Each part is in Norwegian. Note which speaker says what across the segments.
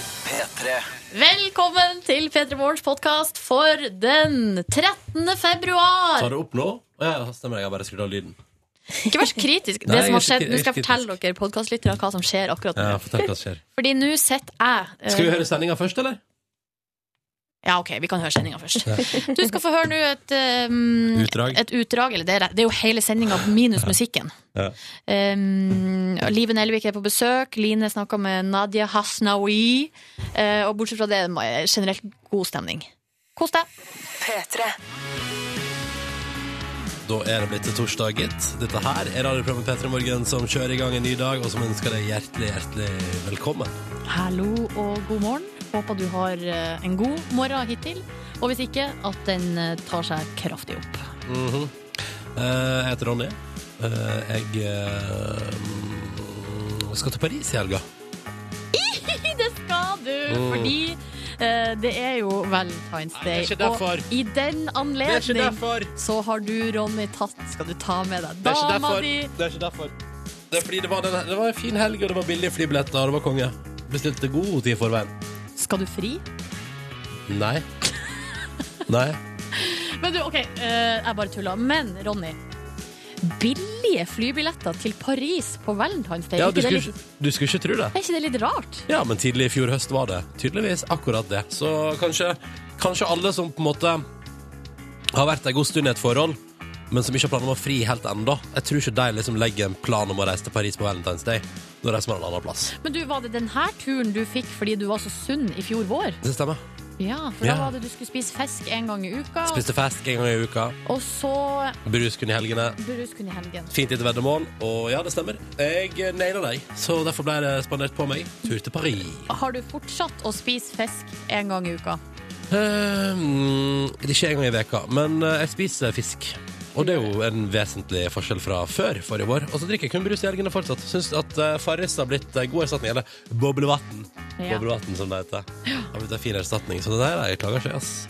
Speaker 1: P3.
Speaker 2: Velkommen til P3 Morgens podkast for den 13. februar.
Speaker 3: Ta det opp nå. Å, Ja, ja, stemmer, jeg har bare skrudd av lyden.
Speaker 2: Ikke vær så kritisk.
Speaker 3: Nei,
Speaker 2: det
Speaker 3: jeg
Speaker 2: som har
Speaker 3: er
Speaker 2: skjedd,
Speaker 3: ikke-
Speaker 2: Nå
Speaker 3: jeg er
Speaker 2: skal jeg
Speaker 3: ikke
Speaker 2: fortelle dere podkastlyttere hva som skjer akkurat nå.
Speaker 3: Ja, fortell hva som skjer.
Speaker 2: Fordi nå sitter jeg eh,
Speaker 3: Eh, Skal vi høre sendinga først, eller?
Speaker 2: Ja, OK, vi kan høre sendinga først. Du skal få høre nå et, eh,
Speaker 3: Utdrag.
Speaker 2: et utdrag. Eller det er, det er jo hele sendinga minus musikken.
Speaker 3: Ja.
Speaker 2: Um, Live Nelvik er på besøk. Line snakka med Nadia Hasnaoui. Eh, og bortsett fra det, er det generelt god stemning. Kos deg.
Speaker 3: Da er det blitt til torsdag, gitt. Dette her er radioprogrammet P3 Morgen som kjører i gang en ny dag, og som ønsker deg hjertelig, hjertelig velkommen.
Speaker 2: Hallo og god morgen. Håper du har eh, en god morgen hittil. Og hvis ikke, at den eh, tar seg kraftig opp.
Speaker 3: Eh, Jeg heter Ronny. Eh, Jeg eh, mm, skal til Paris i helga.
Speaker 2: Det skal du, fordi eh, det er jo Valentine's
Speaker 3: Mm. Nei, det
Speaker 2: Day.
Speaker 3: er ikke derfor.
Speaker 2: Og i den anledning så har du, Ronny, tatt Skal du ta med deg dama di?
Speaker 3: Det er ikke derfor. Det er fordi det var, den, det var en fin helg, og det var billige flybilletter, og det var konge. Bestilte god tid i forveien.
Speaker 2: Skal du fri?
Speaker 3: Nei. Nei.
Speaker 2: Men du, OK, eh, jeg bare tulla. Men Ronny. Billige flybilletter til Paris på Valentine's Day.
Speaker 3: Ja,
Speaker 2: er,
Speaker 3: du
Speaker 2: ikke det
Speaker 3: skulle,
Speaker 2: litt,
Speaker 3: ikke- du skulle ikke tro det.
Speaker 2: er ikke det litt rart?
Speaker 3: Ja, men tidlig i fjor høst var det tydeligvis akkurat det. Så kanskje, kanskje alle som på en måte har vært en god stund i et forhold, men som ikke har planer om å fri helt ennå Jeg tror ikke de liksom legger en plan om å reise til Paris på Valentine's Day. Da reiser man en annen plass.
Speaker 2: Men du, Var det denne turen du fikk fordi du var så sunn i fjor vår?
Speaker 3: Det stemmer.
Speaker 2: Ja, for
Speaker 3: Ja.
Speaker 2: da var det du skulle spise fisk en gang i uka,
Speaker 3: Spiste fest en gang i uka.
Speaker 2: og så
Speaker 3: Brus kun i helgene.
Speaker 2: brus kun i helgen.
Speaker 3: Fint lite veddemål. Og ja, det stemmer. Jeg naila deg, så derfor ble det spandert på meg. Tur til Paris.
Speaker 2: Har du fortsatt å spise fisk en gang i uka?
Speaker 3: Eh, mm, det er ikke en gang i veka, men eh, jeg spiser fisk. Og det er jo en vesentlig forskjell fra før forrige vår. Og så drikker jeg kun brus i helgene fortsatt. Syns at uh, Farris har blitt en god erstatning. Eller boblevann.
Speaker 2: Ja.
Speaker 3: Boblevann, som det heter. Har blitt en fin erstatning. Så det der jeg klager ikke, ass.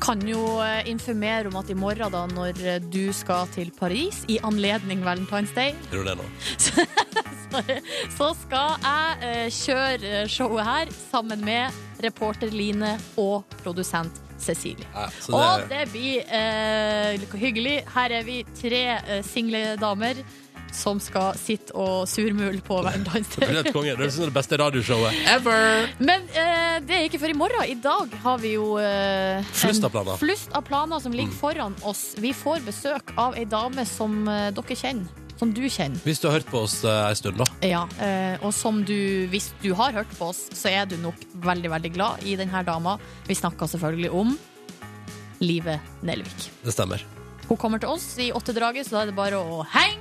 Speaker 2: Kan jo eh, informere om at i morgen, da, når eh, du skal til Paris i anledning Valentine's Day,
Speaker 3: Tror du det nå?
Speaker 2: så skal jeg eh, kjøre eh, showet her sammen med reporter Line og produsent Cecilie.
Speaker 3: Ja, så
Speaker 2: Og
Speaker 3: det,
Speaker 2: det blir eh, hyggelig. Her er vi tre eh, single damer som skal sitte og surmule på Valentine's
Speaker 3: det blir
Speaker 2: Day.
Speaker 3: helt konge. Det er liksom det beste radioshowet ever.
Speaker 2: Men eh, det er ikke før i morgen. I dag har vi jo eh, en
Speaker 3: Flust av planer. Mm.
Speaker 2: flust av planer som ligger foran oss. Vi får besøk av ei dame som eh, dere kjenner. Som du kjenner.
Speaker 3: Hvis du har hørt på oss eh, en stund, da.
Speaker 2: Ja, eh, og som du, hvis du har hørt på oss, så er du nok veldig, veldig glad i denne dama. Vi snakker selvfølgelig om Live Nelvik.
Speaker 3: Det stemmer.
Speaker 2: Hun kommer til oss i åttedraget, så da er det bare å henge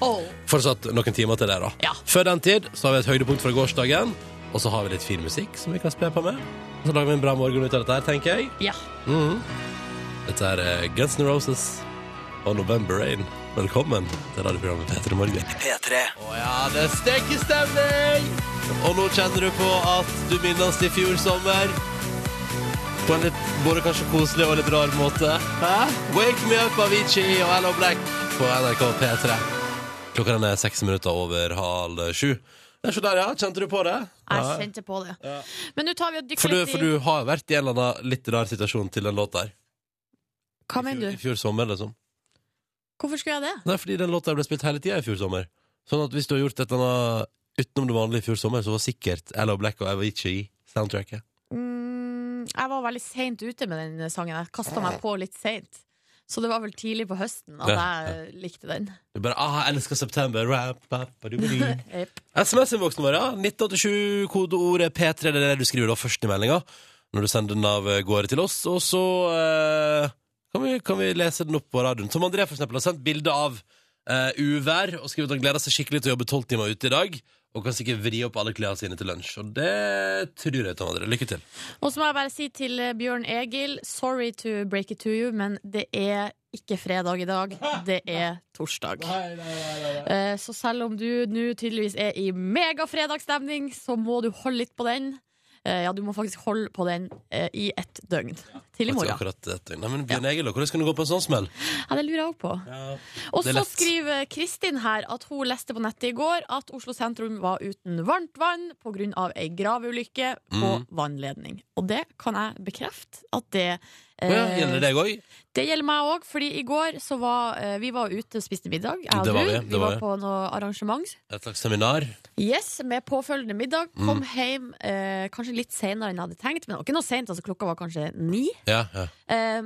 Speaker 2: på!
Speaker 3: Fortsatt noen timer til det, da.
Speaker 2: Ja.
Speaker 3: Før den tid så har vi et høydepunkt fra gårsdagen. Og så har vi litt fin musikk som vi kan spe på med. Og så lager vi en bra morgen ut av dette her, tenker jeg.
Speaker 2: Ja.
Speaker 3: Mhm. Dette er eh, Guns N' Roses og November Rain. Velkommen til radioprogrammet P3 Morgen.
Speaker 1: P3.
Speaker 3: Å ja, det er stekkestemning! Og nå kjenner du på at du minnes i fjor sommer. På en litt både kanskje koselig og litt rar måte. Hæ? Wake me up, Avicii og Hello Black på NRK P3. Klokka den er seks minutter over halv sju. Det er så der, ja. Kjente du på det?
Speaker 2: Jeg kjente på det. Men nå tar vi og dykker
Speaker 3: For du,
Speaker 2: litt i-
Speaker 3: for du har vært i en eller annen litt rar situasjon til den låta her.
Speaker 2: Hva
Speaker 3: I fjor,
Speaker 2: mener
Speaker 3: I
Speaker 2: du?
Speaker 3: fjor sommer, liksom.
Speaker 2: Hvorfor skulle jeg det?
Speaker 3: Nei, fordi den låta ble spilt hele tida i fjor sommer. Sånn at hvis du har gjort et eller annet utenom det vanlige i fjor sommer, så var sikkert LO Black og Avicii soundtracket.
Speaker 2: Mm, jeg var veldig seint ute med den sangen. Jeg kasta meg på litt seint. Så det var vel tidlig på høsten at
Speaker 3: Ja,
Speaker 2: jeg likte den.
Speaker 3: Du bare ah, jeg elsker september. Rap, rap, ba, du, ba, du.
Speaker 2: Yep.
Speaker 3: SMS-innboksen vår, ja. 1987, kodeordet P3. Det er det du skriver da først i meldinga når du sender den av eh, gårde til oss. Og så eh, kan, vi, kan vi lese den opp på radioen. Som André for eksempel, har sendt bilde av eh, uvær og skrevet at han gleder seg skikkelig til å jobbe tolv timer ute i dag. Og kan sikkert vri opp alle klærne sine til lunsj. Og det tror jeg, Tom André. Lykke til.
Speaker 2: Og så må jeg bare si til eh, Bjørn Egil, sorry to break it to you, men det er ikke fredag i dag. Det er torsdag. Eh, Så selv om du nå tydeligvis er i megafredagsstemning, så må du holde litt på den. eh, ja, du må faktisk holde på den eh, i ett døgn. Til i
Speaker 3: Faktisk
Speaker 2: morgen.
Speaker 3: akkurat dette. Nei, men Bjørn Egil, da, hvordan skulle du gå på en sånn smell?
Speaker 2: Ja, det lurer jeg òg på. Og
Speaker 3: Det er
Speaker 2: så
Speaker 3: lett.
Speaker 2: skriver Kristin her at hun leste på nettet i går at Oslo sentrum var uten varmt vann pga. ei graveulykke på
Speaker 3: Mm.
Speaker 2: vannledning. Og det kan jeg bekrefte at det
Speaker 3: Å
Speaker 2: eh,
Speaker 3: ja, gjelder det deg òg?
Speaker 2: det gjelder meg òg, fordi i går så var eh, vi var ute og spiste middag. Jeg og
Speaker 3: Det var
Speaker 2: du.
Speaker 3: vi, det
Speaker 2: vi
Speaker 3: var
Speaker 2: var
Speaker 3: vi.
Speaker 2: på noe arrangement.
Speaker 3: Et slags seminar?
Speaker 2: Yes, Med påfølgende middag. Kom
Speaker 3: Mm.
Speaker 2: hjem eh, kanskje litt senere enn jeg hadde tenkt, men det var ikke noe sent. Altså, klokka var kanskje ni.
Speaker 3: Ja, ja.
Speaker 2: Eh,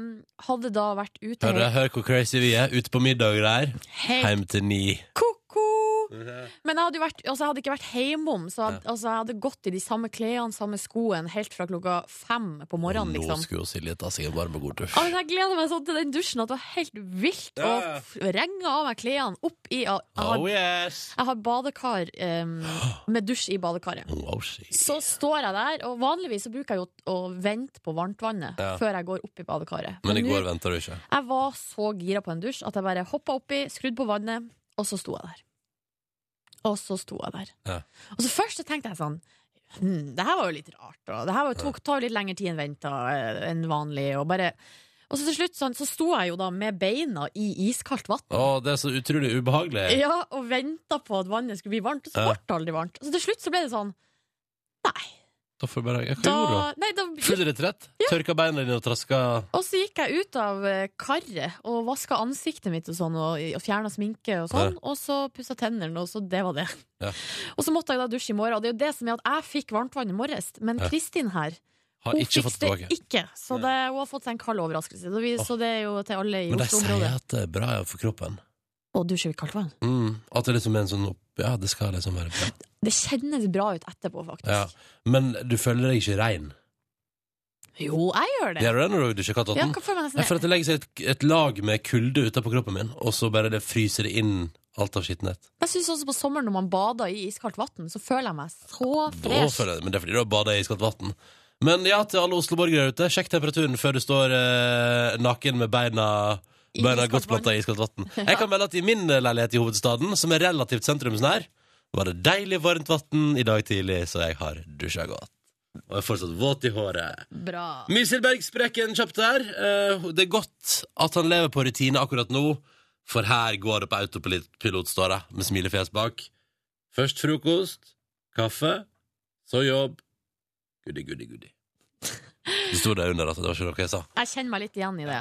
Speaker 2: hadde da vært ute
Speaker 3: Hør,
Speaker 2: he-
Speaker 3: hør hvor crazy vi er. Ute på middag der.
Speaker 2: helt
Speaker 3: Heim til ni.
Speaker 2: ko-ko! Men jeg hadde, jo vært, altså jeg hadde ikke vært hjemom, så jeg, altså jeg hadde gått i de samme klærne, samme skoene, helt fra klokka fem på morgenen,
Speaker 3: Nå
Speaker 2: liksom.
Speaker 3: skulle jo Silje ta seg en varm og god dusj.
Speaker 2: Altså, jeg gleder meg sånn til den dusjen at det var helt vilt.
Speaker 3: Ja, ja.
Speaker 2: Og renga av meg klærne opp i Jeg har,
Speaker 3: Oh yes!
Speaker 2: jeg har badekar em, med dusj i badekaret.
Speaker 3: Wow, Mm, shit.
Speaker 2: Så står jeg der, og vanligvis så bruker jeg jo å vente på varmtvannet
Speaker 3: Ja.
Speaker 2: før jeg går opp i badekaret.
Speaker 3: Men i
Speaker 2: nå-
Speaker 3: går venta du ikke.
Speaker 2: jeg var så gira på en dusj at jeg bare hoppa oppi, skrudde på vannet, og så sto jeg der. Og så sto jeg der.
Speaker 3: Ja.
Speaker 2: Og så først så tenkte jeg sånn hm, Det her var jo litt rart, og det her var jo, tok, tar jo litt lengre tid enn venta eh, enn vanlig, og bare Og så til slutt sånn, så sto jeg jo da med beina i iskaldt vann.
Speaker 3: Å, det er så utrolig ubehagelig.
Speaker 2: Ja, og venta på at vannet skulle bli varmt, og så
Speaker 3: Ja.
Speaker 2: ble det aldri varmt. Og så til slutt så ble det sånn Nei.
Speaker 3: Da får du bare ja, Hva
Speaker 2: Da,
Speaker 3: gjorde du? da?
Speaker 2: nei, da
Speaker 3: Full retrett? Tørka beina dine og traska
Speaker 2: Og så gikk jeg ut av eh, karret og vaska ansiktet mitt og sånn, og, og fjerna sminke og sånn. Og så pussa tennene, og så det var det.
Speaker 3: Ja.
Speaker 2: Og så måtte jeg da dusje i morgen, og det er jo det som er at jeg fikk varmtvann i morges, men
Speaker 3: Ja.
Speaker 2: Kristin her,
Speaker 3: Har
Speaker 2: hun
Speaker 3: ikke
Speaker 2: fikk
Speaker 3: fått
Speaker 2: det
Speaker 3: tilbake.
Speaker 2: ikke. Så det, hun har fått seg en kald overraskelse. Så, vi, så det er jo til alle i
Speaker 3: Men de sier
Speaker 2: Oslo-området.
Speaker 3: at det er bra ja, for kroppen.
Speaker 2: Å dusje i kaldt vann.
Speaker 3: Mm, at det liksom er en sånn opp- Ja, det skal liksom være bra.
Speaker 2: Det kjennes bra ut etterpå, faktisk.
Speaker 3: Ja. Men du føler deg ikke rein?
Speaker 2: Jo, jeg gjør det.
Speaker 3: Gjør du det når du dusjer
Speaker 2: Ja,
Speaker 3: kattotten?
Speaker 2: hva føler jeg
Speaker 3: Jeg
Speaker 2: nesten
Speaker 3: føler at det legger seg et, et lag med kulde utapå kroppen min, og så bare det fryser det inn alt av skittenhet.
Speaker 2: Jeg syns også på sommeren når man bader i iskaldt vann, så føler jeg meg så
Speaker 3: Da
Speaker 2: fresh.
Speaker 3: føler jeg det, men det er fordi du har bada i iskaldt vann. Men ja, til alle Oslo-borgere ute, sjekk temperaturen før du står eh, naken med beina
Speaker 2: I
Speaker 3: Beina
Speaker 2: iskaldt
Speaker 3: godt planta i iskaldt vann. Jeg kan melde at i min eh, leilighet i hovedstaden, som er relativt sentrumsnær, var det deilig varmt vann i dag tidlig, så jeg har dusja godt. Og er fortsatt våt i håret.
Speaker 2: Bra.
Speaker 3: Myselberg sprekken kjapt der. Eh, det er godt at han lever på rutine akkurat nå, for her går det på autopilot, står det, med smilefjes bak. Først frokost, kaffe, så jobb. Goody, goody, goody. Det sto der under at det var ikke noe jeg sa.
Speaker 2: Jeg kjenner meg litt igjen i det.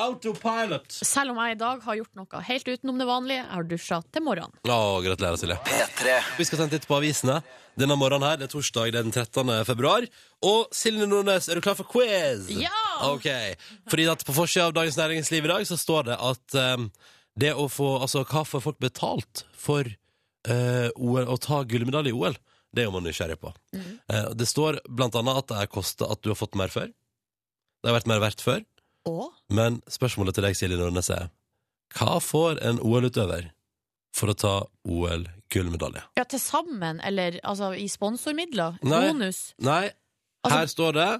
Speaker 3: Autopilot!
Speaker 2: Selv om jeg i dag har gjort noe helt utenom det vanlige, jeg har dusja til morgenen.
Speaker 3: Å, gratulerer, Silje. Vi skal sende litt på avisene denne morgenen her. Det er torsdag det er den 13. februar. Og Silje Nordnes, er du klar for quiz?
Speaker 2: Ja!
Speaker 3: Ok. Fordi at på forsida av Dagens Næringsliv i dag så står det at ehm, det å få Altså, hva får folk betalt for eh, OL, å ta gullmedalje i OL? Det er jo man nysgjerrig på. Eh, det står blant annet at det er kosta at du har fått mer før. Det har vært mer verdt før.
Speaker 2: Og
Speaker 3: Men spørsmålet til deg, Silje Nordnes, er hva får en OL-utøver for å ta OL-gullmedalje?
Speaker 2: ja, til sammen, eller altså i sponsormidler,
Speaker 3: Nei.
Speaker 2: bonus
Speaker 3: Nei,
Speaker 2: Altså-
Speaker 3: her står det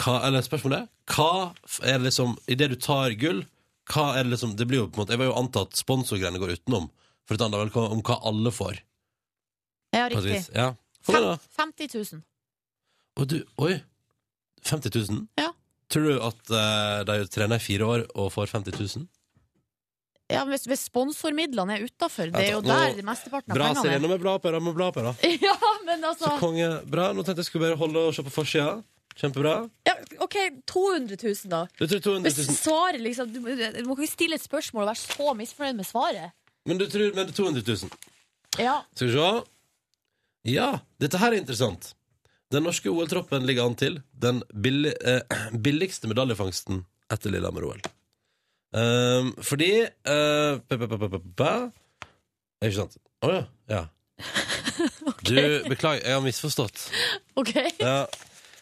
Speaker 3: hva, Eller spørsmålet er, Hva f- er det liksom I det du tar gull Hva er det liksom Det blir jo på en måte Jeg var jo antatt sponsorgreiene går utenom For det handler vel om- om hva alle får
Speaker 2: Ja,
Speaker 3: på et
Speaker 2: riktig.
Speaker 3: vis. Ja Får du
Speaker 2: Fem,
Speaker 3: da
Speaker 2: 50 000.
Speaker 3: Og du Oi 50 000
Speaker 2: Ja.
Speaker 3: Tror du at eh, de trener i fire år Og får 50 000
Speaker 2: Ja, men hvis, hvis sponsormidlene er utafor, det er jo
Speaker 3: Vent da, nå-
Speaker 2: der det mesteparten av
Speaker 3: Bra serie
Speaker 2: pengene er.
Speaker 3: Nå må jeg bla opp her da, Nå må jeg bla opp her da
Speaker 2: Ja, men altså
Speaker 3: Så konge Bra Nå tenkte jeg skulle bare holde og se på forsida Kjempebra
Speaker 2: ja, OK, 200 000, da.
Speaker 3: Du tror 200
Speaker 2: Hvis
Speaker 3: 000
Speaker 2: svaret liksom Du, du må ikke stille et spørsmål og være så misfornøyd med svaret.
Speaker 3: Men du tror Men 200 000
Speaker 2: Ja,
Speaker 3: Skal vi se. Ja, dette her er interessant. Den norske OL-troppen ligger an til den billi, eh, billigste medaljefangsten etter Lillehammer-OL. Ehm, fordi eh, pa, pa, pa, pa, pa, pa. Er Ikke sant? Å ja. ja. Du, beklager, jeg har misforstått.
Speaker 2: OK.
Speaker 3: Ja.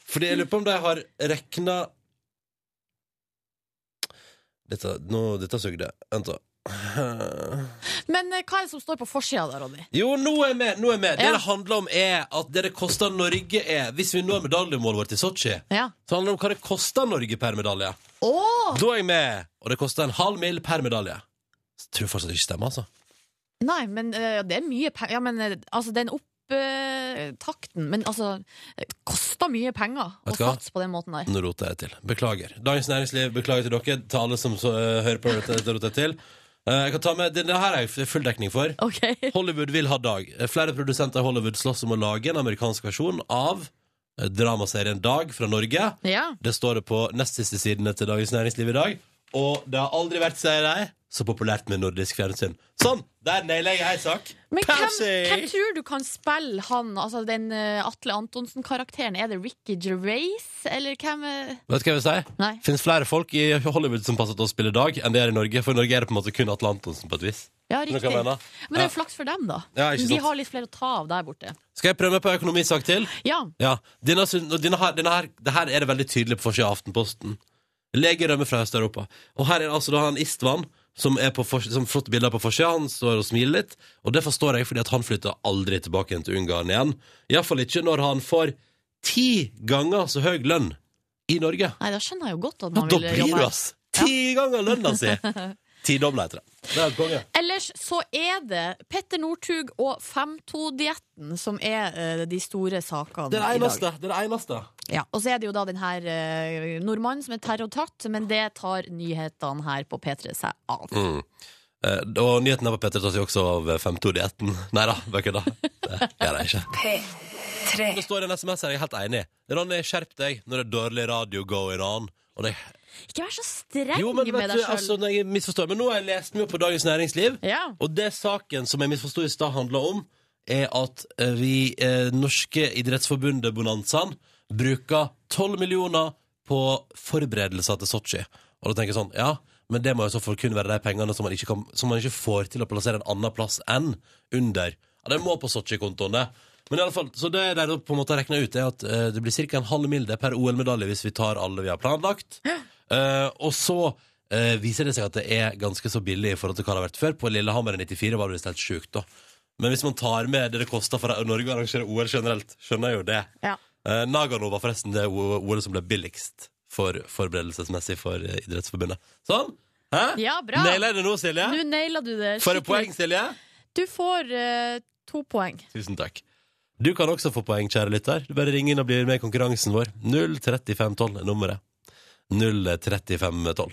Speaker 3: Fordi jeg lurer på om de har rekna Dette, nå, dette sugde. Vent, da.
Speaker 2: Men eh, hva er det som står på forsida da, Ronny?
Speaker 3: Jo, nå er vi nå er vi. Det
Speaker 2: Ja.
Speaker 3: det handler om er at det det koster Norge er Hvis vi når medaljemålet vårt i Sotsji,
Speaker 2: Ja.
Speaker 3: så handler det om hva det koster Norge per medalje.
Speaker 2: Å!
Speaker 3: Da er jeg med, og det koster en halv mil per medalje. Så tror jeg fortsatt det ikke stemmer, altså.
Speaker 2: Nei, men eh, det er mye penger. Ja, men eh, altså, den opp, topptakten. Men altså, det koster mye penger
Speaker 3: Vet
Speaker 2: å
Speaker 3: du hva?
Speaker 2: satse på den måten der.
Speaker 3: Nå roter jeg til. Beklager. Dagens Næringsliv, beklager til dere. Til alle som så, eh, hører på dette, dette roter jeg til. Eh, jeg kan ta med, det, det her er jo full dekning for.
Speaker 2: Ok.
Speaker 3: Hollywood vil ha Dag. Eh, Flere produsenter i Hollywood slåss om å lage en amerikansk versjon av eh, dramaserien Dag fra Norge.
Speaker 2: Ja.
Speaker 3: Det står det på nest siste sidene til Dagens Næringsliv i dag. Og det har aldri vært, sier de, så populært med nordisk fjernsyn. Sånn! Der nailer jeg ei sak.
Speaker 2: Men hvem,
Speaker 3: Pepsi!
Speaker 2: hvem tror du kan spille han, altså den eh, Atle Antonsen-karakteren? Er det Ricky Gervais, eller hvem eh?
Speaker 3: Vet du hva jeg vil si?
Speaker 2: Nei.
Speaker 3: Fins flere folk i Hollywood som passer til å spille Dag, enn det er i Norge. For i Norge er det på en måte kun Atle Antonsen, på et vis.
Speaker 2: Ja,
Speaker 3: du hva jeg
Speaker 2: riktig.
Speaker 3: mener?
Speaker 2: Men det er
Speaker 3: Ja.
Speaker 2: jo flaks for dem, da.
Speaker 3: Ja, ikke
Speaker 2: De
Speaker 3: sant.
Speaker 2: har litt flere å ta av der borte.
Speaker 3: Skal jeg prøve meg på en økonomisak til?
Speaker 2: Ja.
Speaker 3: Ja. Denne, syn- og denne her, denne her, det her er det veldig tydelig på forsida av Aftenposten. Lege rømmer fra Øst-Europa. Og her er det altså da han Istvan, som er på fors- som flotte bilder på forsida. Han står og smiler litt. Og det forstår jeg, fordi at han flytter aldri tilbake igjen til Ungarn igjen. Iallfall ikke når han får ti ganger så høy lønn i Norge.
Speaker 2: Nei, da skjønner jeg jo godt at
Speaker 3: Da
Speaker 2: man vil
Speaker 3: blir
Speaker 2: jobbe
Speaker 3: du,
Speaker 2: her.
Speaker 3: ass! Ti ganger lønna si! Tidobla, heter det. Det er helt konge.
Speaker 2: Ellers så er det Petter Northug og 5-2-dietten som er eh, de store sakene
Speaker 3: Det er det
Speaker 2: i dag.
Speaker 3: eneste. Det er det eneste.
Speaker 2: Ja. Og så er det jo da den her eh, nordmannen som er terrortatt, men det tar nyhetene her på P3 seg av.
Speaker 3: Mm. Eh, og nyheten her på P3 tar seg også av eh, 5-2-dietten. Nei da, bare kødda. Det gjør jeg ikke. Det står i en SMS her, jeg er helt enig. Ronny, skjerp deg når det er dårlig radio going on. Og det...
Speaker 2: Ikke vær så streng
Speaker 3: Jo, men
Speaker 2: med
Speaker 3: vet
Speaker 2: deg
Speaker 3: du,
Speaker 2: sjøl.
Speaker 3: altså, når jeg misforstår. Men nå har jeg lest mye på Dagens Næringsliv,
Speaker 2: Ja.
Speaker 3: og det saken som jeg misforsto i stad, handler om, er at eh, vi, eh, norske idrettsforbundet Bonanzaen, bruker 12 millioner på forberedelser til Sotsji. Og da tenker jeg sånn, ja, men det må jo så for kun være de pengene som man, ikke kan, som man ikke får til å plassere en annen plass enn under. Ja, det må på Sotsji-kontoen, det. Men i alle fall, så det der på en måte regner ut er at eh, det blir ca. en halv milde per OL-medalje hvis vi tar alle vi har planlagt. Eh, og så eh, viser det seg at det er ganske så billig i forhold til hva det har vært før. På Lillehammer i 94 var det visst helt sjukt, da. Men hvis man tar med det det koster for Norge å arrangere OL generelt, skjønner jeg jo det.
Speaker 2: Ja.
Speaker 3: Eh, Nagano var forresten det OL som ble billigst for forberedelsesmessig for eh, Idrettsforbundet. Sånn! Hæ?
Speaker 2: Ja, bra.
Speaker 3: Nailer jeg det nå, Silje?
Speaker 2: Nå naila du det.
Speaker 3: Får jeg
Speaker 2: skikkelig.
Speaker 3: poeng, Silje?
Speaker 2: Du får eh, to poeng.
Speaker 3: Tusen takk. Du kan også få poeng, kjære lytter. Du bare ringer inn og blir med i konkurransen vår. 03512 er nummeret. 03512.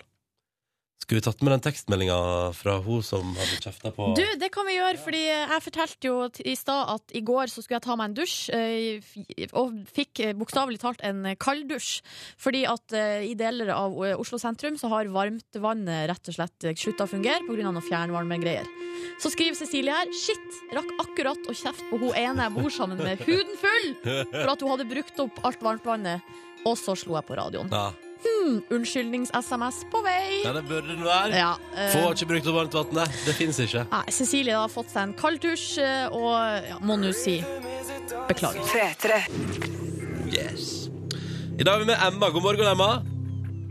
Speaker 3: Skulle vi tatt med den tekstmeldinga fra hun som hadde kjefta på
Speaker 2: Du, det kan vi gjøre, fordi jeg fortalte jo t- i stad at i går så skulle jeg ta meg en dusj, eh, f- og fikk eh, bokstavelig talt en eh, kalddusj. Fordi at eh, i deler av eh, Oslo sentrum så har varmtvannet rett og slett eh, slutta å fungere pga. noe fjernvarmegreier. Så skriver Cecilie her Shit, rakk akkurat å kjefte på hun ene jeg bor sammen med, huden full, for at hun hadde brukt opp alt varmtvannet. Og så slo jeg på radioen.
Speaker 3: Ja,
Speaker 2: Unnskyldnings-SMS på vei.
Speaker 3: ja, det burde den være.
Speaker 2: Ja, eh,
Speaker 3: Få ikke brukt opp varmt vannet. Det fins ikke.
Speaker 2: Nei, Cecilie har fått seg en kalddusj eh, og ja, må nå si beklager.
Speaker 3: Yes. I dag er vi med Emma. God morgen, Emma.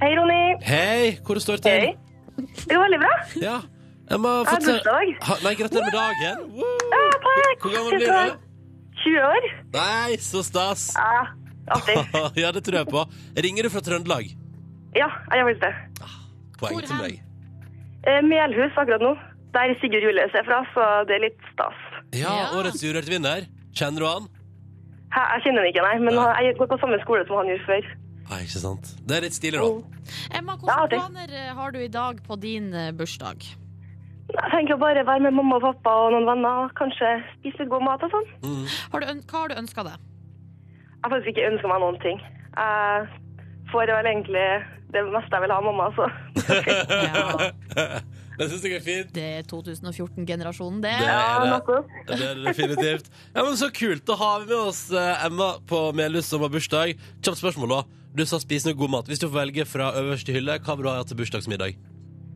Speaker 1: Hei, Ronny.
Speaker 3: Hei, hvor det står det til?
Speaker 1: Hei. Det går veldig bra.
Speaker 3: Ja. Emma har
Speaker 1: Jeg har
Speaker 3: fått seg-
Speaker 1: bursdag.
Speaker 3: Ha, nei, gratulerer med dagen. Woo!
Speaker 1: Ja, takk.
Speaker 3: Hvor gammel
Speaker 1: Tusen
Speaker 3: blir
Speaker 1: takk.
Speaker 3: du?
Speaker 1: 20 år.
Speaker 3: Nei, så stas.
Speaker 1: Ja, artig.
Speaker 3: ja, det tror jeg på. Ringer du fra Trøndelag?
Speaker 1: Ja, jeg gjør faktisk det.
Speaker 3: Poeng
Speaker 2: Hvor
Speaker 3: til
Speaker 2: hen?
Speaker 3: meg.
Speaker 1: Eh, Melhus akkurat nå. Der Sigurd Julius er fra, så det er litt stas.
Speaker 3: Ja,
Speaker 2: Ja.
Speaker 3: årets urørt vinner. Kjenner du han?
Speaker 1: Hæ, Jeg kjenner ham ikke, nei, men
Speaker 3: Nei.
Speaker 1: jeg går på samme skole som han gjorde før.
Speaker 3: Nei, ikke sant. Det er litt stilig,
Speaker 2: Oh.
Speaker 3: da.
Speaker 2: Emma,
Speaker 1: Ja,
Speaker 2: hvilke
Speaker 1: det-
Speaker 2: planer eh, har du i dag på din eh, bursdag?
Speaker 1: Jeg tenker å bare være med mamma og pappa og noen venner, og kanskje spise litt god mat og sånn.
Speaker 3: Mm.
Speaker 2: Har du, øn- hva har du ønska deg?
Speaker 1: Jeg har faktisk ikke ønsker meg noen ting. Jeg får vel egentlig det meste jeg vil ha av mamma, så
Speaker 2: Ja,
Speaker 3: det syns jeg er fint.
Speaker 2: det er 2014-generasjonen, det.
Speaker 3: Det
Speaker 1: ja,
Speaker 3: er det.
Speaker 1: noe.
Speaker 3: Det er det definitivt. Ja, men Så kult. Da har vi med oss eh, Emma på Melhus som har bursdag. Kjapt spørsmål, da. Du sa spis noe god mat. Hvis du får velge fra øverste hylle, hva vil du ha til bursdagsmiddag?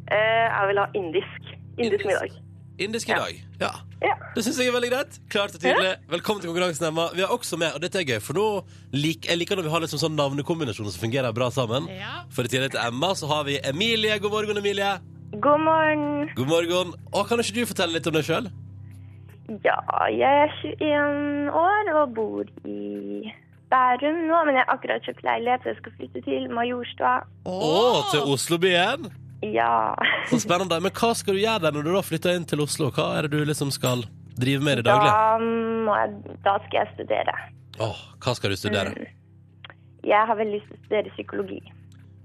Speaker 1: Eh, Jeg vil ha indisk. Indisk middag.
Speaker 3: Indisk i dag. Ja.
Speaker 1: Ja.
Speaker 3: Det syns jeg er veldig greit. Klart og tydelig. Velkommen til konkurransen, Emma. Vi har også med, og dette er gøy, for nå lik, jeg liker når vi har liksom sånn navnekombinasjoner som fungerer bra sammen.
Speaker 2: Ja.
Speaker 3: For i tillegg til Emma så har vi Emilie. God morgen, Emilie.
Speaker 1: God morgen.
Speaker 3: God morgen. Og kan ikke du fortelle litt om deg sjøl?
Speaker 1: Ja, jeg er 21 år og bor i Bærum nå, men jeg har akkurat kjøpt leilighet, så jeg skal flytte til Majorstua.
Speaker 3: Å, til Oslobyen.
Speaker 1: Ja.
Speaker 3: Så spennende. Men hva skal du gjøre der når du da flytter inn til Oslo? Hva er det du liksom skal driver med i det daglige?
Speaker 1: Da, må jeg, da skal jeg studere.
Speaker 3: Åh, hva skal du studere?
Speaker 1: Mm. Jeg har veldig lyst til å studere psykologi.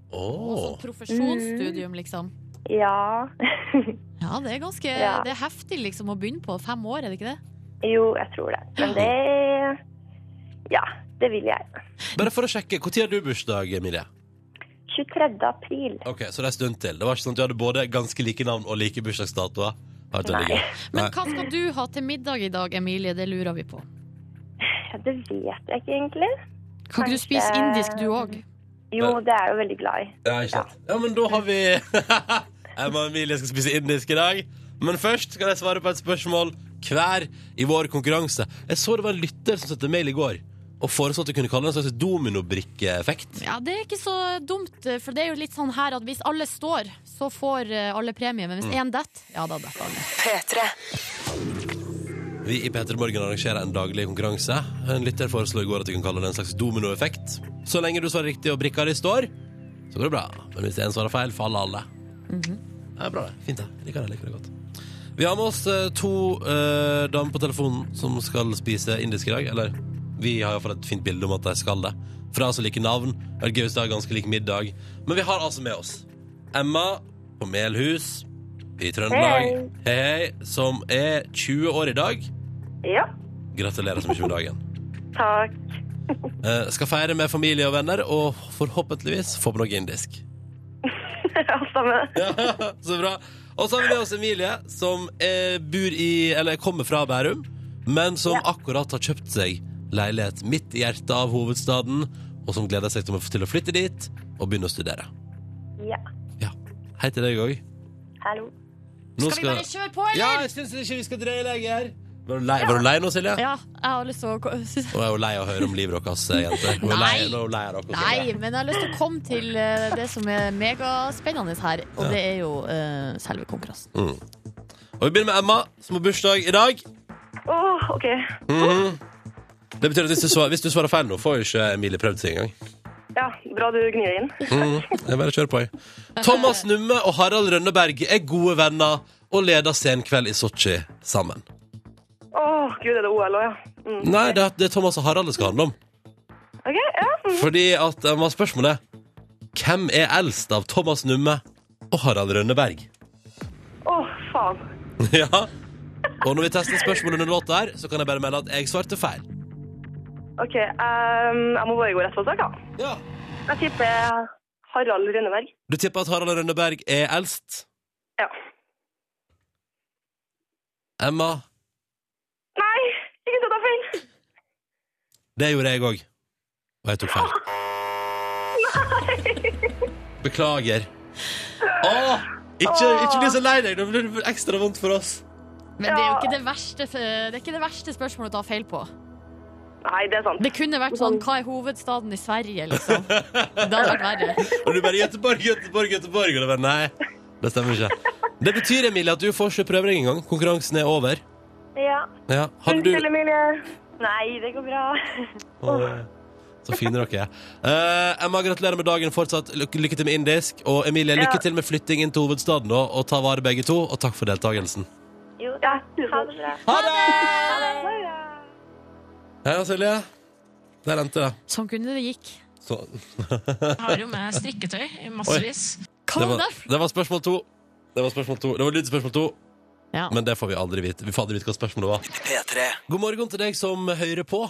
Speaker 2: Og
Speaker 3: Åh,
Speaker 2: sånn profesjonsstudium, liksom.
Speaker 1: Ja.
Speaker 2: Ja, det er ganske
Speaker 1: Ja.
Speaker 2: Det er heftig liksom å begynne på. Fem år, er det ikke det?
Speaker 1: jo, jeg tror det. Men det Ja, det vil jeg.
Speaker 3: Bare for å sjekke, når har du bursdag, Emilie?
Speaker 1: 23. april.
Speaker 3: Ok, Så det er en stund til. Det var ikke sånn at du hadde både ganske like navn og like bursdagsdatoer? Det har vært veldig
Speaker 1: Nei.
Speaker 3: gøy.
Speaker 2: Men
Speaker 3: Nei.
Speaker 2: hva skal du ha til middag i dag, Emilie? Det lurer vi på.
Speaker 1: Ja, det vet jeg ikke egentlig.
Speaker 2: Kan ikke du
Speaker 1: Kanskje-
Speaker 2: spise indisk, du òg?
Speaker 1: Jo, det er jeg jo veldig glad i.
Speaker 3: Ja, ikke sant. Ja, men da har vi Emma og Emilie skal spise indisk i dag. Men først skal jeg svare på et spørsmål hver i vår konkurranse. Jeg så det var en lytter som sendte mail i går og foreslo at vi kunne kalle det en slags dominobrikkeeffekt.
Speaker 2: Ja, det er ikke så dumt, for det er jo litt sånn her at hvis alle står, så får eh, alle premie. Men hvis én detter, ja da detter alle.
Speaker 3: Vi i P3 Morgen arrangerer en daglig konkurranse. En lytter foreslo i går at vi kan kalle det en slags dominoeffekt. Så lenge du svarer riktig og brikka di står, så går det bra. Men hvis en svarer feil, faller alle. Det er bra, det. Fint, det. Jeg liker det, jeg liker det godt. Vi har med oss eh, to eh, damer på telefonen som skal spise indisk i dag. Eller vi har iallfall et fint bilde om at de skal det. For det er altså like navn. og Gaustad har ganske lik middag. Men vi har altså med oss Emma på Melhus i Trøndelag, hei. hei, som er 20 år i dag.
Speaker 1: Ja,
Speaker 3: Gratulerer så mye med dagen.
Speaker 1: takk.
Speaker 3: Eh, skal feire med familie og venner, og forhåpentligvis få på noe indisk.
Speaker 1: Alt sammen.
Speaker 3: så bra. Og så har vi med oss Emilie, som eh, bor i, eller kommer fra Bærum, men som akkurat har kjøpt seg leilighet midt i hjertet av hovedstaden, og som gleder seg til å- til å flytte dit og begynne å studere.
Speaker 1: Ja,
Speaker 3: Ja. Hei til deg òg.
Speaker 1: hallo.
Speaker 3: Nå
Speaker 2: Skal vi bare kjøre på,
Speaker 3: Ja,
Speaker 2: eller?
Speaker 3: jeg syns ikke vi skal dreie lenger her. Var du lei, var du lei nå, Silje?
Speaker 2: Ja, jeg har lyst til å ko-
Speaker 3: Nå er hun lei av å høre om livet deres, jenter. Hun er lei-
Speaker 2: Nei.
Speaker 3: Nå er hun lei av dere.
Speaker 2: Nei, men jeg har lyst til å komme til eh, det som er megaspennende her, og det er jo eh, selve konkurransen.
Speaker 3: Og vi begynner med Emma, som har bursdag i dag.
Speaker 1: Å, OK.
Speaker 3: Det betyr at hvis du svarer, hvis du svarer feil nå, får jo ikke Emilie prøvd seg engang.
Speaker 1: Ja, bra du gnir inn.
Speaker 3: Jeg bare kjører på, jeg. Thomas Numme og Harald Rønneberg er gode venner og leder Senkveld i Sotsji sammen.
Speaker 1: Å, gud, er det OL òg, ja? Mm.
Speaker 3: Nei, det er, det er Thomas og Harald det skal handle om.
Speaker 1: OK, ja. Mm.
Speaker 3: Fordi at eh, hva er spørsmålet Hvem er eldst av Thomas Numme og Harald Rønneberg?
Speaker 1: Å, faen.
Speaker 3: ja. Og når vi tester spørsmålet under låta her, så kan jeg bare melde at jeg svarte feil.
Speaker 1: OK, ehm, jeg må bare gå rett på sak, da.
Speaker 3: Ja.
Speaker 1: Jeg tipper Harald Rønneberg.
Speaker 3: Du tipper at Harald Rønneberg er eldst?
Speaker 1: Ja.
Speaker 3: Emma,
Speaker 1: Nei, ikke ta feil.
Speaker 3: det gjorde jeg òg. Og jeg tok feil. Beklager. Åh, ikke, ikke bli så lei deg. Det blir det ekstra vondt for oss.
Speaker 2: Men det er jo ikke det verste, f- det er ikke det verste spørsmålet å ta feil på.
Speaker 1: Nei, det er sant.
Speaker 2: Det kunne vært sånn Hva er hovedstaden i Sverige, liksom? Det hadde vært verre.
Speaker 3: Og du bare Göteborg, Göteborg, Göteborg. Og det bare, nei, det stemmer ikke. Det betyr, Emilie, at du får ikke prøver engang. Konkurransen er over.
Speaker 1: Ja.
Speaker 3: Ja, hadde du...
Speaker 1: Emilie. Nei, det går bra.
Speaker 3: Åh, Så fine dere er. Eh, Emma, gratulerer med dagen fortsatt. Lykke lykke til med indisk. Og Emilie, lykke
Speaker 1: Ja.
Speaker 3: til med flytting inn til hovedstaden nå, og ta vare begge to. Og takk for deltakelsen.
Speaker 1: Jo, ja, ha det bra.
Speaker 3: Ha det!
Speaker 1: Ha det.
Speaker 3: Hei, Silje. Der endte det.
Speaker 2: Sånn kunne det gikk.
Speaker 3: Så,
Speaker 4: Jeg har jo med strikketøy i massevis.
Speaker 2: Hva
Speaker 3: det,
Speaker 2: var
Speaker 3: var,
Speaker 2: det?
Speaker 3: det var spørsmål to. Det var spørsmål to. Det var lydspørsmål to.
Speaker 2: Ja.
Speaker 3: Men det får vi aldri vite. Vi får aldri vite hva spørsmålet var. God morgen til deg som hører på.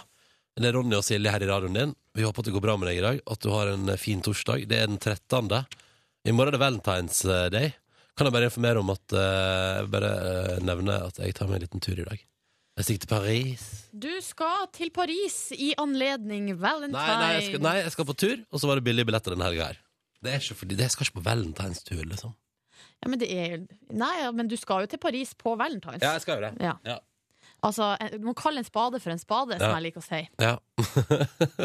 Speaker 3: Det er Ronny og Silje her i radioen din. Vi håper at det går bra med deg i dag, at du har en eh, fin torsdag. Det er den 13. I morgen er det Valentine's Day. Kan jeg bare informere om at eh, Jeg vil bare eh, nevne at jeg tar meg en liten tur i dag. Jeg stikker til Paris.
Speaker 2: Du skal til Paris i anledning Valentine.
Speaker 3: Nei, nei, jeg skal, nei, jeg skal på tur, og så var det billige billetter denne helga her. Det er ikke fordi, det, jeg skal ikke på valentinstur, liksom.
Speaker 2: Ja, men det er, nei, ja, men du skal jo til Paris på Valentine's.
Speaker 3: Ja, jeg skal jo det.
Speaker 2: Ja.
Speaker 3: Ja.
Speaker 2: Altså, en- du må kalle en spade for en spade, som
Speaker 3: Ja.
Speaker 2: jeg liker å si.
Speaker 3: Ja.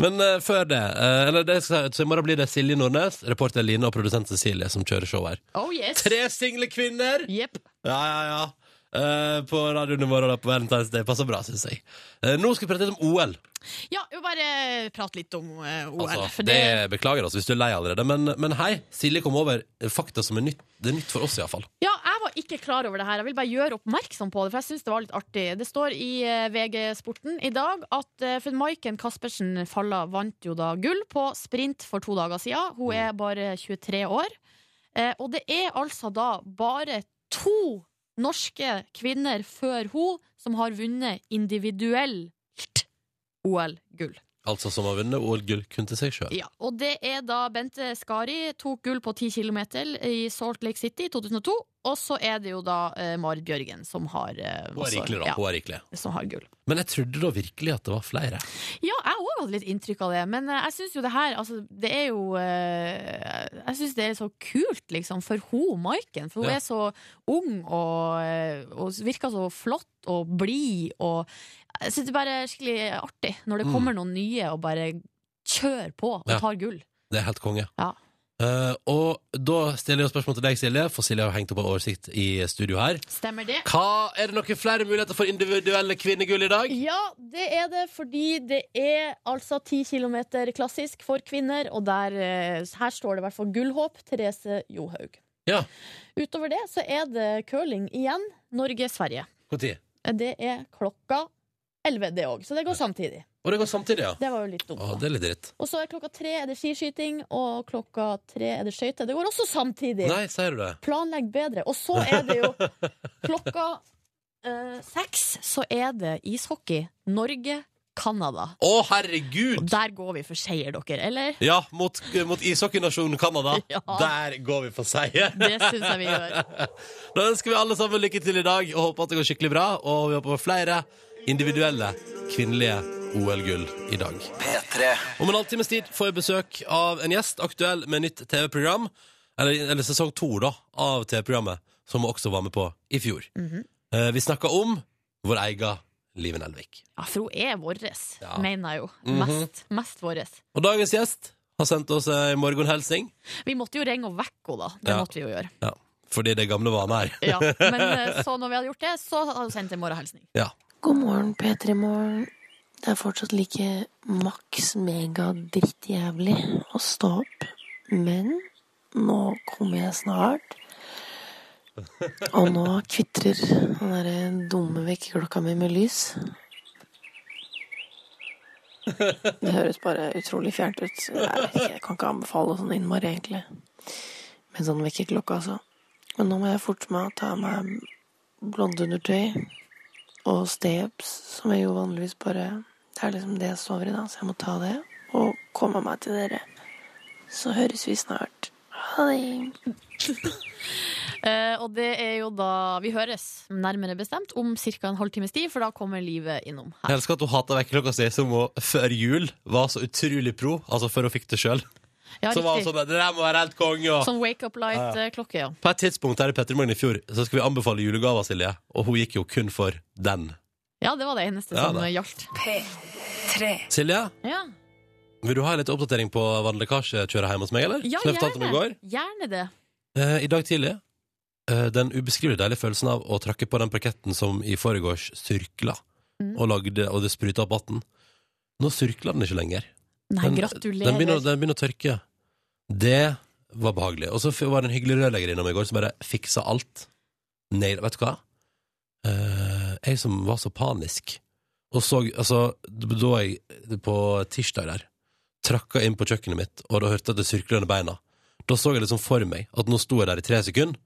Speaker 3: Men eh, før det, eh, eller det skal, jeg si, så i morgen blir det Silje Nordnes, reporter Line og produsent Cecilie som kjører show her.
Speaker 2: Oh yes!
Speaker 3: Tre single kvinner!
Speaker 2: Jepp.
Speaker 3: Ja, ja, ja. Eh, på radioen i morgen da, på Valentine's Day. Passer bra, syns jeg. Eh, nå skal vi prate litt om OL.
Speaker 2: Ja, jo, bare prate litt om eh, OL.
Speaker 3: Altså,
Speaker 2: for
Speaker 3: det...
Speaker 2: det,
Speaker 3: Beklager oss hvis du er lei allerede, men, men hei, Silje kom over fakta som er nytt. Det er nytt for oss, iallfall.
Speaker 2: ja, jeg var var ikke klar over det her. Jeg vil bare gjøre oppmerksom på det, for jeg syns det var litt artig. Det står i eh, VG-sporten i dag at eh, for Maiken Caspersen Falla vant jo da gull på sprint for to dager siden. Hun er bare 23 år. Eh, Og det er altså da bare to norske kvinner før hun som har vunnet individuelt OL-gull.
Speaker 3: Altså som har vunnet OL-gull kun til seg sjøl.
Speaker 2: Ja, og det er da Bente Skari tok gull på 10 km i Salt Lake City i 2002. Og så er det jo da eh, Marit Bjørgen som har, eh,
Speaker 3: Hun er
Speaker 2: også-
Speaker 3: rikelig, da.
Speaker 2: ja,
Speaker 3: Hun er rikelig.
Speaker 2: som har gull.
Speaker 3: Men jeg trodde da virkelig at det var flere.
Speaker 2: Ja, jeg òg hadde litt inntrykk av det, men eh, jeg syns jo det her altså, Det er jo eh, Jeg syns det er så kult, liksom, for hun Maiken. For hun
Speaker 3: Ja.
Speaker 2: er så ung og, eh, og virker så flott og blid og Jeg syns det bare er skikkelig artig når det
Speaker 3: Mm.
Speaker 2: kommer noen nye og bare kjører på og
Speaker 3: Ja.
Speaker 2: tar gull.
Speaker 3: Det er helt konge.
Speaker 2: Ja.
Speaker 3: Eh, og da stiller jeg spørsmål til deg, Silje, for Silje har hengt opp en oversikt i studio her.
Speaker 2: Stemmer det?
Speaker 3: Hva, er det noen flere muligheter for individuelle kvinnegull i dag?
Speaker 2: Ja, det er det, fordi det er altså 10 kilometer klassisk for kvinner, og der, eh, her står det i hvert fall gullhåp Therese Johaug.
Speaker 3: Ja.
Speaker 2: Utover det så er det curling igjen, Norge-Sverige.
Speaker 3: Når?
Speaker 2: Det er klokka 11 det òg, så det går samtidig.
Speaker 3: Og det går samtidig, ja.
Speaker 2: Det var jo litt dumt.
Speaker 3: Å,
Speaker 2: da.
Speaker 3: det er litt dritt.
Speaker 2: Og så er klokka tre er det skiskyting, og klokka tre er det skøyter. Det går også samtidig.
Speaker 3: Nei, sier du det?
Speaker 2: Planlegg bedre. Og så er det jo klokka eh, seks så er det ishockey. Norge-Canada.
Speaker 3: Å, herregud!
Speaker 2: Og der går vi for seier, dere, eller?
Speaker 3: Ja, mot, mot ishockeynasjonen Canada.
Speaker 2: Ja.
Speaker 3: Der går vi for seier.
Speaker 2: Det syns jeg vi gjør.
Speaker 3: Da ønsker vi alle sammen lykke til i dag og håper at det går skikkelig bra. Og vi håper på flere individuelle kvinnelige OL-gull i dag. Om en halvtimes tid får jeg besøk av en gjest aktuell med nytt TV-program. Eller, eller sesong to da, av TV-programmet, som hun også var med på i fjor. Eh, Vi snakker om vår egen Liven Elvik.
Speaker 2: Ja, for hun er vår,
Speaker 3: Ja.
Speaker 2: mener jeg jo.
Speaker 3: Mhm.
Speaker 2: Mest, mest vår.
Speaker 3: Og dagens gjest har sendt oss ei morgenhelsing.
Speaker 2: Vi måtte jo ringe og vekke henne, da. Det
Speaker 3: Ja.
Speaker 2: måtte vi jo gjøre.
Speaker 3: Ja, fordi det er gamle vaner her.
Speaker 2: Ja. Men eh, så når vi hadde gjort det, så hadde hun sendt en morgenhilsning.
Speaker 3: Ja.
Speaker 5: God morgen, P3 Morgen. Det er fortsatt like maks mega drittjævlig å stå opp. Men nå kommer jeg snart. Og nå kvitrer den derre dumme vekkerklokka mi med lys. Det høres bare utrolig fjernt ut. Jeg, vet ikke, jeg kan ikke anbefale sånn innmari, egentlig. Med sånn vekkerklokke, altså. Men nå må jeg forte meg å ta av meg blondeundertøy og steps, som jeg jo vanligvis bare Det er liksom det jeg sover i, da, så jeg må ta det og komme meg til dere. Så høres vi snart. Ha det.
Speaker 2: Eh, og det er jo da Vi høres nærmere bestemt om ca. en halvtimes tid, for da kommer livet innom her.
Speaker 3: Jeg elsker at hun hater vekkerklokka si, som hun før jul var så utrolig pro. Altså før hun fikk det sjøl.
Speaker 2: Ja,
Speaker 3: Så var hun
Speaker 2: riktig.
Speaker 3: sånn Det der må være helt konge. Og...
Speaker 2: Sånn wake up light-klokke, ja.
Speaker 3: På et tidspunkt her i Petter Morgen i fjor Så skal vi anbefale julegaver, Silje. Og hun gikk jo kun for den.
Speaker 2: Ja, det var det eneste
Speaker 3: Ja,
Speaker 2: som
Speaker 3: da.
Speaker 2: eh, gjaldt.
Speaker 3: Silje,
Speaker 2: Ja,
Speaker 3: vil du ha litt oppdatering på vannlekkasjekjøret hjemme hos meg, eller?
Speaker 2: ja
Speaker 3: Som jeg fortalte om i går.
Speaker 2: gjerne. gjerne det.
Speaker 3: Eh, I dag tidlig. Eh, den ubeskrivelig deilige følelsen av å trakke på den plaketten som i forgårs syrkla,
Speaker 2: Mm.
Speaker 3: og, lagde, og det spruta opp vann. Nå syrkler den ikke lenger.
Speaker 2: Nei,
Speaker 3: Den,
Speaker 2: gratulerer.
Speaker 3: den, begynner, den begynner å tørke. Det var behagelig. Og så f- var det en hyggelig rørlegger innom i går som bare fiksa alt. Nail, vet du hva? Eh, jeg som var så panisk og så Altså, d- da jeg på tirsdag der trakka inn på kjøkkenet mitt, og da hørte jeg at det sirkla under beina. Da så jeg liksom for meg at nå sto jeg der i tre sekunder,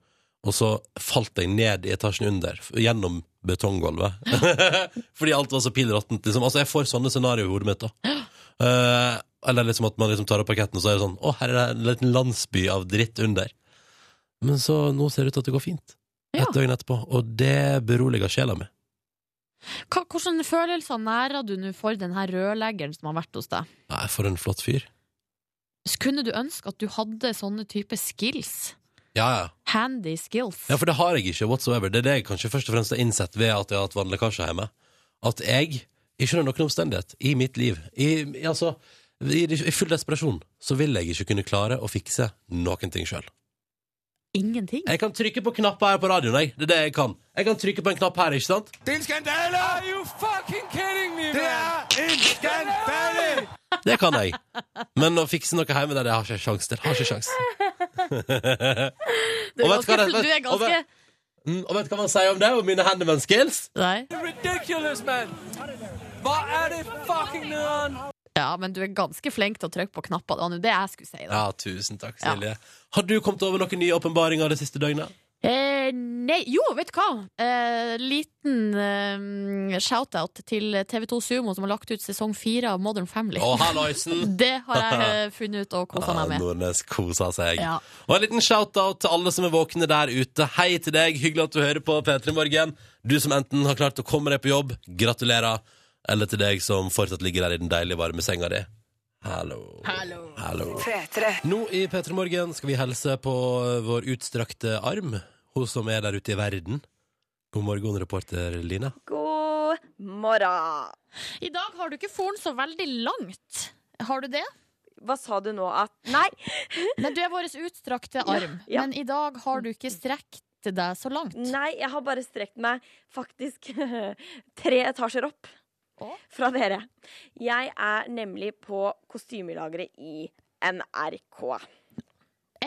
Speaker 3: og så falt jeg ned i etasjen under, f- gjennom betonggulvet. Fordi alt var så pillråttent. Liksom. Altså, jeg får sånne scenarioer i hodet mitt. da Eh, eller liksom at man liksom tar opp parketten, og så er det sånn Å, her er det en liten landsby av dritt under. Men så nå ser det ut til at det går fint. Et
Speaker 2: Ja.
Speaker 3: døgn etterpå. Og det beroliger sjela mi.
Speaker 2: Hva, hvordan følelser nærer du nå for den her rørleggeren som har vært hos deg?
Speaker 3: Nei, for en flott fyr.
Speaker 2: Kunne du ønske at du hadde sånne type skills?
Speaker 3: Ja, ja.
Speaker 2: Handy skills?
Speaker 3: Ja, for det har jeg ikke whatsoever. Det er det jeg kanskje først og fremst har innsett ved at jeg har hatt vannlekkasje hjemme. At jeg, ikke under noen omstendighet, i mitt liv, i, i- altså, i, i full desperasjon, så vil jeg ikke kunne klare å fikse noen ting sjøl.
Speaker 2: Ingenting?
Speaker 3: Jeg kan trykke på knapper her på radioen, jeg. Det er det jeg kan. Jeg kan trykke på en knapp her, ikke sant?
Speaker 6: Det er en skandale! Are you fucking kidding me, Det er en skandale!
Speaker 3: Det kan jeg. Men å fikse noe hjemme der, det har ikke jeg sjans til. Har ikke sjans.
Speaker 2: Du er
Speaker 3: og vet du hva
Speaker 2: ganske,
Speaker 3: det-
Speaker 2: du er
Speaker 3: og
Speaker 2: ganske
Speaker 3: Mm, og vet du hva man sier om det? Om mine handyman-skills?
Speaker 2: Nei.
Speaker 6: Ridiculous, man! Hva er det fucking nederen?
Speaker 2: Ja, men du er ganske flink til å trykke på knapper. Det var nå det jeg skulle si. Da.
Speaker 3: Ja, tusen takk, Silje. Har du kommet over noen nye åpenbaringer det siste døgnet?
Speaker 2: Eh, nei, jo, vet du hva? Eh, liten eh, shout-out til TV2 Sumo, som har lagt ut sesong fire av Modern Family.
Speaker 3: Å, halloisen!
Speaker 2: Det har jeg eh, funnet ut og kosa meg
Speaker 3: Ah,
Speaker 2: med.
Speaker 3: Nordnes koser seg.
Speaker 2: Ja.
Speaker 3: Og en liten shout-out til alle som er våkne der ute. Hei til deg, hyggelig at du hører på P3 Morgen. Du som enten har klart å komme deg på jobb, gratulerer. Eller til deg som fortsatt ligger der i den deilige varme senga di. Hallo. Hallo. Nå i P3 Morgen skal vi helse på vår utstrakte arm, hun som er der ute i verden. God morgen, reporter Line.
Speaker 1: God morgen.
Speaker 2: I dag har du ikke foren så veldig langt. Har du det?
Speaker 1: Hva sa du nå at Nei!
Speaker 2: Nei, du er vår utstrakte arm,
Speaker 1: ja.
Speaker 2: men i dag har du ikke strekt deg så langt.
Speaker 1: Nei, jeg har bare strekt meg faktisk tre etasjer opp
Speaker 2: Å?
Speaker 1: fra dere. Jeg er nemlig på kostymelageret i NRK.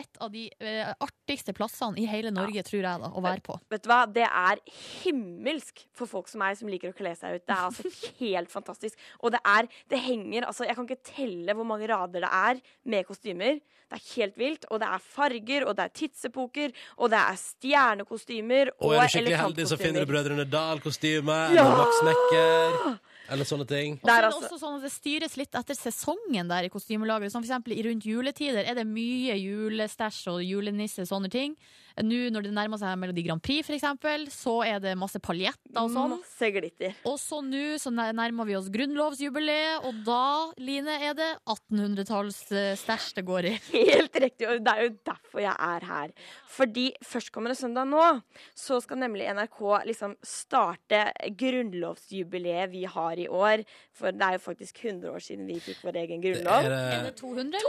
Speaker 2: Et av de eh, artigste plassene i hele Norge, tror jeg, da, å være på.
Speaker 1: Vet du hva? Det er himmelsk for folk som meg som liker å kle seg ut. Det er altså helt fantastisk. Og det er Det henger altså Jeg kan ikke telle hvor mange rader det er med kostymer. Det er helt vilt. Og det er farger, og det er tidsepoker, og det er stjernekostymer
Speaker 3: Og
Speaker 1: og
Speaker 3: er du skikkelig heldig, så finner du
Speaker 1: elefantkostymer.
Speaker 3: Brødrene Dal-kostyme, eller Max Mekker, eller sånne ting.
Speaker 2: Og så
Speaker 1: Det
Speaker 2: er
Speaker 1: er
Speaker 2: det
Speaker 1: altså-
Speaker 2: også sånn at det styres litt etter sesongen der i kostymelageret. Som for eksempel i rundt juletider er det mye julestæsj og julenisse og sånne ting. Nå når det nærmer seg Melodi Grand Prix, for eksempel, så er det masse paljetter og sånn.
Speaker 1: Masse glitter.
Speaker 2: Og så nå så nær- nærmer vi oss grunnlovsjubileet, og da, Line, er det 1800-tallsstæsj det går i.
Speaker 1: Helt riktig, og det er jo derfor jeg er her. Fordi førstkommende søndag nå, så skal nemlig NRK liksom starte grunnlovsjubileet vi har i år. For det er jo faktisk 100 år siden vi fikk vår egen
Speaker 3: Er
Speaker 1: grunnlov.
Speaker 3: det,
Speaker 2: Er det 200, eller?
Speaker 1: 200!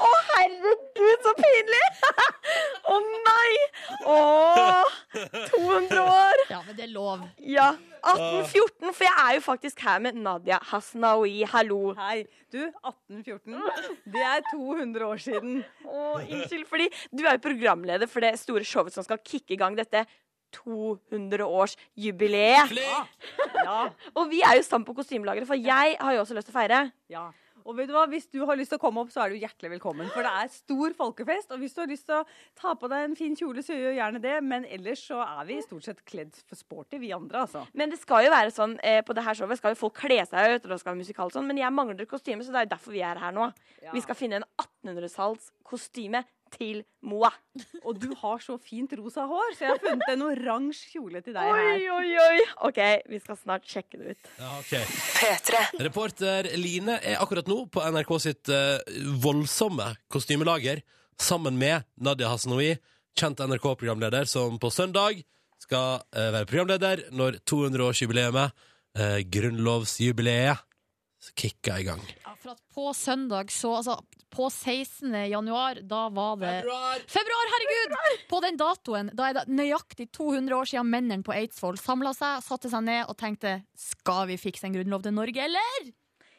Speaker 1: Å, herregud, så pinlig! Å nei! Å, 200 år!
Speaker 2: Ja, men det er lov.
Speaker 1: Ja.
Speaker 7: Ah.
Speaker 1: 1814, for jeg er jo faktisk her med Nadia Hasnaoui. Hallo.
Speaker 7: Hei, du, 1814. Det er 200 år siden.
Speaker 1: Åh, unnskyld, fordi du er jo programleder for det store showet som skal kicke i gang dette 200-årsjubileet.
Speaker 7: Ja,
Speaker 1: Og vi er jo sammen på kostymelageret, for jeg har jo også lyst til å feire.
Speaker 7: ja. Og vet du hva, hvis du har lyst til å komme opp, så er du hjertelig velkommen. For det er stor folkefest. Og hvis du har lyst til å ta på deg en fin kjole, så gjør gjerne det. Men ellers så er vi stort sett kledd for sporty, vi andre, altså.
Speaker 1: Men det skal jo være sånn eh, på det her showet skal jo folk kle seg ut, og det skal være musikal og sånn, men jeg mangler kostyme, så det er jo derfor vi er her nå.
Speaker 7: Ja.
Speaker 1: Vi skal finne en 1800-tallskostyme til Moa.
Speaker 7: Og du har så fint rosa hår, så jeg har funnet en oransje kjole til deg her.
Speaker 1: oi, oi. OK, vi skal snart sjekke det ut.
Speaker 3: ja, ok. Reporter Line er akkurat nå på NRK sitt eh, voldsomme kostymelager sammen med Nadia Hasanoui, kjent NRK-programleder, som på søndag skal eh, være programleder når 200-årsjubileet, uh, grunnlovsjubileet, kicker i gang.
Speaker 2: Ja, for at på søndag, så altså på 16. januar, da var det Februar, herregud! På den datoen, da er det nøyaktig 200 år siden mennene på Eidsvoll samla seg, satte seg ned og tenkte Skal vi fikse en grunnlov til Norge, eller?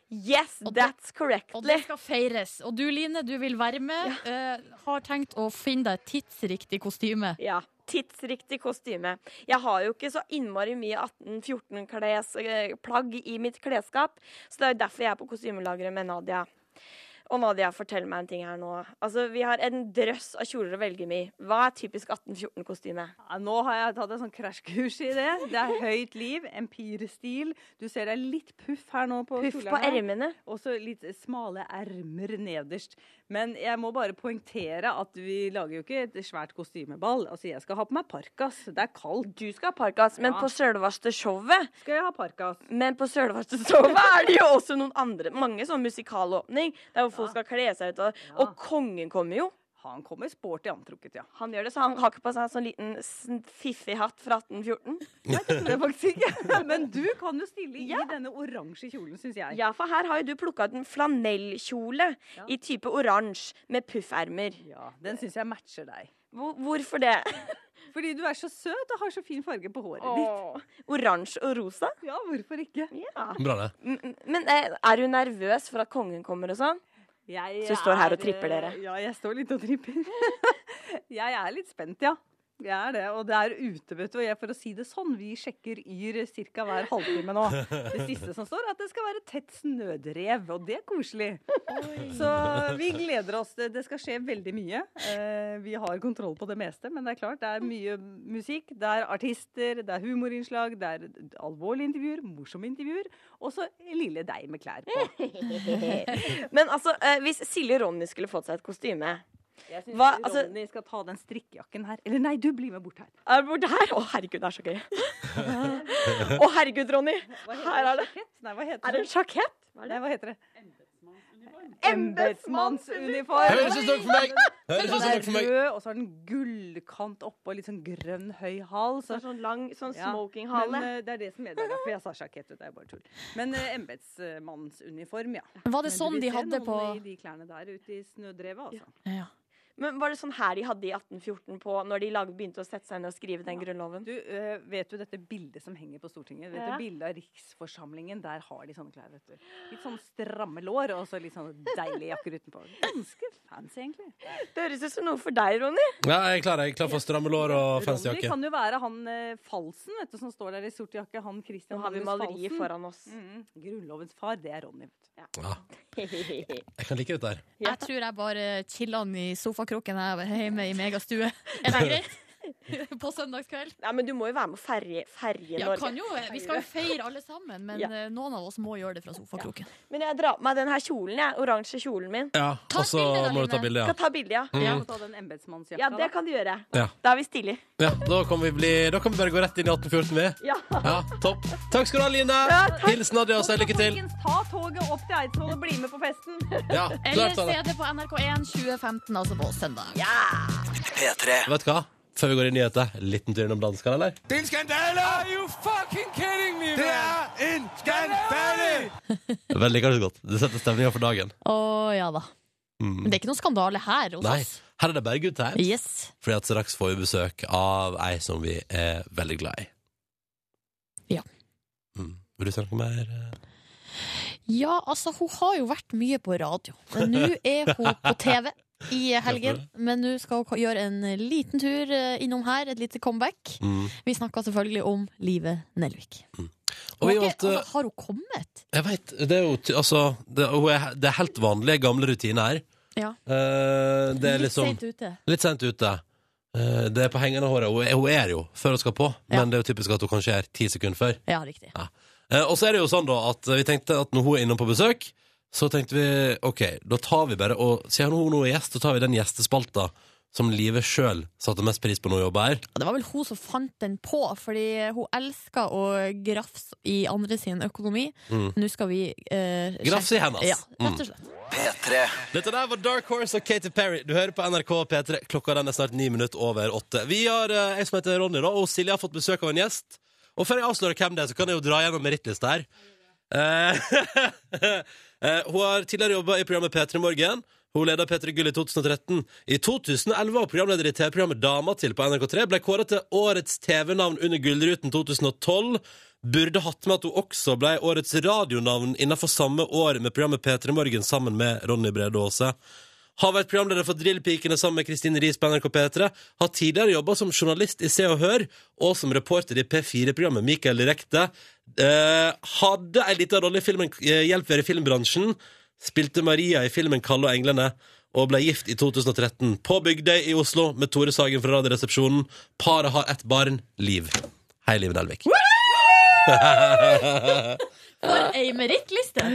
Speaker 1: Yes,
Speaker 2: Og det-
Speaker 1: that's
Speaker 2: Og det
Speaker 1: correctly.
Speaker 2: skal feires. Og du, Line, du vil være med. eh, har tenkt å finne deg et tidsriktig kostyme.
Speaker 1: Ja. Tidsriktig kostyme. Jeg har jo ikke så innmari mye 1814-klesplagg i mitt klesskap, så det er jo derfor jeg er på kostymelageret med Nadia. Og Nadia, fortell meg en ting her nå. Altså, Vi har en drøss av kjoler å velge med. i. Hva er typisk 1814-kostyme?
Speaker 7: Ja, nå har jeg tatt en sånn krasjkurs i det. Det er høyt liv, empirestil. Du ser det er litt puff her nå på
Speaker 1: Puff på
Speaker 7: kjolene.
Speaker 1: ermene.
Speaker 7: Og så litt smale ermer nederst. Men jeg må bare poengtere at vi lager jo ikke et svært kostymeball. Altså, jeg skal ha på meg parkas. Det er kaldt.
Speaker 1: Du skal ha parkas, men
Speaker 7: Ja.
Speaker 1: på sjølvaste showet
Speaker 7: Skal jeg ha parkas?
Speaker 1: Men på Sølvaste showet er det jo også noen andre Mange sånn musikalåpning Der hvor folk skal kle seg ut og, og kongen kommer jo
Speaker 7: Han kommer sporty antrukket, ja.
Speaker 1: Han gjør det, så han har ikke på seg en sånn liten sn- fiffig hatt fra 1814
Speaker 7: Det er faktisk ikke. Men du kan jo stille i denne oransje kjolen, syns jeg.
Speaker 1: Ja, for her har jo du plukket ut en flanellkjole I type oransje med puffermer
Speaker 7: Ja, Den syns jeg matcher deg.
Speaker 1: hvor, Hvorfor det?
Speaker 7: Fordi du er så søt og har så fin farge på håret ditt.
Speaker 1: Åh, Oransje og rosa
Speaker 7: Ja, hvorfor ikke?
Speaker 3: Bra, det.
Speaker 1: M- m- Men eh, er du nervøs for at kongen kommer og sånn?
Speaker 7: Jeg
Speaker 1: Så du står her og
Speaker 7: er,
Speaker 1: tripper dere?
Speaker 7: eh, Ja, jeg står litt og tripper. jeg er litt spent, ja. Jeg er det, og det er ute, vet du. Og jeg, for å si det sånn, vi sjekker Yr ca. hver halvtime nå. Det siste som står, er at det skal være tett snødrev, og det er koselig. Så vi gleder oss. Det det skal skje veldig mye. Eh, Vi har kontroll på det meste, men det er klart, det er mye musikk, det er artister, det er humorinnslag, det er alvorlige intervjuer, morsomme intervjuer, og så lille deg med klær på.
Speaker 1: Men altså, eh, hvis Silje Ronny skulle fått seg et kostyme
Speaker 7: Jeg syns
Speaker 1: Hva- altså-
Speaker 7: Ronny skal ta den strikkejakken her. Eller nei, du blir med bort her.
Speaker 1: Er det hvor det her? Å, herregud, det er så gøy. Å, herregud, Ronny.
Speaker 7: Hva heter
Speaker 1: Her er det.
Speaker 7: Sjakett? Nei, hva heter
Speaker 1: Er det en sjakett?
Speaker 7: Nei, hva heter det? Embetsmannsuniform.
Speaker 3: Høres ut som noe for meg! Høres ut som
Speaker 7: Den
Speaker 3: noe
Speaker 7: er
Speaker 3: for meg!
Speaker 7: rød, og så har den gullkant oppå, litt sånn grønn høy hals.
Speaker 1: Så er det sånn lang sånn
Speaker 7: Ja,
Speaker 1: smokinghale.
Speaker 7: Men eh, det er det som er det. er Derfor jeg sa sjakett. vet du, Det er bare tull. Men eh, embetsmannsuniform, ja.
Speaker 2: Var det
Speaker 7: Men du
Speaker 2: sånn
Speaker 7: vil
Speaker 2: de
Speaker 7: se
Speaker 2: hadde
Speaker 7: noen
Speaker 2: på
Speaker 7: i de klærne der ute i snødrevet, altså.
Speaker 2: ja.
Speaker 1: Men var det sånn her de hadde i 1814 på, når de lag, begynte å sette seg ned og skrive den grunnloven?
Speaker 7: Du, eh, vet du dette bildet som henger på Stortinget? Vet
Speaker 1: Ja.
Speaker 7: du bildet av Riksforsamlingen? Der har de sånne klær, vet du. Litt sånn stramme lår, og så litt sånn deilige jakker utenpå. Ganske fancy, egentlig.
Speaker 1: Det høres ut som noe for deg, Ronny.
Speaker 3: Ja, jeg er klar, jeg er klar for stramme lår og fancy
Speaker 7: Ronny
Speaker 3: jakke.
Speaker 7: kan jo være han eh, Falsen, vet du, som står der i sort jakke. Han
Speaker 1: Nå
Speaker 7: Christian
Speaker 1: har vi
Speaker 7: Magnus
Speaker 1: maleriet
Speaker 7: Falsen.
Speaker 1: foran oss.
Speaker 7: Mm, Grunnlovens far, det er Ronny. Vet du.
Speaker 3: Ja, jeg kan like dette her.
Speaker 1: Ja.
Speaker 2: Jeg tror jeg bare chiller han i sofakroken her hjemme i megastue. Er det greit? På søndagskveld.
Speaker 1: Nei, men du må jo være med å ferje, ferje
Speaker 2: Ja,
Speaker 1: Norge.
Speaker 2: kan jo, eh, vi skal jo feire alle sammen, men
Speaker 1: Ja.
Speaker 2: eh, noen av oss må gjøre det fra sofakroken.
Speaker 1: Men jeg drar på meg den her kjolen, jeg. Oransje kjolen min.
Speaker 3: Ja, og så
Speaker 2: bilde da,
Speaker 3: må du ta
Speaker 2: Line.
Speaker 3: bilde, ja.
Speaker 1: Skal ta bilde, ja.
Speaker 3: Mm.
Speaker 7: Ja. Ta den embetsmannsjakka,
Speaker 1: Ja, det
Speaker 7: da.
Speaker 1: kan du gjøre.
Speaker 3: Ja.
Speaker 1: Da er vi stille.
Speaker 3: ja da, kan vi bli, da kan vi bare gå rett inn i 1814, vi.
Speaker 1: Ja.
Speaker 3: Ja, topp. Takk skal du ha, Line.
Speaker 1: Ja, takk.
Speaker 3: Hils Nadia og si lykke til.
Speaker 7: Folkens, ta toget opp til Eidsvoll og bli med på festen.
Speaker 3: Ja,
Speaker 2: Eller
Speaker 3: klart
Speaker 2: se
Speaker 3: det.
Speaker 2: det på NRK1 2015, altså på søndag.
Speaker 3: Vet du hva? Før vi går i nyheter, liten tur innom danskene, eller?
Speaker 6: Det er en skandale! Are you fucking kidding me, Det er en skandale!
Speaker 3: Vel, liker det så godt. Det setter stemninga for dagen. Mm.
Speaker 2: Å ja da. Men det er ikke noen skandale her hos
Speaker 3: Nei,
Speaker 2: oss.
Speaker 3: her er det bare good times.
Speaker 2: Yes.
Speaker 3: Fordi at straks får vi besøk av ei som vi er veldig glad i.
Speaker 2: Ja.
Speaker 3: Mm. Vil du si noe mer? eh?
Speaker 2: Ja, altså, hun har jo vært mye på radio. Men nå er hun på TV i helgen. Men nå skal hun gjøre en liten tur eh, innom her, et lite comeback.
Speaker 3: Mm.
Speaker 2: Vi snakker selvfølgelig om Live Nelvik.
Speaker 3: Og vi
Speaker 2: Har ikke-
Speaker 3: valgte
Speaker 2: altså, har hun kommet?
Speaker 3: Jeg veit. Det er jo ty- altså det, hun er, det er helt vanlige, gamle rutiner her.
Speaker 2: Ja.
Speaker 3: Eh, det er
Speaker 2: Litt
Speaker 3: liksom
Speaker 2: sent ute.
Speaker 3: Litt sent ute. Eh, det er på hengende håret. Hun er, hun er jo før hun skal på,
Speaker 2: Ja.
Speaker 3: men det er jo typisk at hun kanskje er ti sekunder før.
Speaker 2: Ja, riktig.
Speaker 3: Eh, og så er det jo sånn da at vi tenkte at når hun er innom på besøk, så tenkte vi ok, da tar vi bare og siden hun nå er gjest, så tar vi den gjestespalta som Live sjøl satte mest pris på når hun jobba her.
Speaker 2: Ja, Det var vel hun som fant den på, fordi hun elsker å grafse i andre sin økonomi.
Speaker 3: Mm.
Speaker 2: Nå skal vi eh,
Speaker 3: Grafse i
Speaker 2: sjekke-
Speaker 3: hennes. Mm.
Speaker 2: Ja, rett og slett.
Speaker 3: Dette der var Dark Horse og Katy Perry. Du hører på NRK P3. Klokka den er snart ni minutter over åtte. Vi har, eh, Jeg som heter Ronny, da, og Silje har fått besøk av en gjest. Og før jeg avslører hvem det er, så kan jeg jo dra gjennom merittlista her. Eh, eh, hun har tidligere jobba i programmet P3 Morgen. Hun leda P3 Gull i 2013. I 2011 var hun programleder i TV-programmet Dama til på NRK3. Ble kåra til årets TV-navn under Gullruten 2012. Burde hatt med at hun også ble årets radionavn innenfor samme år med programmet P3 Morgen sammen med Ronny Brede Aase. Har vært programleder for Drillpikene sammen med Kristine Riis på NRK P3. Har tidligere jobba som journalist i Se og Hør og som reporter i P4-programmet Mikael Direkte. Eh, hadde ei lita rolle i filmen eh, Hjelp være i filmbransjen. Spilte Maria i filmen Kalle og englene. Og ble gift i 2013. På Bygdøy i Oslo med Tore Sagen fra Radioresepsjonen. Paret har ett barn, Liv. Hei, Liv Nelvik.
Speaker 2: For ei merittliste!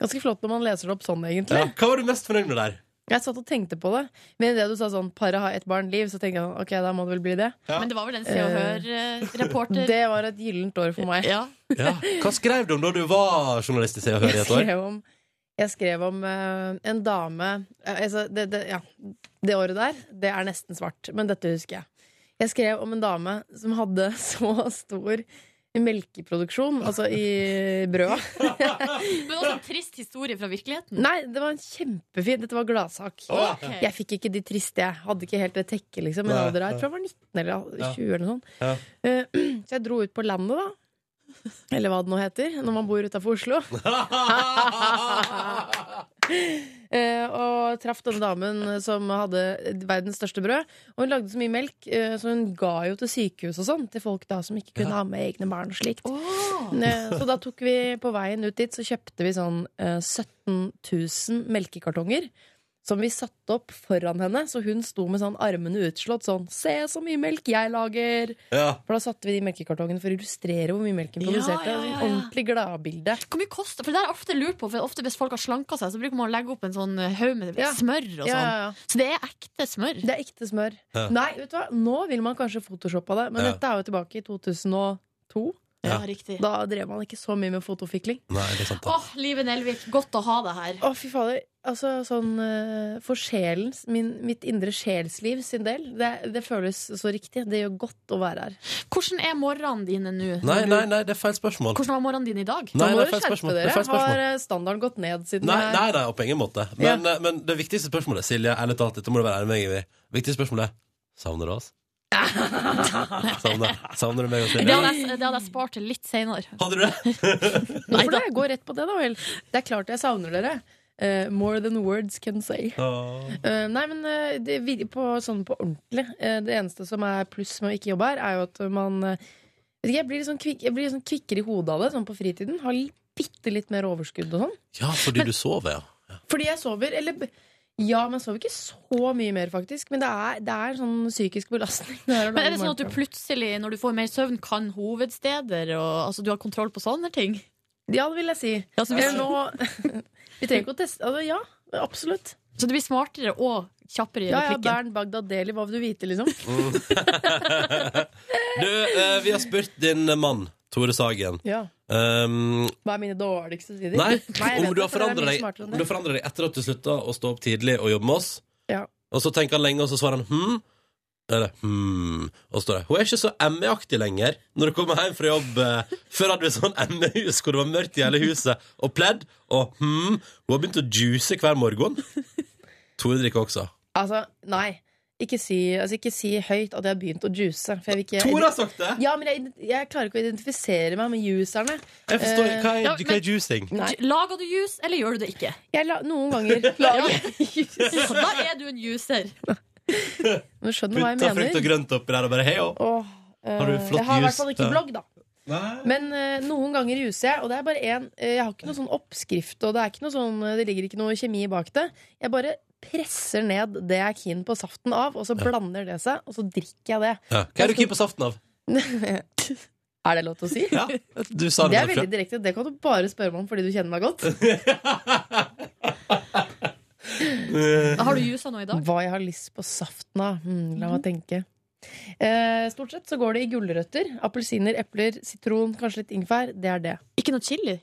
Speaker 8: Ganske flott når man leser det opp sånn, egentlig.
Speaker 3: Ja, hva var du mest fornøyd med der?
Speaker 8: Jeg satt og tenkte på det, men idet du sa sånn 'paret har ett barn liv', så tenkte jeg sånn, ok, da må det vel bli det.
Speaker 2: Men det var vel en Se og Hør-reporter.
Speaker 8: Eh, Det var et gyllent år for meg.
Speaker 2: Ja.
Speaker 3: Ja. Hva skrev du om da du var journalist i Se og Hør i
Speaker 8: Jeg
Speaker 3: et år?
Speaker 8: skrev om, jeg skrev om eh, en dame eh, altså, det, det, ja, det året der, det er nesten svart, men dette husker jeg. Jeg skrev om en dame som hadde så stor melkeproduksjon, altså i brøda.
Speaker 2: Men også en trist historie fra virkeligheten.
Speaker 8: Nei, det var en kjempefin Dette var gladsak.
Speaker 2: Ok.
Speaker 8: Jeg fikk ikke de triste, jeg. Hadde ikke helt det tekket, liksom. Men
Speaker 3: Nei,
Speaker 8: alder her,
Speaker 3: nei.
Speaker 8: jeg tror jeg var 19 eller 20 eller noe sånt.
Speaker 3: Ja.
Speaker 8: Eh, så jeg dro ut på landet, da. Eller hva det nå heter, når man bor utafor Oslo. Eh, og og traff denne damen som hadde verdens største brød. Og hun lagde så mye melk, eh, så hun ga jo til sykehus og sånn. Til folk da som ikke kunne ha med egne barn og slikt. Ne, Så da tok vi på veien ut dit, så kjøpte vi sånn eh, 17 000 melkekartonger. Som vi satte opp foran henne, så hun sto med sånn armene utslått sånn 'Se så mye melk jeg lager!'
Speaker 3: Ja.
Speaker 8: For da satte vi de melkekartongene for å illustrere hvor mye melk hun
Speaker 2: Ja,
Speaker 8: produserte.
Speaker 2: ja,
Speaker 8: sånn
Speaker 2: ja, ja.
Speaker 8: Ordentlig gladbilde.
Speaker 2: Hvor mye koster For det er ofte lurt på, for ofte hvis folk har slanka seg, så bruker man å legge opp en sånn haug med
Speaker 8: Ja.
Speaker 2: smør og sånn. Så det er ekte smør.
Speaker 8: Det er ekte smør.
Speaker 3: Ja.
Speaker 8: Nei, vet du hva? nå vil man kanskje photoshoppe det, men
Speaker 3: Ja.
Speaker 8: dette er jo tilbake i 2002.
Speaker 2: Ja,
Speaker 3: Ja.
Speaker 2: riktig.
Speaker 8: Da drev man ikke så mye med fotofikling.
Speaker 3: Nei, det er sant, da.
Speaker 2: Åh, Live Nelvik, godt å ha deg her.
Speaker 8: Å, fy fader. Altså sånn eh, for sjelen, min, mitt indre sjelsliv sin del, det, det føles så riktig. Det gjør godt å være her.
Speaker 2: Hvordan er morgenen dine nå?
Speaker 3: Nei, nei, nei, det er feil spørsmål.
Speaker 2: Hvordan var morgenen din i dag?
Speaker 3: Nei,
Speaker 8: Nå må
Speaker 3: det er
Speaker 8: du
Speaker 3: feil spørsmål.
Speaker 8: skjerpe
Speaker 3: Det er
Speaker 8: dere.
Speaker 3: feil spørsmål.
Speaker 8: Har eh, standarden gått ned siden
Speaker 3: Nei,
Speaker 8: jeg-
Speaker 3: nei, nei, på ingen måte. Men, eh, men det viktigste spørsmålet, Silje, ærlig talt, dette må du være ærlig med meg i. Viktigste spørsmålet er savner du oss? savner, savner du meg og
Speaker 2: Det
Speaker 3: Silje?
Speaker 2: hadde, jeg, det hadde jeg spart til litt seinere.
Speaker 3: Hadde du det?
Speaker 8: Nei, da. Gå rett på det, da vel. Det er klart jeg savner dere. Eh, more than words can say.
Speaker 3: Åh.
Speaker 8: Eh, nei, men eh, det, vir- på, sånn på ordentlig eh, Det eneste som er pluss med å ikke jobbe her, er jo at man eh, vet ikke, jeg, blir litt sånn kvik, jeg blir litt sånn kvikkere i hodet av det, sånn på fritiden. Har li- bitte litt mer overskudd og sånn.
Speaker 3: Ja, fordi du sover, ja.
Speaker 8: Fordi jeg sover, eller b- Ja, men jeg sover ikke så mye mer, faktisk. Men det er, det er sånn psykisk belastning. Det her å
Speaker 2: Men er
Speaker 8: lage
Speaker 2: det sånn at du
Speaker 8: morgenprogram.
Speaker 2: plutselig, når du får mer søvn, kan hovedsteder og altså, du har kontroll på sånne ting?
Speaker 8: Ja, det vil jeg si.
Speaker 2: Ja, så,
Speaker 8: Eller
Speaker 2: hvis,
Speaker 8: nå Vi trenger ikke å teste altså, Ja, absolutt.
Speaker 2: så du blir smartere og kjappere i
Speaker 8: Ja, ja,
Speaker 2: replikken?
Speaker 8: Bernt Bagdad Deli, hva vil du vite, liksom?
Speaker 3: Du, eh, vi har spurt din mann, Tore Sagen,
Speaker 8: Ja.
Speaker 3: um,
Speaker 8: Hva er mine dårligste sider?
Speaker 3: Nei,
Speaker 8: jeg
Speaker 3: om
Speaker 8: vet
Speaker 3: du har
Speaker 8: det, for det er
Speaker 3: forandret
Speaker 8: mye
Speaker 3: deg,
Speaker 8: smartere enn
Speaker 3: om du har
Speaker 8: det.
Speaker 3: forandret deg etter at du slutta å stå opp tidlig og jobbe med oss.
Speaker 8: Ja.
Speaker 3: Og så tenker han lenge, og så svarer han hm. Eller hm. Og så står det Hun er ikke så ME-aktig lenger når du kommer hjem fra jobb. eh, Før hadde vi sånn ME-hus hvor det var mørkt i hele huset, og pledd, og hm. Hun har begynt å juice hver morgen. Tore drikker også.
Speaker 8: Altså, nei. Ikke si, altså, ikke si høyt at jeg har begynt å juice. For jeg vil ikke
Speaker 3: Tore har sagt det!
Speaker 8: Ja, men jeg, jeg klarer ikke å identifisere meg med juicerne.
Speaker 3: Jeg forstår
Speaker 8: Eh,
Speaker 3: Hva er,
Speaker 2: ja,
Speaker 3: hva er juicing?
Speaker 8: Nei.
Speaker 2: J- Lager du juice, eller gjør du det ikke?
Speaker 8: Jeg la, noen ganger lager jeg
Speaker 2: Så da er du en juicer.
Speaker 8: Men Du skjønner hva jeg
Speaker 3: Putta frukt og
Speaker 8: mener.
Speaker 3: grønt oppi der og bare hei og
Speaker 8: Åh, eh,
Speaker 3: Har du flott
Speaker 8: jeg har i
Speaker 3: juice,
Speaker 8: hvert fall ikke
Speaker 3: da?
Speaker 8: blogg, da. Men eh, noen ganger juicer jeg, og det er bare én. jeg har ikke noe sånn oppskrift, og det, er ikke noe sånn, det ligger ikke noe kjemi bak det. Jeg bare presser ned det jeg er keen på saften av, og så blander det seg, og så drikker jeg det.
Speaker 3: ja. Hva er du keen på saften av?
Speaker 8: Er det lov til å si?
Speaker 3: Ja, du sa
Speaker 8: Det
Speaker 3: det. nå,
Speaker 8: er
Speaker 3: tror
Speaker 8: veldig
Speaker 3: jeg.
Speaker 8: direkte. Det kan du bare spørre meg om fordi du kjenner meg godt.
Speaker 2: Har du jusa nå i dag?
Speaker 8: Hva jeg har lyst på saften av. Hmm, la meg tenke. Eh, stort sett så går det i gulrøtter. Appelsiner, epler, sitron, kanskje litt ingefær. Det er det.
Speaker 2: Ikke noe chili?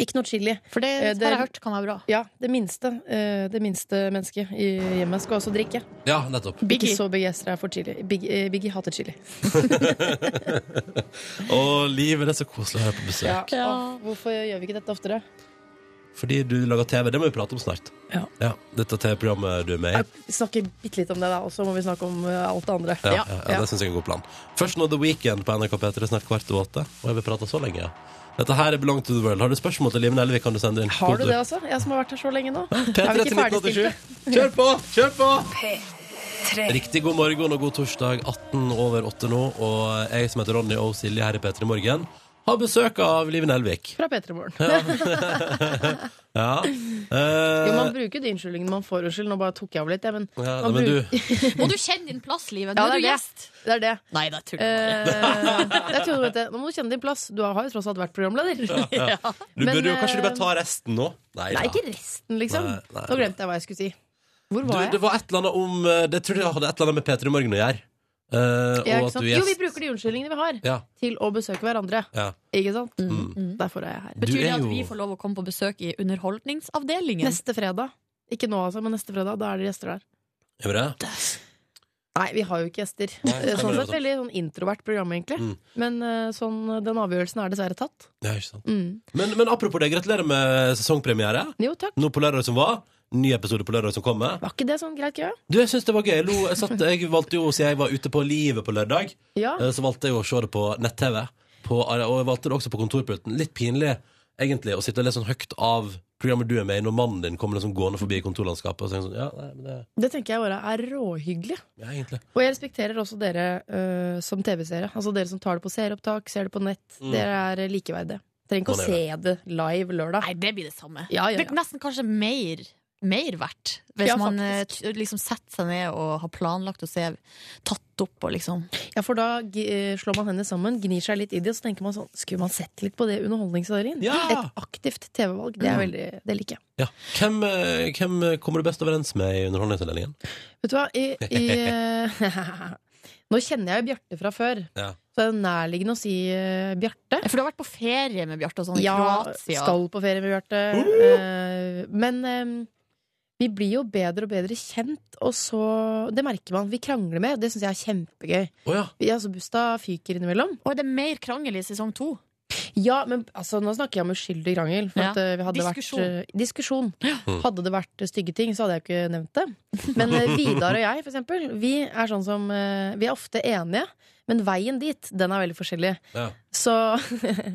Speaker 8: Ikke noe chili.
Speaker 2: For det,
Speaker 8: Eh, det-
Speaker 2: har jeg hørt kan være bra.
Speaker 8: Ja, det minste, eh, det minste mennesket i hjemmet skal også drikke.
Speaker 3: Ja, nettopp.
Speaker 8: Ikke
Speaker 2: Biggie.
Speaker 8: så begeistra for chili. Big, eh, Biggie hater chili.
Speaker 3: Å, livet det er så koselig å være på besøk.
Speaker 8: Ja.
Speaker 2: Ja.
Speaker 8: Åh, hvorfor gjør vi ikke dette oftere?
Speaker 3: Fordi du lager TV, det må vi prate om snart.
Speaker 8: Ja.
Speaker 3: dette TV-programmet du er med i.
Speaker 8: Jeg snakker bitte litt om det, da, og så må vi snakke om eh, alt det andre.
Speaker 3: Ja, ja, ja, Det syns jeg er en god plan. Først nå The Weekend på NRK P3 snart kvart over åtte. Og jeg vil prate så lenge. Dette her er Belong to the World. Har du spørsmål til Liven Elvik, kan du sende inn.
Speaker 8: Har du det, altså? Jeg som har vært her så lenge nå. Er
Speaker 3: P3 til
Speaker 8: vi ikke ferdigstilte?
Speaker 3: 1987. Kjør på! Kjør på! Riktig god morgen og god torsdag, 18 over 8 nå. Og jeg som heter Ronny og Silje her i P3 Morgen, har besøk av Liven Elvik.
Speaker 8: Fra P3 Morgen.
Speaker 3: Ja. eh,
Speaker 8: Jo, man bruker de unnskyldningene man får. Unnskyld, nå bare tok jeg av litt, jeg, men
Speaker 3: ja,
Speaker 8: man
Speaker 3: men du,
Speaker 8: bruker-
Speaker 2: Må du kjenne din plass, Live?
Speaker 8: Ja,
Speaker 2: Nå
Speaker 8: det er
Speaker 2: er du
Speaker 8: det.
Speaker 2: gjest.
Speaker 8: Det er det.
Speaker 2: Nei, det er tull.
Speaker 8: Eh, jeg trodde, vet du, nå må du kjenne din plass. Du har jo tross alt vært programleder.
Speaker 3: du
Speaker 8: men,
Speaker 3: burde jo kanskje du bare
Speaker 8: eh,
Speaker 3: ta resten nå? Nei,
Speaker 8: Nei,
Speaker 3: da.
Speaker 8: ikke resten, liksom.
Speaker 3: Nei, nei,
Speaker 8: Nå glemte jeg hva jeg skulle si. Hvor
Speaker 3: Du,
Speaker 8: var
Speaker 3: det
Speaker 8: jeg?
Speaker 3: var et eller annet om eh, Det tror jeg hadde et eller annet med Peter i Morgen å gjøre. Eh,
Speaker 8: Ja,
Speaker 3: og
Speaker 8: ikke
Speaker 3: at
Speaker 8: sant?
Speaker 3: du er
Speaker 8: Jo, vi
Speaker 3: gjest.
Speaker 8: bruker de unnskyldningene vi har,
Speaker 3: Ja,
Speaker 8: til å besøke hverandre.
Speaker 3: ja.
Speaker 8: Ikke sant?
Speaker 3: Mm.
Speaker 8: Derfor er jeg her.
Speaker 3: Du
Speaker 2: Betyr det
Speaker 3: er
Speaker 2: at
Speaker 3: jo-
Speaker 2: vi får lov å komme på besøk i Underholdningsavdelingen?
Speaker 8: Neste fredag. Ikke nå, altså, men neste fredag. Da er det gjester der.
Speaker 3: Gjør vi det?
Speaker 8: Nei, vi har jo ikke gjester.
Speaker 3: Nei,
Speaker 8: Eh,
Speaker 3: stemmer
Speaker 8: Sånn
Speaker 3: det,
Speaker 8: sett veldig sånn introvert program, egentlig.
Speaker 3: Mm.
Speaker 8: Men eh, sånn, den avgjørelsen er dessverre tatt.
Speaker 3: Ja, ikke sant.
Speaker 8: Mm.
Speaker 3: Men, men apropos det, gratulerer med sesongpremiere.
Speaker 8: Jo, takk.
Speaker 3: Nå på lørdag som var. Ny episode på lørdag som kommer.
Speaker 8: Var ikke det sånn greit gøy?
Speaker 3: Du, Jeg syns det var gøy. Jeg, lo, jeg, satt, jeg valgte jo, Siden jeg var ute på Livet på lørdag,
Speaker 8: Ja.
Speaker 3: eh, så valgte jeg å se det på nett-TV. På, og jeg valgte det også på kontorpulten. Litt pinlig. egentlig, å sitte og le sånn høyt av programmet du er med i, når mannen din kommer liksom gående forbi kontorlandskapet og sier sånn Ja, nei, men det
Speaker 8: Det tenker jeg bare er råhyggelig.
Speaker 3: ja, egentlig.
Speaker 8: Og jeg respekterer også dere øh, som TV-seere. Altså dere som tar det på seeropptak, ser det på nett.
Speaker 3: Mm.
Speaker 8: Dere er likeverdige. Trenger ikke
Speaker 3: Man
Speaker 8: å
Speaker 3: er
Speaker 8: se det live lørdag.
Speaker 2: Nei, det blir det samme.
Speaker 8: Ja, ja,
Speaker 2: Det er
Speaker 8: ja.
Speaker 2: nesten kanskje mer, mer verdt. Hvis
Speaker 8: Ja,
Speaker 2: man eh,
Speaker 8: faktisk.
Speaker 2: t- liksom setter seg ned og har planlagt å se, tatt opp og liksom
Speaker 8: ja for da gi- eh, slår man hendene sammen, gnir seg litt i det, og så tenker man sånn Skulle man sett litt på det underholdningsserien?
Speaker 3: Ja! Mm.
Speaker 8: Et aktivt TV-valg. Det, er veldig- det liker jeg.
Speaker 3: Ja. Hvem, eh, hvem kommer du best overens med i Underholdningsavdelingen?
Speaker 8: Vet du hva, i, i eh, Nå kjenner jeg jo Bjarte fra før,
Speaker 3: Ja.
Speaker 8: så det er jo nærliggende å si eh, Bjarte.
Speaker 2: Ja, For du har vært på ferie med Bjarte og sånn i
Speaker 8: Ja,
Speaker 2: Kroatia.
Speaker 8: skal på ferie med Bjarte. Eh, men eh, vi blir jo bedre og bedre kjent, og så Det merker man. Vi krangler mer, og det syns jeg er kjempegøy.
Speaker 3: Å ja.
Speaker 8: Vi, altså, Busta fyker innimellom.
Speaker 2: Og er det mer krangel i sesong to?
Speaker 8: Ja, men altså, nå snakker jeg om uskyldig krangel. For
Speaker 2: Ja.
Speaker 8: at, eh, vi hadde
Speaker 2: Diskusjon.
Speaker 8: Vært, eh, diskusjon.
Speaker 3: Mm.
Speaker 8: Hadde det vært eh, stygge ting, så hadde jeg jo ikke nevnt det. Men eh, Vidar og jeg, for eksempel, vi er sånn som eh, Vi er ofte enige, men veien dit, den er veldig forskjellig.
Speaker 3: ja.
Speaker 8: Så,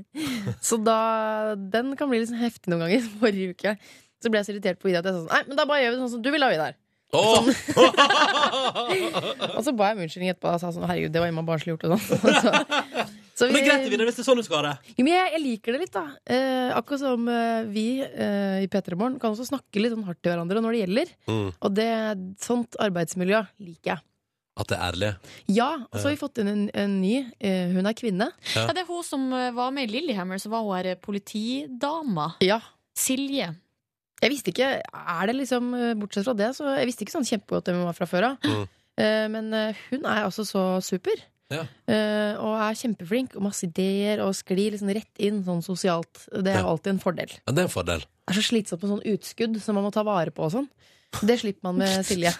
Speaker 8: så da Den kan bli litt sånn heftig noen ganger. Forrige uke så ble jeg så irritert på Vidar at jeg sa sånn Nei, men da bare gjør vi det sånn som du vil ha, Vidar.
Speaker 3: Åh!
Speaker 8: Og så ba jeg om unnskyldning etterpå og sa sånn Herregud, det var innmari barnslig gjort. Og sånn. Så, så
Speaker 3: Men greit, Vidar, hvis det er sånn du skal ha det.
Speaker 8: Jo, men jeg, jeg liker det litt, da. Eh, akkurat som eh, vi eh, i P3 Morgen kan også snakke litt sånn hardt til hverandre når det gjelder.
Speaker 3: Mm.
Speaker 8: Og det, sånt arbeidsmiljø liker jeg.
Speaker 3: At det er ærlig.
Speaker 8: Ja, og så har vi fått inn en, en ny. eh, hun er kvinne.
Speaker 2: Ja, det er hun som eh, var med i Lillehammer, så var hun her eh, politidama.
Speaker 8: Ja.
Speaker 2: Silje.
Speaker 8: Jeg visste ikke, er det liksom eh, Bortsett fra det, så jeg visste ikke sånn kjempegodt hvem hun var fra før av.
Speaker 3: Mm.
Speaker 8: Eh, Men eh, hun er altså så super.
Speaker 3: Ja.
Speaker 8: Eh, Og er kjempeflink og masse ideer og sklir liksom rett inn sånn sosialt. Det er
Speaker 3: Ja.
Speaker 8: jo alltid en fordel.
Speaker 3: Ja, det er en fordel.
Speaker 8: Det er så slitsomt med sånn utskudd som man må ta vare på og sånn. Det slipper man med Silje.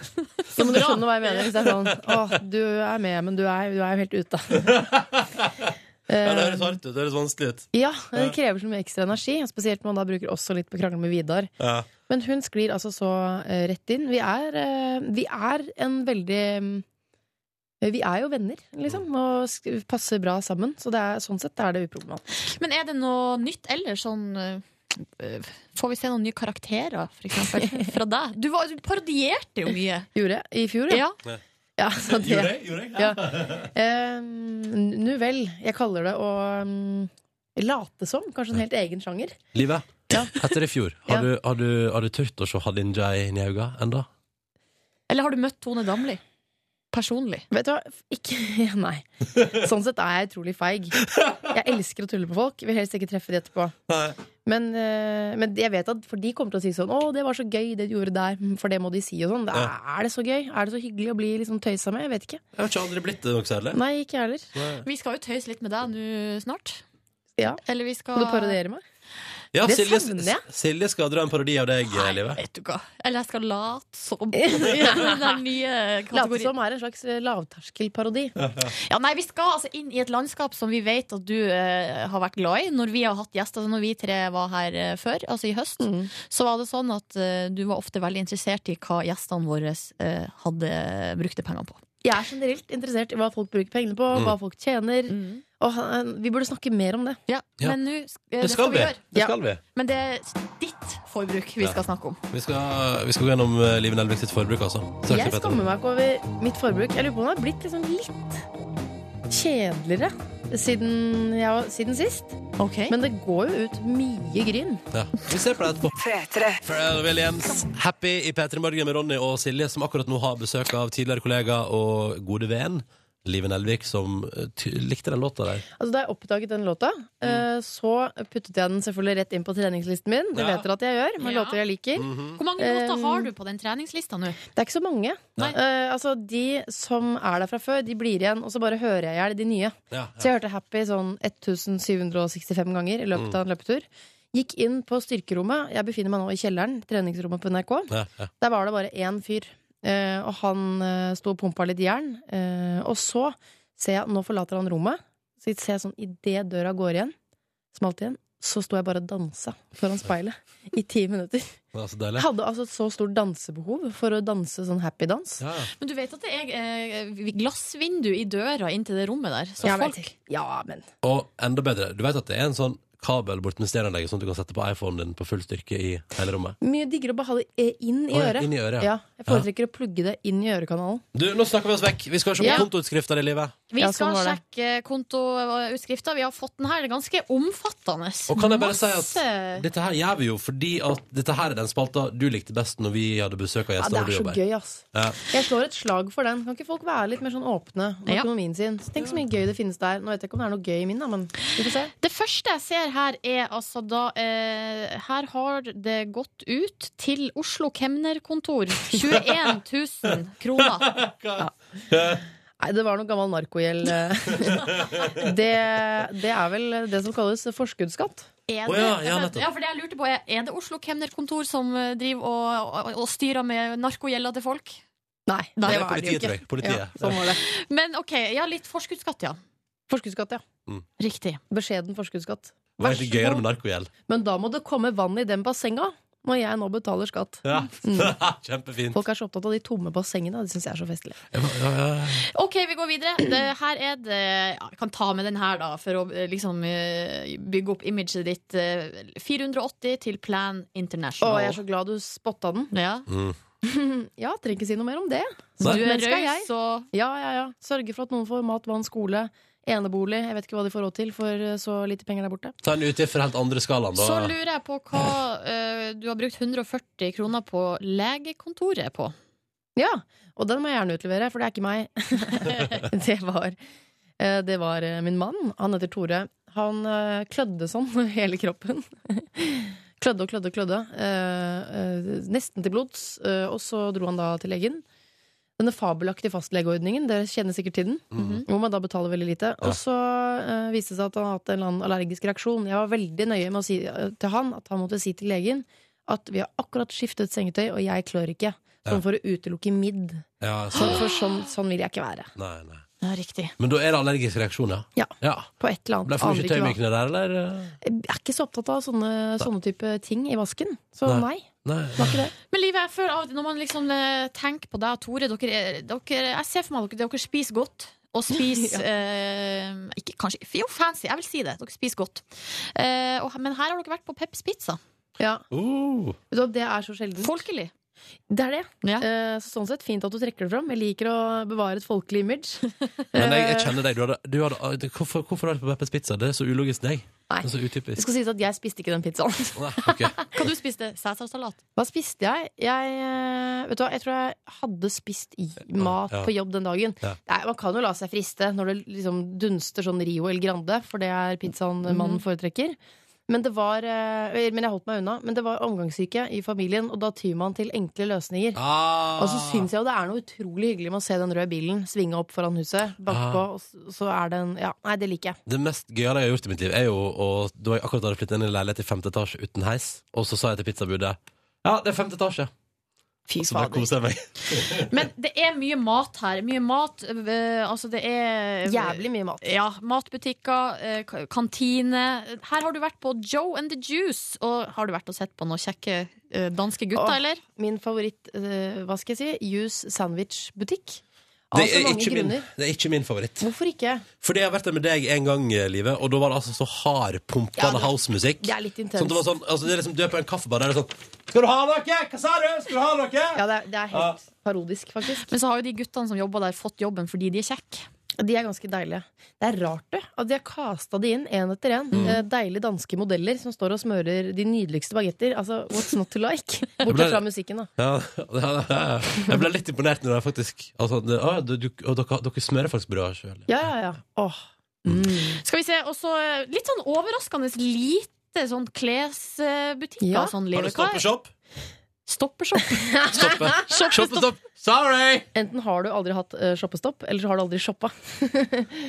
Speaker 8: Så må du skjønne hva jeg mener hvis det er sånn Åh, du er med, men du er, du er jo helt ute. Eh,
Speaker 3: Ja, det høres hardt ut. Det høres vanskelig ut.
Speaker 8: Ja, det krever så mye ekstra energi. Spesielt når man da bruker også litt på krangel med Vidar.
Speaker 3: Ja.
Speaker 8: Men hun sklir altså så eh, rett inn. Vi er, eh, vi er en veldig mm, Vi er jo venner, liksom, og sk- passer bra sammen. Så det er, sånn sett er det uproblematisk.
Speaker 2: Men er det noe nytt eller sånn eh, eh, Får vi se noen nye karakterer, for eksempel? Fra deg? Du, var, du parodierte jo mye.
Speaker 8: Gjorde jeg i fjor, ja.
Speaker 2: Ja.
Speaker 8: ja så det,
Speaker 3: Gjorde jeg? Gjorde jeg?
Speaker 8: Ja. Eh, nu vel. Jeg kaller det å mm, late som. Kanskje en helt egen sjanger.
Speaker 3: Livet,
Speaker 8: Ja.
Speaker 3: etter i fjor, har,
Speaker 8: Ja.
Speaker 3: du, har, du, har du turt å se Hadinja inn i øynene ennå?
Speaker 2: Eller har du møtt Tone Damli? Personlig.
Speaker 8: Vet du hva? Ikke Nei. Sånn sett er jeg utrolig feig. Jeg elsker å tulle på folk. Vil helst ikke treffe de etterpå. Men, eh, men jeg vet at for de kommer til å si sånn 'Å, det var så gøy, det du gjorde der', Mm, for det må de si og sånn. Det Er er det så gøy? Er det så hyggelig å bli liksom tøysa med? Jeg vet ikke.
Speaker 3: Jeg har ikke aldri blitt det noe særlig.
Speaker 8: Nei, ikke jeg heller.
Speaker 2: Vi skal jo tøyse litt med deg nå snart.
Speaker 8: Ja.
Speaker 2: Eller vi skal
Speaker 8: Skal du parodiere meg?
Speaker 3: Ja,
Speaker 8: Det
Speaker 3: Silje,
Speaker 8: savner jeg.
Speaker 3: Silje skal dra en parodi av deg, eh,
Speaker 2: Nei,
Speaker 3: Livet.
Speaker 2: vet du hva. Eller jeg skal late som. Den der nye
Speaker 8: Late
Speaker 2: kategorien.
Speaker 8: som er en slags eh, lavterskelparodi.
Speaker 2: Ja, nei, Vi skal altså inn i et landskap som vi vet at du eh, har vært glad i. Når vi har hatt gjester, altså når vi tre var her eh, før, altså i høst,
Speaker 8: Mm.
Speaker 2: så var det sånn at eh, du var ofte veldig interessert i hva gjestene våre eh, hadde brukte pengene på.
Speaker 8: Jeg er generelt interessert i hva folk bruker pengene på, hva folk tjener. Og eh, vi burde snakke mer om det.
Speaker 2: Ja,
Speaker 3: Ja.
Speaker 2: Men nå eh,
Speaker 3: Det skal vi.
Speaker 2: gjøre.
Speaker 3: Det
Speaker 8: Ja.
Speaker 3: skal vi.
Speaker 2: Men det er ditt forbruk vi
Speaker 3: Ja.
Speaker 2: skal snakke om.
Speaker 3: Vi skal, vi skal gå gjennom eh, Liv Nelvik sitt forbruk, altså. Straks i
Speaker 8: Jeg
Speaker 3: Petter.
Speaker 8: skammer meg ikke over mitt forbruk. Jeg lurer på om det har blitt liksom litt kjedeligere siden, jeg var- siden sist.
Speaker 2: Ok
Speaker 8: Men det går jo ut mye gryn.
Speaker 3: Ja. Vi ser på det etterpå. Pharrell Williams, Happy i P3 Morgen med Ronny og Silje, som akkurat nå har besøk av tidligere kollega og gode venn Live Nelvik, som eh, ty likte den låta der.
Speaker 8: Altså, da jeg oppdaget den låta,
Speaker 3: Mm.
Speaker 8: eh, så puttet jeg den selvfølgelig rett inn på treningslisten min. Det
Speaker 3: Ja. Mhm.
Speaker 8: vet dere at jeg gjør, med
Speaker 2: Ja.
Speaker 8: låter jeg liker.
Speaker 2: Hvor mange låter har du på den treningslista nå?
Speaker 8: Det er ikke så mange.
Speaker 2: Nei.
Speaker 8: Eh, altså, de som er der fra før, de blir igjen, og så bare hører jeg i hjel de nye.
Speaker 3: Ja,
Speaker 8: Så jeg hørte Happy sånn 1765 ganger i
Speaker 3: Mm.
Speaker 8: løpet av en løpetur. Gikk inn på styrkerommet. Jeg befinner meg nå i kjelleren, treningsrommet på NRK.
Speaker 3: ja, ja.
Speaker 8: Der var det bare én fyr, eh, og han eh, sto og pumpa litt jern. Eh, og så ser jeg Nå forlater han rommet. Så ser jeg sånn idet døra går igjen, smalt igjen, så sto jeg bare og dansa foran speilet i ti minutter.
Speaker 3: Det var så deilig.
Speaker 8: Jeg hadde altså et så stort dansebehov for å danse sånn happy dans.
Speaker 3: Ja, ja.
Speaker 2: Men du vet at det er eh, glassvindu i døra inn til det rommet der. Så
Speaker 8: Jeg vet
Speaker 2: folk
Speaker 8: ikke. Ja, men
Speaker 3: Og enda bedre, du vet at det er en sånn kabel bort med stereoanlegget, sånn at du kan sette på iPhonen din på full styrke i hele rommet.
Speaker 8: Mye diggere å bare ha det eh, inn
Speaker 3: Å,
Speaker 8: i
Speaker 3: ja,
Speaker 8: øret.
Speaker 3: inn i øret, ja.
Speaker 8: ja. Jeg foretrekker å plugge det inn i ørekanalen.
Speaker 3: Du, nå snakker vi oss vekk! Vi skal se på
Speaker 2: Ja.
Speaker 3: kontoutskrifter i livet.
Speaker 2: Vi
Speaker 8: Ja, sånn
Speaker 2: skal
Speaker 8: var det.
Speaker 2: sjekke kontoutskrifta. Vi har fått den her. Det er ganske omfattende.
Speaker 3: Og kan jeg bare si at
Speaker 2: Masse-
Speaker 3: Dette her gjør vi jo fordi at dette her er den spalta du likte best når vi hadde besøk av
Speaker 8: Ja,
Speaker 3: gjester. og
Speaker 8: det er
Speaker 3: du
Speaker 8: så
Speaker 3: jobber.
Speaker 8: gøy, ass.
Speaker 3: Ja.
Speaker 8: Jeg slår et slag for den. Kan ikke folk være litt mer sånn åpne om
Speaker 2: Ja.
Speaker 8: økonomien sin? Så tenk så mye gøy det finnes der. Nå vet jeg ikke om det er noe gøy i min, da, men vi får se.
Speaker 2: Det første jeg ser her, er altså da eh, Her har det gått ut til Oslo kemnerkontor 21 000 kroner.
Speaker 8: Nei, det var noe gammel narkogjeld. eh. det, det er vel det som kalles forskuddsskatt.
Speaker 2: Er
Speaker 3: Å
Speaker 2: det, altså,
Speaker 3: ja, ja, nettopp.
Speaker 2: for det jeg lurte på er, er det Oslo kemnerkontor som eh, driver og, og, og styrer med narkogjelda til folk?
Speaker 8: Nei,
Speaker 2: Nei,
Speaker 8: det
Speaker 3: det er
Speaker 8: var det jo
Speaker 3: politiet, tror
Speaker 8: ikke.
Speaker 3: jeg. Politiet.
Speaker 8: Ja, sånn var det.
Speaker 2: Men OK, ja, litt forskuddsskatt, ja.
Speaker 8: Forskuddsskatt, ja.
Speaker 2: Riktig.
Speaker 8: Beskjeden forskuddsskatt.
Speaker 3: Det var egentlig
Speaker 8: Vær så
Speaker 3: gøyere
Speaker 8: god.
Speaker 3: med narkogjeld.
Speaker 8: Men da må det komme vann i den bassenga når jeg nå betaler skatt.
Speaker 3: Ja. Kjempefint.
Speaker 8: Folk er så opptatt av de tomme bassengene. Det syns jeg er så festlig.
Speaker 3: Ja, ja, ja.
Speaker 2: OK, vi går videre. Det, her er det ja, Vi kan ta med den her, da, for å eh, liksom eh, bygge opp imaget ditt. eh, 480 til Plan
Speaker 8: Å,
Speaker 2: International.
Speaker 8: jeg er så glad du spotta den.
Speaker 2: ja.
Speaker 3: Mm.
Speaker 8: Ja, trenger ikke si noe mer om det.
Speaker 2: Du
Speaker 3: Nei.
Speaker 2: er
Speaker 8: Men skal jeg?
Speaker 2: raus og
Speaker 8: Ja, ja, ja. Sørge for at noen får mat, vann, skole, enebolig. Jeg vet ikke hva de får råd til, for eh, så lite penger der borte.
Speaker 3: Ta en utgift for helt andre skalaen, da.
Speaker 2: Så lurer jeg på hva eh, du har brukt 140 kroner på legekontoret på.
Speaker 8: Ja, og den må jeg gjerne utlevere, for det er ikke meg. det var eh, Det var eh, min mann. Han heter Tore. Han eh, klødde sånn hele kroppen. klødde og klødde og klødde. eh, eh, Nesten til blods. eh, Og så dro han da til legen. Denne fabelaktige fastlegeordningen, dere kjenner sikkert til den.
Speaker 3: Mhm.
Speaker 8: Hvor man da betaler veldig lite.
Speaker 3: Ja.
Speaker 8: Og så eh, viste det seg at han hadde hatt en eller annen allergisk reaksjon. Jeg var veldig nøye med å si eh, til han at han måtte si til legen at vi har akkurat skiftet sengetøy, og jeg klør ikke. Sånn
Speaker 3: Ja.
Speaker 8: for å utelukke midd.
Speaker 3: Ja,
Speaker 8: Sånn,
Speaker 3: sånn.
Speaker 8: for sånn, sånn vil jeg ikke være.
Speaker 3: Nei, nei.
Speaker 2: Ja, riktig.
Speaker 3: Men da er det allergisk reaksjon, ja?
Speaker 8: Ja. På et eller annet.
Speaker 3: Ble for
Speaker 8: Aner
Speaker 3: mye
Speaker 8: ikke hva.
Speaker 3: tøymykner der, eller?
Speaker 8: Jeg er ikke så opptatt av sånne, sånne type ting i vasken. Så
Speaker 3: Nei.
Speaker 8: nei.
Speaker 3: Nei.
Speaker 8: det var ikke det.
Speaker 2: Men livet jeg føler av, når man liksom eh, tenker på deg og Tore dere, er- dere, Jeg ser for meg at dere, dere spiser godt. Og spiser eh, ikke, Kanskje Jo, fancy. Jeg vil si det. Dere spiser godt. Eh, og, men her har dere vært på Peps Pizza.
Speaker 8: Ja,
Speaker 3: Uh.
Speaker 8: vet du hva, Det er så sjelden.
Speaker 2: Folkelig.
Speaker 8: Det er det.
Speaker 2: Ja.
Speaker 8: Eh, så sånn sett, fint at du trekker det fram. Jeg liker å bevare et folkelig image.
Speaker 3: Men jeg, jeg kjenner deg. Du hadde, du hadde, hvorfor, hvorfor har du på Peppers Pizza? Det er så ulogisk deg.
Speaker 8: Nei.
Speaker 3: Det er så
Speaker 8: Det
Speaker 3: utypisk.
Speaker 8: skal sies at jeg spiste ikke den pizzaen.
Speaker 3: Nei, ok.
Speaker 2: Hva du spiste Cæsarsalat.
Speaker 8: Hva spiste jeg? Jeg, eh, vet du hva? jeg tror jeg hadde spist i- mat
Speaker 3: Ja.
Speaker 8: på jobb den dagen.
Speaker 3: Ja.
Speaker 8: Nei, man kan jo la seg friste når det liksom dunster sånn Rio El Grande, for det er pizzaen
Speaker 3: Mhm.
Speaker 8: mannen foretrekker. Men, det var, eh, men jeg holdt meg unna. Men det var omgangssyke i familien, og da tyr man til enkle løsninger.
Speaker 3: Ah.
Speaker 8: Og så syns jeg jo det er noe utrolig hyggelig med å se den røde bilen svinge opp foran huset. Banke
Speaker 3: Ah.
Speaker 8: på, og s- så er det en Ja, nei, det liker jeg.
Speaker 3: Det mest gøyale jeg har gjort i mitt liv, er jo å- da jeg akkurat hadde flyttet inn i en leilighet i femte etasje uten heis, og så sa jeg til pizzabudet Ja, det er femte etasje.
Speaker 8: Fy
Speaker 3: Så bare
Speaker 8: fader.
Speaker 3: koser jeg meg.
Speaker 2: Men det er mye mat her. Mye mat eh, Altså, det er
Speaker 8: Jævlig mye mat.
Speaker 2: Ja, matbutikker, eh, ka- kantine. Her har du vært på Joe and the Juice. Og har du vært og sett på noen kjekke eh, danske gutter,
Speaker 8: Åh.
Speaker 2: eller?
Speaker 8: Min favoritt, eh, hva skal jeg si, Juice Sandwich-butikk. Av
Speaker 3: Det
Speaker 8: så
Speaker 3: er,
Speaker 8: mange
Speaker 3: ikke min,
Speaker 8: grunner.
Speaker 3: det er ikke min favoritt.
Speaker 8: Hvorfor ikke?
Speaker 3: Fordi jeg har vært der med deg en gang i livet, og da var det altså så
Speaker 8: Ja,
Speaker 3: hardpumpende
Speaker 8: det-
Speaker 3: housemusikk.
Speaker 8: Det er litt intenst.
Speaker 3: Sånn, at det var sånn, altså, det er liksom, du er på en kaffebar, der er det sånn Skal du ha noe? Hva sa du? Skal du ha noe?
Speaker 8: Ja, det er, det er helt parodisk, faktisk.
Speaker 2: Men så har jo de guttene som jobber der, fått jobben fordi de er kjekke.
Speaker 8: De er ganske deilige. Det er rart, det. At de har kasta de inn én etter én.
Speaker 3: Mm.
Speaker 8: Deilige danske modeller som står og smører de nydeligste bagetter. Altså, what's not to like? Bortsett fra musikken, da.
Speaker 3: Ja, ja, ja, ja. Jeg ble litt imponert når jeg faktisk altså, det, å, du, du, og dere, dere smører faktisk brød sjøl.
Speaker 8: Ja, ja, ja. Åh.
Speaker 2: Skal vi se, og så eh, litt sånn overraskende lite sånn klesbutikker.
Speaker 8: Ja.
Speaker 2: Sånn,
Speaker 3: Har
Speaker 2: Leo.
Speaker 3: du stoppet
Speaker 2: Hva er-
Speaker 3: shop?
Speaker 2: Stoppershop.
Speaker 3: Stoppe. Shoppe, stopp! Sorry!
Speaker 8: Enten har du aldri hatt eh, shoppestopp, eller så har du aldri shoppa.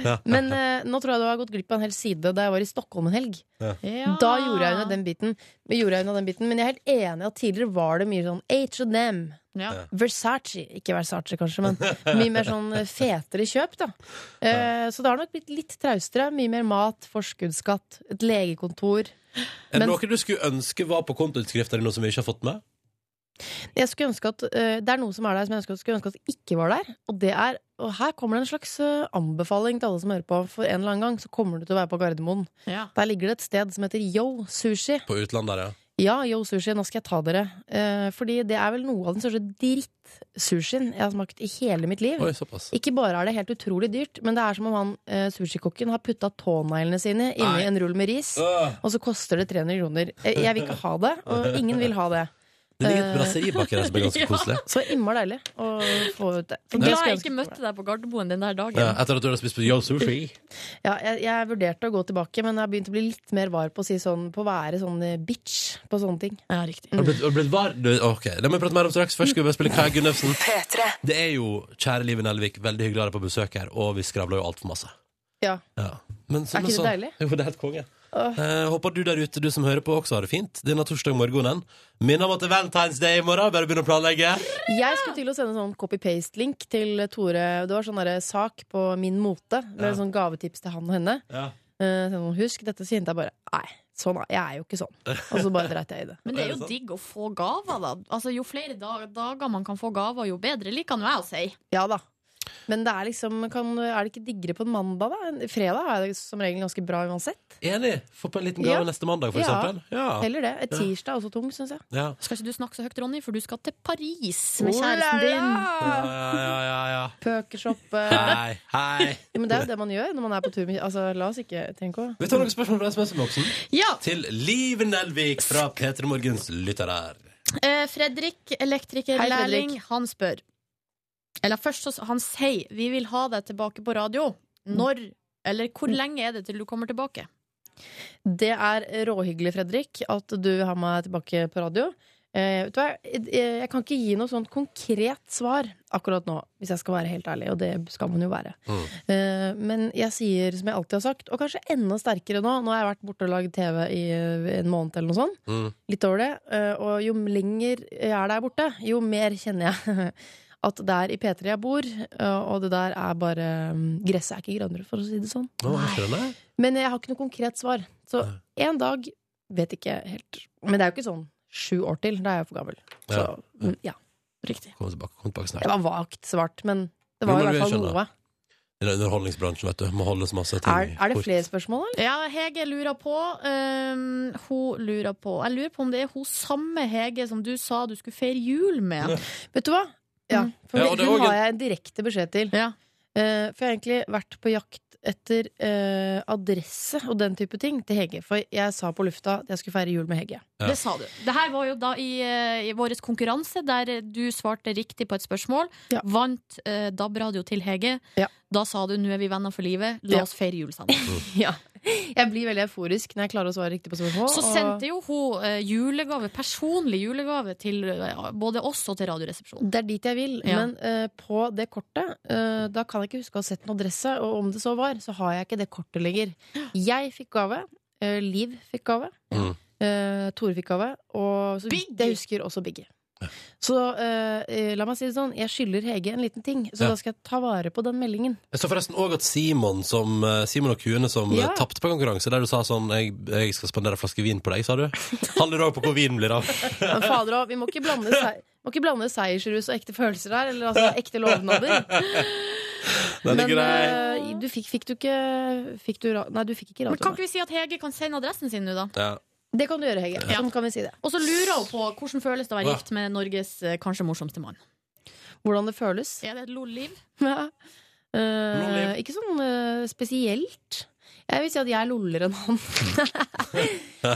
Speaker 3: Ja.
Speaker 8: Men eh, nå tror jeg du har gått glipp av en hel side da jeg var i Stockholm en helg.
Speaker 2: Ja.
Speaker 8: Da gjorde jeg unna den biten. Men gjorde jeg unna den biten. Men jeg er helt enig at tidligere var det mye sånn H&M,
Speaker 2: Ja.
Speaker 8: Versace Ikke Versace, kanskje, men mye mer sånn fetere kjøp, da. Eh, Så det har nok blitt litt traustere. Mye mer mat, forskuddsskatt, et
Speaker 3: Er
Speaker 8: legekontor.
Speaker 3: det
Speaker 8: eh, Men-
Speaker 3: noe du skulle ønske var på kontoutskrifta di, noe som vi ikke har fått med?
Speaker 8: Jeg skulle ønske at eh, Det er noe som er der som jeg ønsker, skulle ønske at ikke var der. Og det er Og her kommer det en slags eh, anbefaling til alle som hører på. For en eller annen gang så kommer du til å være på Gardermoen.
Speaker 2: Ja.
Speaker 8: Der ligger det et sted som heter Yo Sushi.
Speaker 3: På utlandet, der, ja.
Speaker 8: Ja, Yo Sushi, nå skal jeg ta dere. Eh, fordi det er vel noe av den største drittsushien jeg har smakt i hele mitt liv.
Speaker 3: Oi, såpass.
Speaker 8: Ikke bare er det helt utrolig dyrt, men det er som om han eh, sushikokken har putta tåneglene sine inni
Speaker 3: Nei.
Speaker 8: en rull med ris,
Speaker 3: Øh,
Speaker 8: og så koster det 300 kroner. Eh, Jeg vil ikke ha det, og ingen vil ha det.
Speaker 3: Det ligger
Speaker 8: Eh.
Speaker 3: et brasseri bak her som er ganske
Speaker 2: Ja.
Speaker 3: koselig.
Speaker 8: Så innmari deilig å få ut det.
Speaker 2: Jeg er glad
Speaker 8: Det skulle
Speaker 2: jeg
Speaker 8: ønske-
Speaker 2: ikke møtte deg på Gardermoen den der dagen.
Speaker 3: Ja, etter at du hadde spist på Yo Sushi.
Speaker 8: Ja, jeg, jeg vurderte å gå tilbake, men jeg har begynt å bli litt mer var på å, si sånn, på å være sånn eh, bitch på sånne ting.
Speaker 2: Ja, riktig.
Speaker 3: Har du blitt, har du blitt var? Du, ok, Det må vi prate mer om straks. Først skal vi bare spille Kaja Gunnøfsen. Det er jo, kjære Liven Elvik, veldig hyggelig å ha deg på besøk her, og vi skravler jo altfor masse.
Speaker 8: Ja.
Speaker 3: Men så- men
Speaker 8: Er ikke det
Speaker 3: så-
Speaker 8: deilig?
Speaker 3: Jo, det er helt konge.
Speaker 8: Åh.
Speaker 3: Eh, håper du der ute, du som hører på, også har det fint denne torsdag morgenen. Minn om at det er Valentine's Day i morgen. Bare begynn å planlegge.
Speaker 8: Jeg skulle til å sende sånn copy-paste-link til Tore. Det var sånn derre sak på Min Mote, med
Speaker 3: Ja.
Speaker 8: sånn gavetips til han og henne.
Speaker 3: Ja.
Speaker 8: Eh, sånn, Husk dette, så kjente jeg bare Nei, sånn er jeg er jo ikke sånn. Og så bare dreit jeg i det.
Speaker 2: Men det er
Speaker 3: Er det
Speaker 2: jo
Speaker 3: sant?
Speaker 2: digg å få gaver, da. Altså, jo flere da- dager man kan få gaver, jo bedre, liker nå jeg å si.
Speaker 8: Ja da. Men det er liksom kan, Er det ikke diggere på en mandag, da? En- Fredag er det som regel ganske bra uansett.
Speaker 3: Enig. Få på en liten gave
Speaker 8: Ja.
Speaker 3: neste mandag, for
Speaker 8: Ja.
Speaker 3: eksempel. Ja.
Speaker 8: Heller det. Et tirsdag er også tung, syns jeg.
Speaker 3: Ja.
Speaker 2: Skal ikke du snakke så høyt, Ronny, for du skal til Paris med
Speaker 8: Oh la
Speaker 2: kjæresten din.
Speaker 3: Ja, ja, ja, ja.
Speaker 8: Pøkershoppe.
Speaker 3: Hei, hei.
Speaker 8: Ja, men det er jo det man gjør når man er på tur med Altså, la oss ikke tenke å
Speaker 3: Vi tar noen spørsmål fra SMS-boksen.
Speaker 2: Ja,
Speaker 3: Til Liven Elvik fra P3 Morgens lyttere.
Speaker 2: eh, Fredrik,
Speaker 8: Hei,
Speaker 2: elektrikerlærling,
Speaker 8: Fredrik.
Speaker 2: han spør. Eller først så han sier vi vil ha deg tilbake på radio.
Speaker 8: Mm.
Speaker 2: Når eller hvor lenge er det til du kommer tilbake?
Speaker 8: Det er råhyggelig, Fredrik, at du har meg tilbake på radio. Eh, vet du hva? Jeg, jeg kan ikke gi noe sånt konkret svar akkurat nå, hvis jeg skal være helt ærlig, og det skal man jo være.
Speaker 3: Mm.
Speaker 8: Eh, men jeg sier som jeg alltid har sagt, og kanskje enda sterkere nå. Nå har jeg vært borte og lagd TV i eh, en måned eller noe sånt.
Speaker 3: Mm.
Speaker 8: Litt over det. eh, Og jo lenger jeg er der borte, jo mer kjenner jeg at det er i P3 jeg bor, eh, og det der er bare mm, Gresset er ikke grønnere, for å si det sånn.
Speaker 3: Nå, jeg skjønner.
Speaker 8: Men jeg har ikke noe konkret svar. Så en dag vet ikke helt. Men det er jo ikke sånn sju år til. Da er jeg for gammel. Så
Speaker 3: Ja.
Speaker 8: mm, ja. Riktig.
Speaker 3: Kom tilbake, kom tilbake snart.
Speaker 8: Det var vagt svart, men det
Speaker 3: Jo,
Speaker 8: var i
Speaker 3: men
Speaker 8: hvert fall
Speaker 3: vi skjønner.
Speaker 8: noe.
Speaker 3: I den underholdningsbransjen, vet du. Må holdes masse ting
Speaker 8: Er, er det
Speaker 3: kort.
Speaker 8: flere spørsmål, eller?
Speaker 2: Ja, Hege lurer på øhm, Hun lurer på Jeg lurer på om det er hun samme Hege som du sa du skulle feire jul med.
Speaker 8: Vet du hva? Mm. Ja, for
Speaker 3: Ja, og det er
Speaker 8: Hun
Speaker 3: også en-
Speaker 8: har jeg en direkte beskjed til.
Speaker 2: Ja.
Speaker 8: Eh, for jeg har egentlig vært på jakt etter eh, adresse og den type ting til Hege. For jeg sa på lufta at jeg skulle feire jul med Hege.
Speaker 3: Ja.
Speaker 2: Det sa du. Det her var jo da i, eh, i vår konkurranse, der du svarte riktig på et spørsmål.
Speaker 8: Ja.
Speaker 2: Vant eh, DAB-radio til Hege.
Speaker 8: Ja.
Speaker 2: Da sa du 'nå er vi venner for livet',
Speaker 8: Ja.
Speaker 2: la oss feire jul sammen.
Speaker 8: Ja. Jeg blir veldig euforisk når jeg klarer å svare riktig på spørsmål.
Speaker 2: Så
Speaker 8: og-
Speaker 2: sendte jo hun eh, julegave, personlig julegave til eh, både oss og til Radioresepsjonen.
Speaker 8: Det er dit jeg vil,
Speaker 2: Ja.
Speaker 8: men eh, på det kortet eh, Da kan jeg ikke huske å ha sett noen adresse, og om det så var, så har jeg ikke det kortet lenger. Jeg fikk gave. eh, Liv fikk gave.
Speaker 3: Mm.
Speaker 8: eh, Tore fikk gave. Og så
Speaker 2: Biggie!
Speaker 8: vidt jeg husker også Biggie. Så eh, eh, la meg si det sånn, jeg skylder Hege en liten ting, så
Speaker 3: Ja.
Speaker 8: da skal jeg ta vare på den meldingen.
Speaker 3: Jeg så forresten òg at Simon, som, eh, Simon og kuene som
Speaker 8: Ja.
Speaker 3: eh, tapte på konkurranse, der du sa sånn jeg, 'Jeg skal spandere en flaske vin på deg', sa du. Han lurer òg på hvor vinen blir av.
Speaker 8: Men fader òg, vi må ikke blande, se- må ikke blande seiersrus og ekte følelser her, eller altså ekte lovnader.
Speaker 3: Den er
Speaker 8: Men
Speaker 3: grei.
Speaker 8: eh, du fikk, fikk du ikke fikk du, ra- Nei, du fikk ikke
Speaker 2: Men
Speaker 8: radioen.
Speaker 2: kan ikke vi si at Hege kan sende adressen sin nå, da?
Speaker 3: Ja.
Speaker 8: Det kan du gjøre, Hege. Sånn kan vi si det.
Speaker 2: Og så lurer hun på hvordan føles det å være
Speaker 3: Ja.
Speaker 2: gift med Norges eh, kanskje morsomste mann.
Speaker 8: Hvordan det føles.
Speaker 2: Er det et lol-liv?
Speaker 8: Ja. Eh,
Speaker 3: Lolliv.
Speaker 8: ikke sånn eh, spesielt. Jeg vil si at jeg er loller enn han.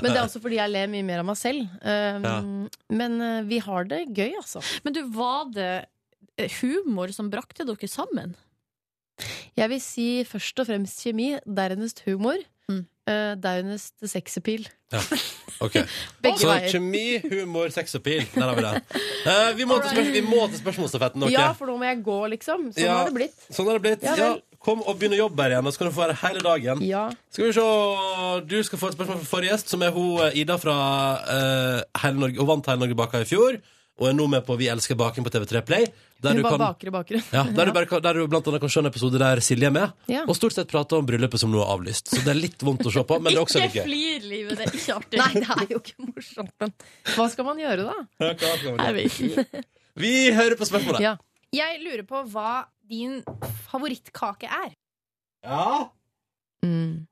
Speaker 8: Men det er også fordi jeg ler mye mer av meg selv. Eh,
Speaker 3: Ja.
Speaker 8: Men eh, vi har det gøy, altså.
Speaker 2: Men du, var det eh, humor som brakte dere sammen?
Speaker 8: Jeg vil si først og fremst kjemi, dernest humor,
Speaker 2: Mm.
Speaker 8: eh, dernest sexappeal.
Speaker 3: Ok.
Speaker 8: Begge
Speaker 3: Så
Speaker 8: veier.
Speaker 3: kjemi, humor, sexappeal. Der har vi det. Eh, vi, må til spørs- vi må til spørsmålsstafetten, dere.
Speaker 8: Ja, for nå må jeg gå, liksom. Sånn
Speaker 3: Ja.
Speaker 8: har det blitt.
Speaker 3: Sånn har det blitt.
Speaker 8: Ja
Speaker 3: Ja,
Speaker 8: vel.
Speaker 3: kom og begynn å jobbe her igjen, og så kan du få være hele dagen.
Speaker 8: Ja.
Speaker 3: Skal vi se Du skal få et spørsmål fra forrige gjest, som er hun eh, Ida fra eh, hele Norge. Hun vant Hele Norge baka i fjor. og er nå med på Vi elsker baking på TV3 Play. Der
Speaker 8: Hun
Speaker 3: du,
Speaker 8: bare
Speaker 3: kan,
Speaker 8: baker og baker.
Speaker 3: ja, der, du bare, kan- der du blant annet kan se en episode der Silje er med,
Speaker 8: Ja.
Speaker 3: og stort sett prater om bryllupet som nå er avlyst. Så det er litt vondt å se på, men det er også litt
Speaker 9: Ikke
Speaker 3: gøy.
Speaker 9: flir, livet. Det er ikke artig.
Speaker 8: Nei, det er jo ikke morsomt, men hva skal man gjøre da?
Speaker 3: Ja, klar, klar, klar.
Speaker 8: Jeg vet
Speaker 3: Vi hører på spørsmålet.
Speaker 8: Ja.
Speaker 9: Jeg lurer på hva din favorittkake er.
Speaker 3: Ja.
Speaker 8: Mm.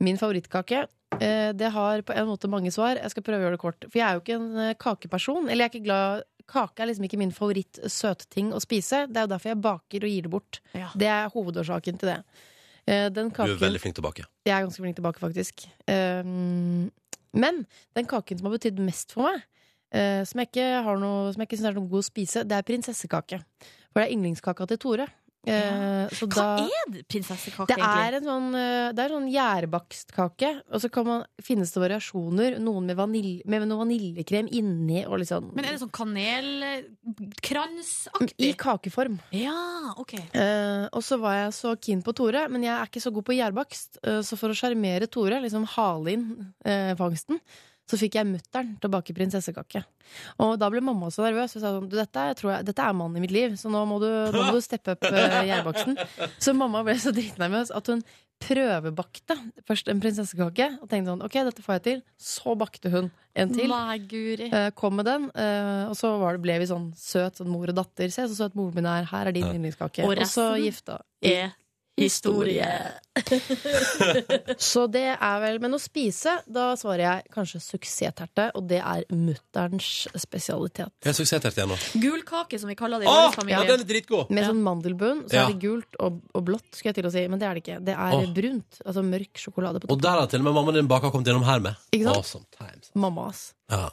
Speaker 8: Min favorittkake eh, Det har på en måte mange svar. Jeg skal prøve å gjøre det kort. For jeg er jo ikke en eh, kakeperson. Eller jeg er ikke glad Kake er liksom ikke min favoritt-søtting å spise. Det er jo derfor jeg baker og gir det bort.
Speaker 2: Ja.
Speaker 8: Det er hovedårsaken til det. Eh, Den
Speaker 3: Du er
Speaker 8: kaken
Speaker 3: veldig flink til å bake.
Speaker 8: Jeg er ganske flink til å bake, faktisk. Ehm, men den kaken som har betydd mest for meg, eh, som jeg ikke, har noe- som jeg ikke syns er noe god å spise, det er prinsessekake. For det er yndlingskaka til Tore. Eh, så
Speaker 2: Hva
Speaker 8: da-
Speaker 2: er det, prinsessekake,
Speaker 8: det
Speaker 2: egentlig?
Speaker 8: er en sånn, eh, det er en sånn gjærbakstkake, og så kan man, finnes det variasjoner. Noen med, vanilj, med noe vaniljekrem inni og litt sånn.
Speaker 2: Men er det sånn
Speaker 8: I
Speaker 2: kanelkransaktig?
Speaker 8: kakeform.
Speaker 2: Ja, OK.
Speaker 8: Eh, og så var jeg så keen på Tore, men jeg er ikke så god på gjærbakst. eh, så for å sjarmere Tore, liksom hale inn eh, fangsten, så fikk jeg mutter'n til å bake prinsessekake. Og da ble mamma så nervøs. Hun sa sånn, du, dette, er- tror jeg, dette er mannen i mitt liv, så nå må du, nå må du steppe opp eh, gjærbaksten. Så mamma ble så dritnervøs at hun prøvebakte først en prinsessekake. Og tenkte sånn, ok, dette får jeg til. Så bakte hun en til.
Speaker 2: Nei, guri.
Speaker 8: Eh, kom med den, eh, og så var det, ble vi sånn søt sånn mor og datter. Se så søt moren min er, her er din
Speaker 3: Ja.
Speaker 8: yndlingskake.
Speaker 2: Og
Speaker 8: Og, så
Speaker 2: resten?
Speaker 8: gifta.
Speaker 2: Er historie.
Speaker 8: Så det er vel Men å spise, da svarer jeg kanskje suksessterte, og det er mutterns spesialitet.
Speaker 3: Jeg er suksesstert igjen nå.
Speaker 2: Gul kake, som vi kaller det i
Speaker 3: Å,
Speaker 2: vår
Speaker 3: ja,
Speaker 2: familie.
Speaker 3: den er dritgod!
Speaker 8: Med
Speaker 2: Ja.
Speaker 8: sånn mandelbunn så
Speaker 3: Ja.
Speaker 8: er det gult og, og blått, skulle jeg til å si, men det er det ikke. Det er
Speaker 3: Åh.
Speaker 8: brunt. Altså mørk sjokolade på
Speaker 3: Og
Speaker 8: toppen.
Speaker 3: der har til og med mammaen din baka kommet gjennom her med.
Speaker 8: Ikke sant?
Speaker 3: Awesome times.
Speaker 8: Mammas.
Speaker 3: Ja.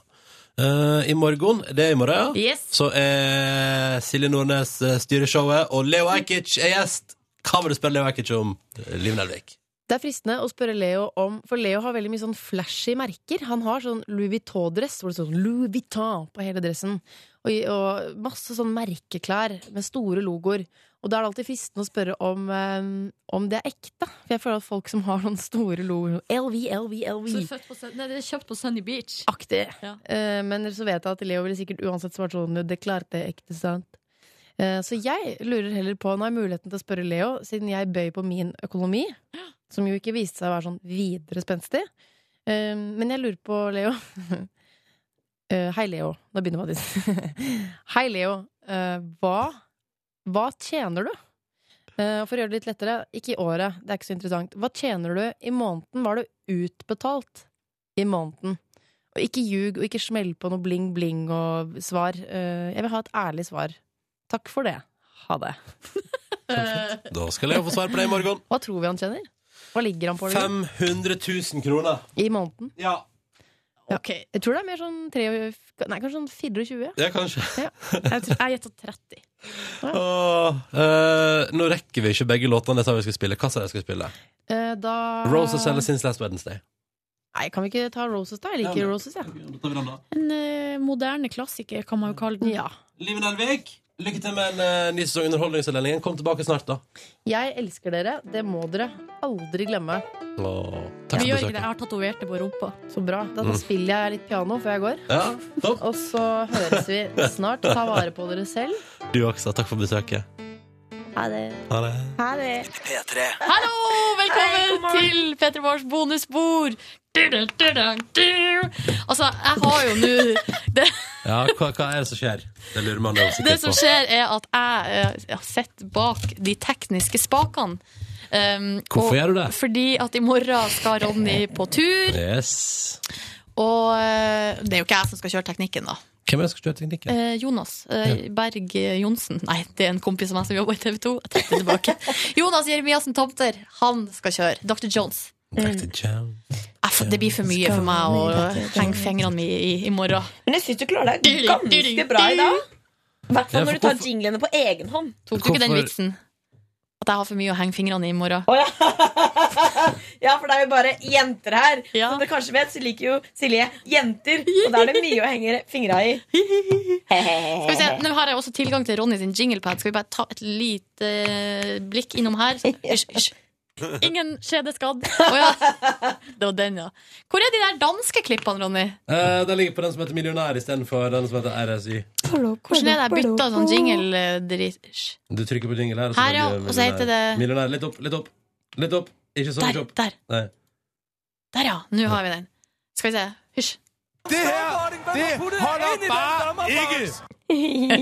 Speaker 3: Eh, I morgen, det er i morgen, ja.
Speaker 2: Yes.
Speaker 3: Så er Silje Nordnes eh, styrer showet, og Leo Ajkic er gjest. Hva vil du spørre Leo Ajkic om, eh, Liv Nelvik?
Speaker 8: Det er fristende å spørre Leo om For Leo har veldig mye sånn flashy merker. Han har sånn Louis Vuitton-dress hvor det står sånn Louis Vuitton på hele dressen. Og, og masse sånn merkeklær med store logoer. Og da er det alltid fristende å spørre om, eh, om det er ekte. For jeg føler at folk som har sånne store logoer LV, LV,
Speaker 9: Så
Speaker 8: LV
Speaker 9: du er født på, Sun- nei, det er kjøpt på Sunny Beach.
Speaker 8: Aktig.
Speaker 9: Ja.
Speaker 8: Eh, men så vet jeg at Leo ville sikkert uansett svart sånn Det klarte jeg ekte sant. Eh, så jeg lurer heller på, nå har jeg muligheten til å spørre Leo, siden jeg bøy på min økonomi, som jo ikke viste seg å være sånn videre spenstig. Eh, men jeg lurer på, Leo Eh, Hei, Leo. Nå begynner Mattis. Hei, Leo. Eh, hva, hva tjener du? Eh, og for å gjøre det litt lettere, ikke i året, det er ikke så interessant. Hva tjener du i måneden? Var du utbetalt i måneden? Og ikke ljug, og ikke smell på noe bling-bling og svar. Eh, Jeg vil ha et ærlig svar. Takk for det. Ha det.
Speaker 3: Da skal Leo få svar på det i morgen.
Speaker 8: Hva tror vi han tjener? Hva ligger han på liksom?
Speaker 3: 500 000 kroner.
Speaker 8: i måneden?
Speaker 3: Ja.
Speaker 8: Ja.
Speaker 2: OK.
Speaker 8: Jeg tror det er mer sånn 3, Nei, kanskje sånn 24.
Speaker 3: Ja, kanskje.
Speaker 2: Jeg tror- jeg gjetter 30.
Speaker 3: Åh, eh, nå rekker vi ikke begge låtene jeg sa vi skulle spille. Hva sa jeg skulle spille?
Speaker 8: Eh, Da
Speaker 3: Roses
Speaker 2: Ah.
Speaker 3: eller Since Last Wednesday.
Speaker 8: Nei, kan vi ikke ta Roses, da? Jeg liker
Speaker 3: Ja, men-
Speaker 8: Roses, jeg.
Speaker 2: En eh, moderne klassiker, kan man jo kalle den.
Speaker 8: Ja.
Speaker 3: Liv Nelvik, lykke til med en eh, ny sesong Underholdningsavdelingen. Kom tilbake snart, da.
Speaker 8: Jeg elsker dere. Det må dere aldri glemme.
Speaker 3: Åh, takk for
Speaker 2: Vi gjør ikke det. Jeg
Speaker 3: besøket.
Speaker 2: har tatovert det på rumpa.
Speaker 8: Så bra. Da
Speaker 3: Mm.
Speaker 8: spiller jeg litt piano før jeg går.
Speaker 3: Ja, topp.
Speaker 8: Og så høres vi snart. Ta vare på dere selv.
Speaker 3: Du også. Takk for besøket.
Speaker 8: Ha det.
Speaker 3: Ha det.
Speaker 8: Ha det.
Speaker 2: Hallo! Velkommen til Petter Mors bonusbord! Altså, jeg har jo nå
Speaker 3: Ja, hva, hva er det som skjer? Det lurer man jo
Speaker 2: Det
Speaker 3: sikkert
Speaker 2: som
Speaker 3: på.
Speaker 2: skjer, er at jeg eh, har sett bak de tekniske spakene. Um,
Speaker 3: Hvorfor
Speaker 2: og-
Speaker 3: gjør du det?
Speaker 2: Fordi at i morgen skal Ronny på tur.
Speaker 3: Yes.
Speaker 2: Og eh, det er jo ikke jeg som skal kjøre teknikken, da.
Speaker 3: Hvem er det som skal kjøre teknikken?
Speaker 2: Eh, Jonas eh, Berg Johnsen. Nei, det er en kompis av meg som jobber i TV 2. Jeg trekker det tilbake. Jonas Jeremiassen Tomter, han skal kjøre. Dr. Jones.
Speaker 3: Dr. Jones.
Speaker 2: Jeg f- Det blir Ah, for mye for meg å henge fingrene mine i, i morgen.
Speaker 10: Men jeg syns du klarer deg ganske bra i dag. I
Speaker 3: Ja,
Speaker 10: hvert fall
Speaker 3: for
Speaker 10: når du tar
Speaker 3: hvorfor-
Speaker 10: jinglene på egen hånd.
Speaker 2: Tok du ikke den
Speaker 3: Hvorfor-
Speaker 2: vitsen? At jeg har for mye å henge fingrene i i morgen.
Speaker 10: Å ja. ja, for det er jo bare jenter her.
Speaker 2: Ja.
Speaker 10: Som dere kanskje vet, så liker jo Silje jenter. Og da er det mye å henge fingra i.
Speaker 2: Skal vi se, Nå har jeg også eh, tilgang til Ronny sin jinglepad. Skal vi bare ta et lite blikk innom her? Hysj, hysj. Ingen skjedeskadd. Å ja. Det var den, ja. Hvor er de der danske klippene, Ronny?
Speaker 3: Eh, den ligger på den som heter Millionær istedenfor den som heter RSY.
Speaker 2: Hvordan er det jeg bytta sånn jingle-dritt?
Speaker 3: Du trykker på jingle her.
Speaker 2: Her,
Speaker 3: velger
Speaker 2: ja,
Speaker 3: du
Speaker 2: og så heter
Speaker 3: millionær.
Speaker 2: det-
Speaker 3: Millionær. Litt opp, litt opp. Litt opp. Ikke så mye opp.
Speaker 2: Der,
Speaker 3: Nei.
Speaker 2: der ja. Nå har vi den. Skal vi se. Hysj.
Speaker 6: Det her, det holder bare ikke!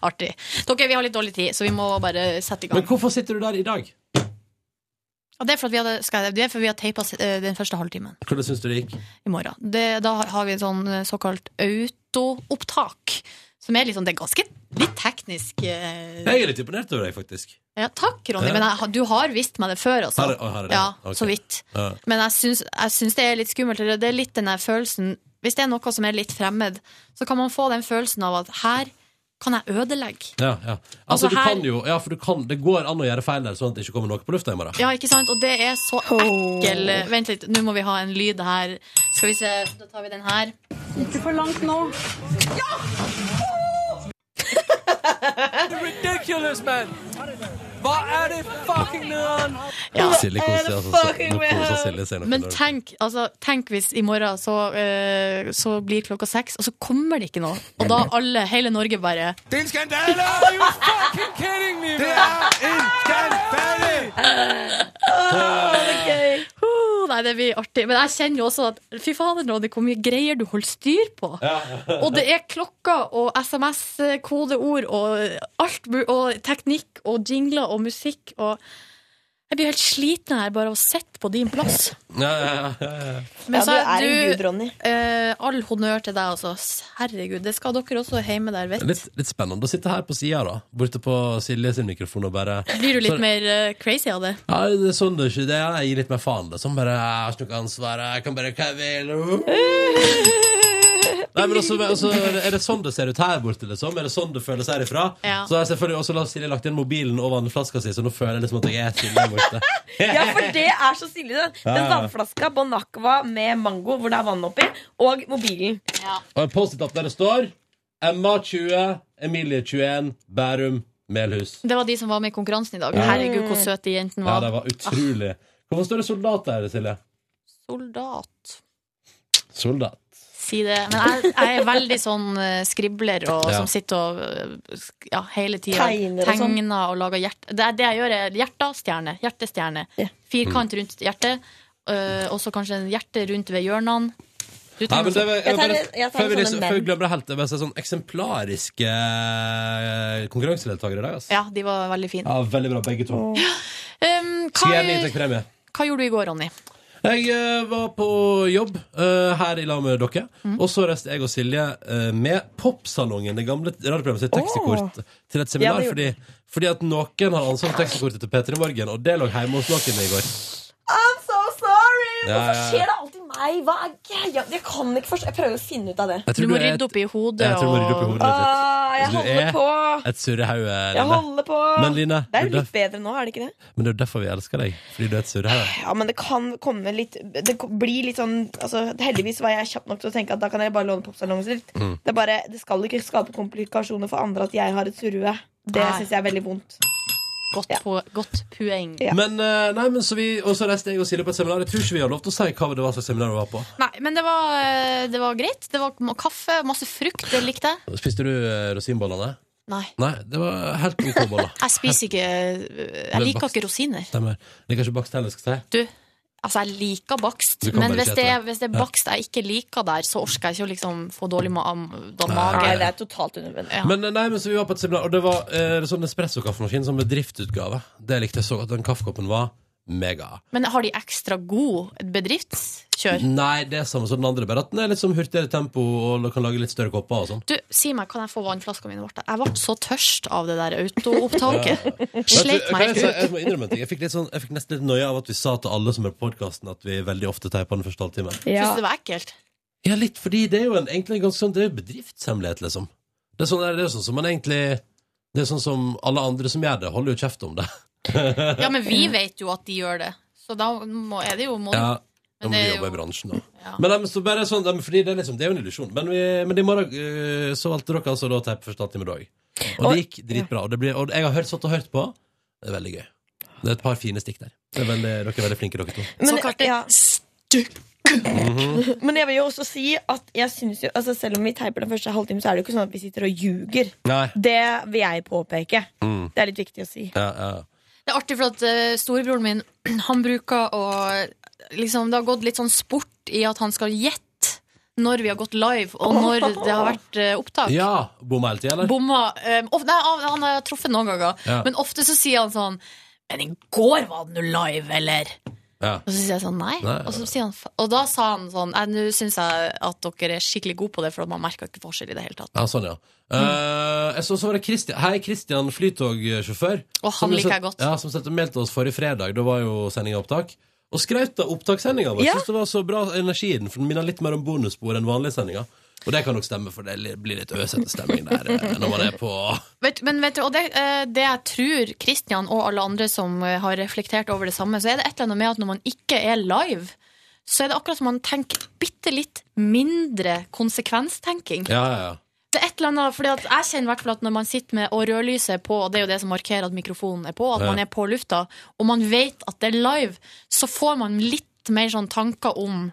Speaker 2: Artig. Dere, vi har litt dårlig tid, så vi må bare sette i gang.
Speaker 3: Men hvorfor sitter du der i dag?
Speaker 2: Ja, det er fordi vi, hadde- skal jeg- det er fordi vi har teipa den første halvtimen
Speaker 3: Hvordan syns du det gikk?
Speaker 2: i morgen. Det, da har vi en sånn eh, såkalt autoopptak, som er litt sånn Det er ganske litt teknisk. eh,
Speaker 3: Jeg er litt imponert over deg, faktisk.
Speaker 2: Ja, takk, Ronny,
Speaker 3: Ja.
Speaker 2: men jeg, du har visst meg det før, altså.
Speaker 3: Har jeg- har jeg det?
Speaker 2: Ja,
Speaker 3: Ok.
Speaker 2: så vidt.
Speaker 3: Ja.
Speaker 2: Men jeg syns, jeg syns det er litt skummelt. eller Det er litt den der følelsen Hvis det er noe som er litt fremmed, så kan man få den følelsen av at her kan jeg ødelegge.
Speaker 3: Ja, ja. Altså,
Speaker 2: Altså,
Speaker 3: du
Speaker 2: her-
Speaker 3: kan jo, ja, for du kan, det går an å gjøre feil der, sånn at det ikke kommer noe på lufta i morgen.
Speaker 2: Ja, ikke sant? Og det er så ekkel Vent litt, nå må vi ha en lyd her. Skal vi se, da tar vi den her.
Speaker 7: Ikke for langt nå.
Speaker 6: Ridiculous, man! Hva er det fucking nødvendig?
Speaker 3: Silje koser seg, altså, så- nå koser Silje seg nok
Speaker 2: Eh, Men
Speaker 3: enormt.
Speaker 2: tenk, altså, tenk hvis i morgen så, eh, så blir klokka seks, og så kommer det ikke noe. Og da alle, hele Norge bare
Speaker 6: Det er en skandale! Are you fucking kidding me? Det er en skandale!
Speaker 2: Oh, nei, det blir artig. Men jeg kjenner jo også at fy fader, Ronny, hvor mye greier du holder styr på. Og det er klokka og SMS-kodeord og alt mu- og teknikk og jingler og musikk og Jeg blir helt sliten her bare av å sitte på din plass.
Speaker 3: Ja, ja, ja, ja, ja.
Speaker 10: Ja, du er en gud, Ronny.
Speaker 2: eh, all honnør til deg, altså. Herregud, det skal dere også hjemme der, vet du.
Speaker 3: Litt, litt spennende å sitte her på sida, da. Borte på Silje sin mikrofon og bare
Speaker 2: Blir du litt
Speaker 3: Så-
Speaker 2: mer eh, crazy av det?
Speaker 3: Ja, det er sånn det er ikke det. er. Jeg gir litt mer faen, liksom. Bare, jeg har ikke noe ansvar, jeg kan bare hva jeg vil. Nei, men også, også, Er det sånn det ser ut her borte, liksom? Er det sånn det føles herifra?
Speaker 2: Ja.
Speaker 3: Så har jeg selvfølgelig også la Silje lagt inn mobilen og vannflaska si, så nå føler jeg liksom at jeg er Silje borte.
Speaker 10: Ja, for det er så stilig. Den, den vannflaska Bon Aqua med mango, hvor det er vann oppi, og mobilen.
Speaker 3: Og en Post-It-app der det står Emma 20, Emilie 21, Bærum, Melhus.
Speaker 2: Det var de som var med i konkurransen i dag.
Speaker 3: Ja.
Speaker 2: Herregud, hvor søte de jentene
Speaker 3: Ja,
Speaker 2: var.
Speaker 3: det var utrolig. Hvorfor står det soldat der, Silje?
Speaker 2: Soldat.
Speaker 3: Soldat.
Speaker 2: Si det. Men jeg, jeg er veldig sånn eh, skribler og,
Speaker 3: Ja.
Speaker 2: som sitter og eh, sk- ja, hele tida
Speaker 10: Tegner og sånn.
Speaker 2: tegner og lager hjert... Det, er det jeg gjør, er hjertestjerne. Hjertestjerne. Firkant rundt hjertet, eh, og så kanskje en hjerte rundt ved hjørnene. Du
Speaker 3: Nei, men
Speaker 2: tegner
Speaker 3: det,
Speaker 2: sånn.
Speaker 3: var-
Speaker 10: Jeg tar
Speaker 3: bare-
Speaker 10: det- jeg tar
Speaker 3: før vi
Speaker 10: det
Speaker 3: liksom-
Speaker 10: sånne
Speaker 3: før vi
Speaker 10: menn.
Speaker 3: glemmer det helt, det var sånn eksemplariske eh, konkurransedeltakere i dag. ass.
Speaker 2: Ja, de var veldig fine.
Speaker 3: Ja, veldig bra, begge to.
Speaker 2: Um,
Speaker 3: Skulle gjerne gitt
Speaker 2: hva,
Speaker 3: deg premie.
Speaker 2: hva gjorde du i går, Ronny?
Speaker 3: Jeg eh, var på jobb eh, her i lag med dere.
Speaker 10: Mm.
Speaker 3: Og så reiste jeg og Silje eh, med Popsalongen, det gamle radioprogrammet sitt tekstekort, til et seminar.
Speaker 10: Ja,
Speaker 3: fordi, fordi at noen har ansvar for tekstekortet til P3 Morgen, og det lå hjemme hos noen i går.
Speaker 10: I'm so sorry!
Speaker 3: Ja, ja, ja.
Speaker 10: Hvorfor skjer det alltid meg? Hva er greia? Jeg kan ikke forstå. Jeg prøver å finne ut av det.
Speaker 3: Jeg
Speaker 2: Du
Speaker 3: tror
Speaker 2: må
Speaker 3: er
Speaker 2: rydde
Speaker 3: et-
Speaker 2: opp i hodet.
Speaker 3: Jeg tror du må rydde opp i
Speaker 2: og-
Speaker 3: hodet ditt.
Speaker 10: Ah, jeg
Speaker 3: Du
Speaker 10: holder
Speaker 3: er-
Speaker 10: på!
Speaker 3: Et surrehauge,
Speaker 10: Jeg
Speaker 3: Line.
Speaker 10: holder på!
Speaker 3: Men Line,
Speaker 10: Det
Speaker 3: det
Speaker 10: er
Speaker 3: er
Speaker 10: jo litt bedre nå, er det ikke det?
Speaker 3: Men det er jo derfor vi elsker deg. Fordi du er et surrehauge.
Speaker 10: Ja, men det kan komme litt Det ko- blir litt sånn altså, Heldigvis var jeg kjapp nok til å tenke at da kan jeg bare låne popsalongen sitt. Det, er bare, det skal ikke skape komplikasjoner for andre at jeg har et surrue. Det
Speaker 2: Nei.
Speaker 10: syns jeg er veldig vondt.
Speaker 2: Godt, på, godt poeng.
Speaker 10: Ja.
Speaker 3: Men, eh, nei, men så vi, og så reiste jeg og Silje på et seminar. Jeg tror ikke vi har lov til å si hva det var slags seminar vi var på.
Speaker 2: Nei, men det var, eh, det var greit. Det var kaffe, masse frukt. Det likte jeg.
Speaker 3: Spiste du eh, rosinbollene?
Speaker 2: Nei.
Speaker 3: Nei, det var helt OK boller.
Speaker 2: Jeg spiser ikke eh, Jeg liker ikke rosiner.
Speaker 3: Stemmer. Det er kanskje bakst heller, skal jeg si.
Speaker 2: Du, altså jeg liker bakst,
Speaker 3: Du kan
Speaker 2: men
Speaker 3: bare
Speaker 2: hvis
Speaker 3: ikke
Speaker 2: det,
Speaker 3: ete
Speaker 2: er, hvis det er bakst jeg ikke liker der, så orker jeg ikke å liksom få dårlig ma da
Speaker 10: Nei,
Speaker 2: mage.
Speaker 10: det er totalt unødvendig.
Speaker 2: Ja.
Speaker 3: Men eh, nei, men så vi var på et seminar, og det var eh, sånn espresso-kaffemaskin som bedriftsutgave. Det likte jeg så godt. Den kaffekoppen var mega.
Speaker 2: Men har de ekstra god bedriftskjør?
Speaker 3: Nei, det er samme som den andre, bare at den er litt sånn hurtigere tempo og kan lage litt større kopper og sånn.
Speaker 2: Du, si meg, kan jeg få vannflaska mi? Martha? Jeg ble så tørst av det der autoopptaket.
Speaker 3: Vet
Speaker 2: Sleit
Speaker 3: du,
Speaker 2: meg
Speaker 3: kan jeg
Speaker 2: helt
Speaker 3: si-
Speaker 2: ut.
Speaker 3: jeg må innrømme en ting. Jeg fikk, litt sånn, jeg fikk nesten litt nøye av at vi sa til alle som er på podkasten, at vi veldig ofte teiper den første halvtimen.
Speaker 2: Syns det var ekkelt.
Speaker 3: Ja, litt, fordi det er jo en, egentlig en ganske sånn Det er jo bedriftshemmelighet, liksom. Det er sånn, det er jo sånn som man egentlig Det er sånn som alle andre som gjør det, holder jo kjeft om det.
Speaker 2: Ja, men vi vet jo at de gjør det, så da må, er det jo må,
Speaker 3: Ja, da
Speaker 2: Men
Speaker 3: må
Speaker 2: det
Speaker 3: vi
Speaker 2: er
Speaker 3: jobbe i
Speaker 2: jo-
Speaker 3: bransjen, da.
Speaker 2: Ja.
Speaker 3: Men, nei, men så bare sånn, nei, men fordi det, er liksom, det er jo en illusjon. Men, vi- men i morgen eh, så valgte dere altså da å teipe første halvtime i dag. Og det gikk dritbra. Og, det blir, og jeg har hørt, satt og hørt på. Det er veldig gøy. Det er et par fine stikk der. Det er veldig, dere er veldig flinke, dere to.
Speaker 10: Såkalte Men jeg vil jo også si at jeg synes jo, altså selv om vi teiper den første halvtimen, så er det jo ikke sånn at vi sitter og ljuger.
Speaker 3: Nei.
Speaker 10: Det vil jeg påpeke.
Speaker 3: Mm.
Speaker 10: Det er litt viktig å si.
Speaker 3: Ja, ja.
Speaker 2: Det er artig, for at eh, storebroren min Han bruker å liksom, Det har gått litt sånn sport i at han skal gjette når vi har gått live, og når det har vært eh, opptak.
Speaker 3: ja Bomma hele tida, eller?
Speaker 2: Bomma eh, of, Nei, han- han har truffet noen ganger,
Speaker 3: Ja.
Speaker 2: men ofte så sier han sånn Men i går var den jo live, eller?
Speaker 3: Ja.
Speaker 2: Og så sier jeg sånn nei.
Speaker 3: Nei.
Speaker 2: Og, så sier han, fa- og da sa han sånn «Nei, Nå syns jeg at dere er skikkelig gode på det, for at man merker ikke forskjell i det hele tatt.
Speaker 3: Ja, sånn, ja. Eh, jeg så, så var det Christian, Hei, Christian, flytogsjåfør.
Speaker 2: Og han
Speaker 3: Som jo
Speaker 2: liker jeg
Speaker 3: sett-
Speaker 2: godt.
Speaker 3: Ja, som sendte mail til oss forrige fredag. Da var jo sendinga opptak. Og skraut av opptakssendinga vår.
Speaker 2: Ja.
Speaker 3: Syns det var så bra energi i den, for den minner litt mer om bonusspor enn vanlige sendinger. Og det kan nok stemme, for det li- blir litt øsete stemning der eh, når man er på
Speaker 2: Vet, men vet du, og det, eh, det jeg tror Kristian og alle andre som eh, har reflektert over det samme, så er det et eller annet med at når man ikke er live, så er det akkurat som man tenker bitte litt mindre konsekvenstenking.
Speaker 3: Ja, ja, ja.
Speaker 2: Det er et eller annet, fordi at Jeg kjenner i hvert fall at når man sitter med og rødlyset er på, og det er jo det som markerer at mikrofonen er på, at
Speaker 3: Ja.
Speaker 2: man er på lufta, og man vet at det er live, så får man litt mer sånn tanker om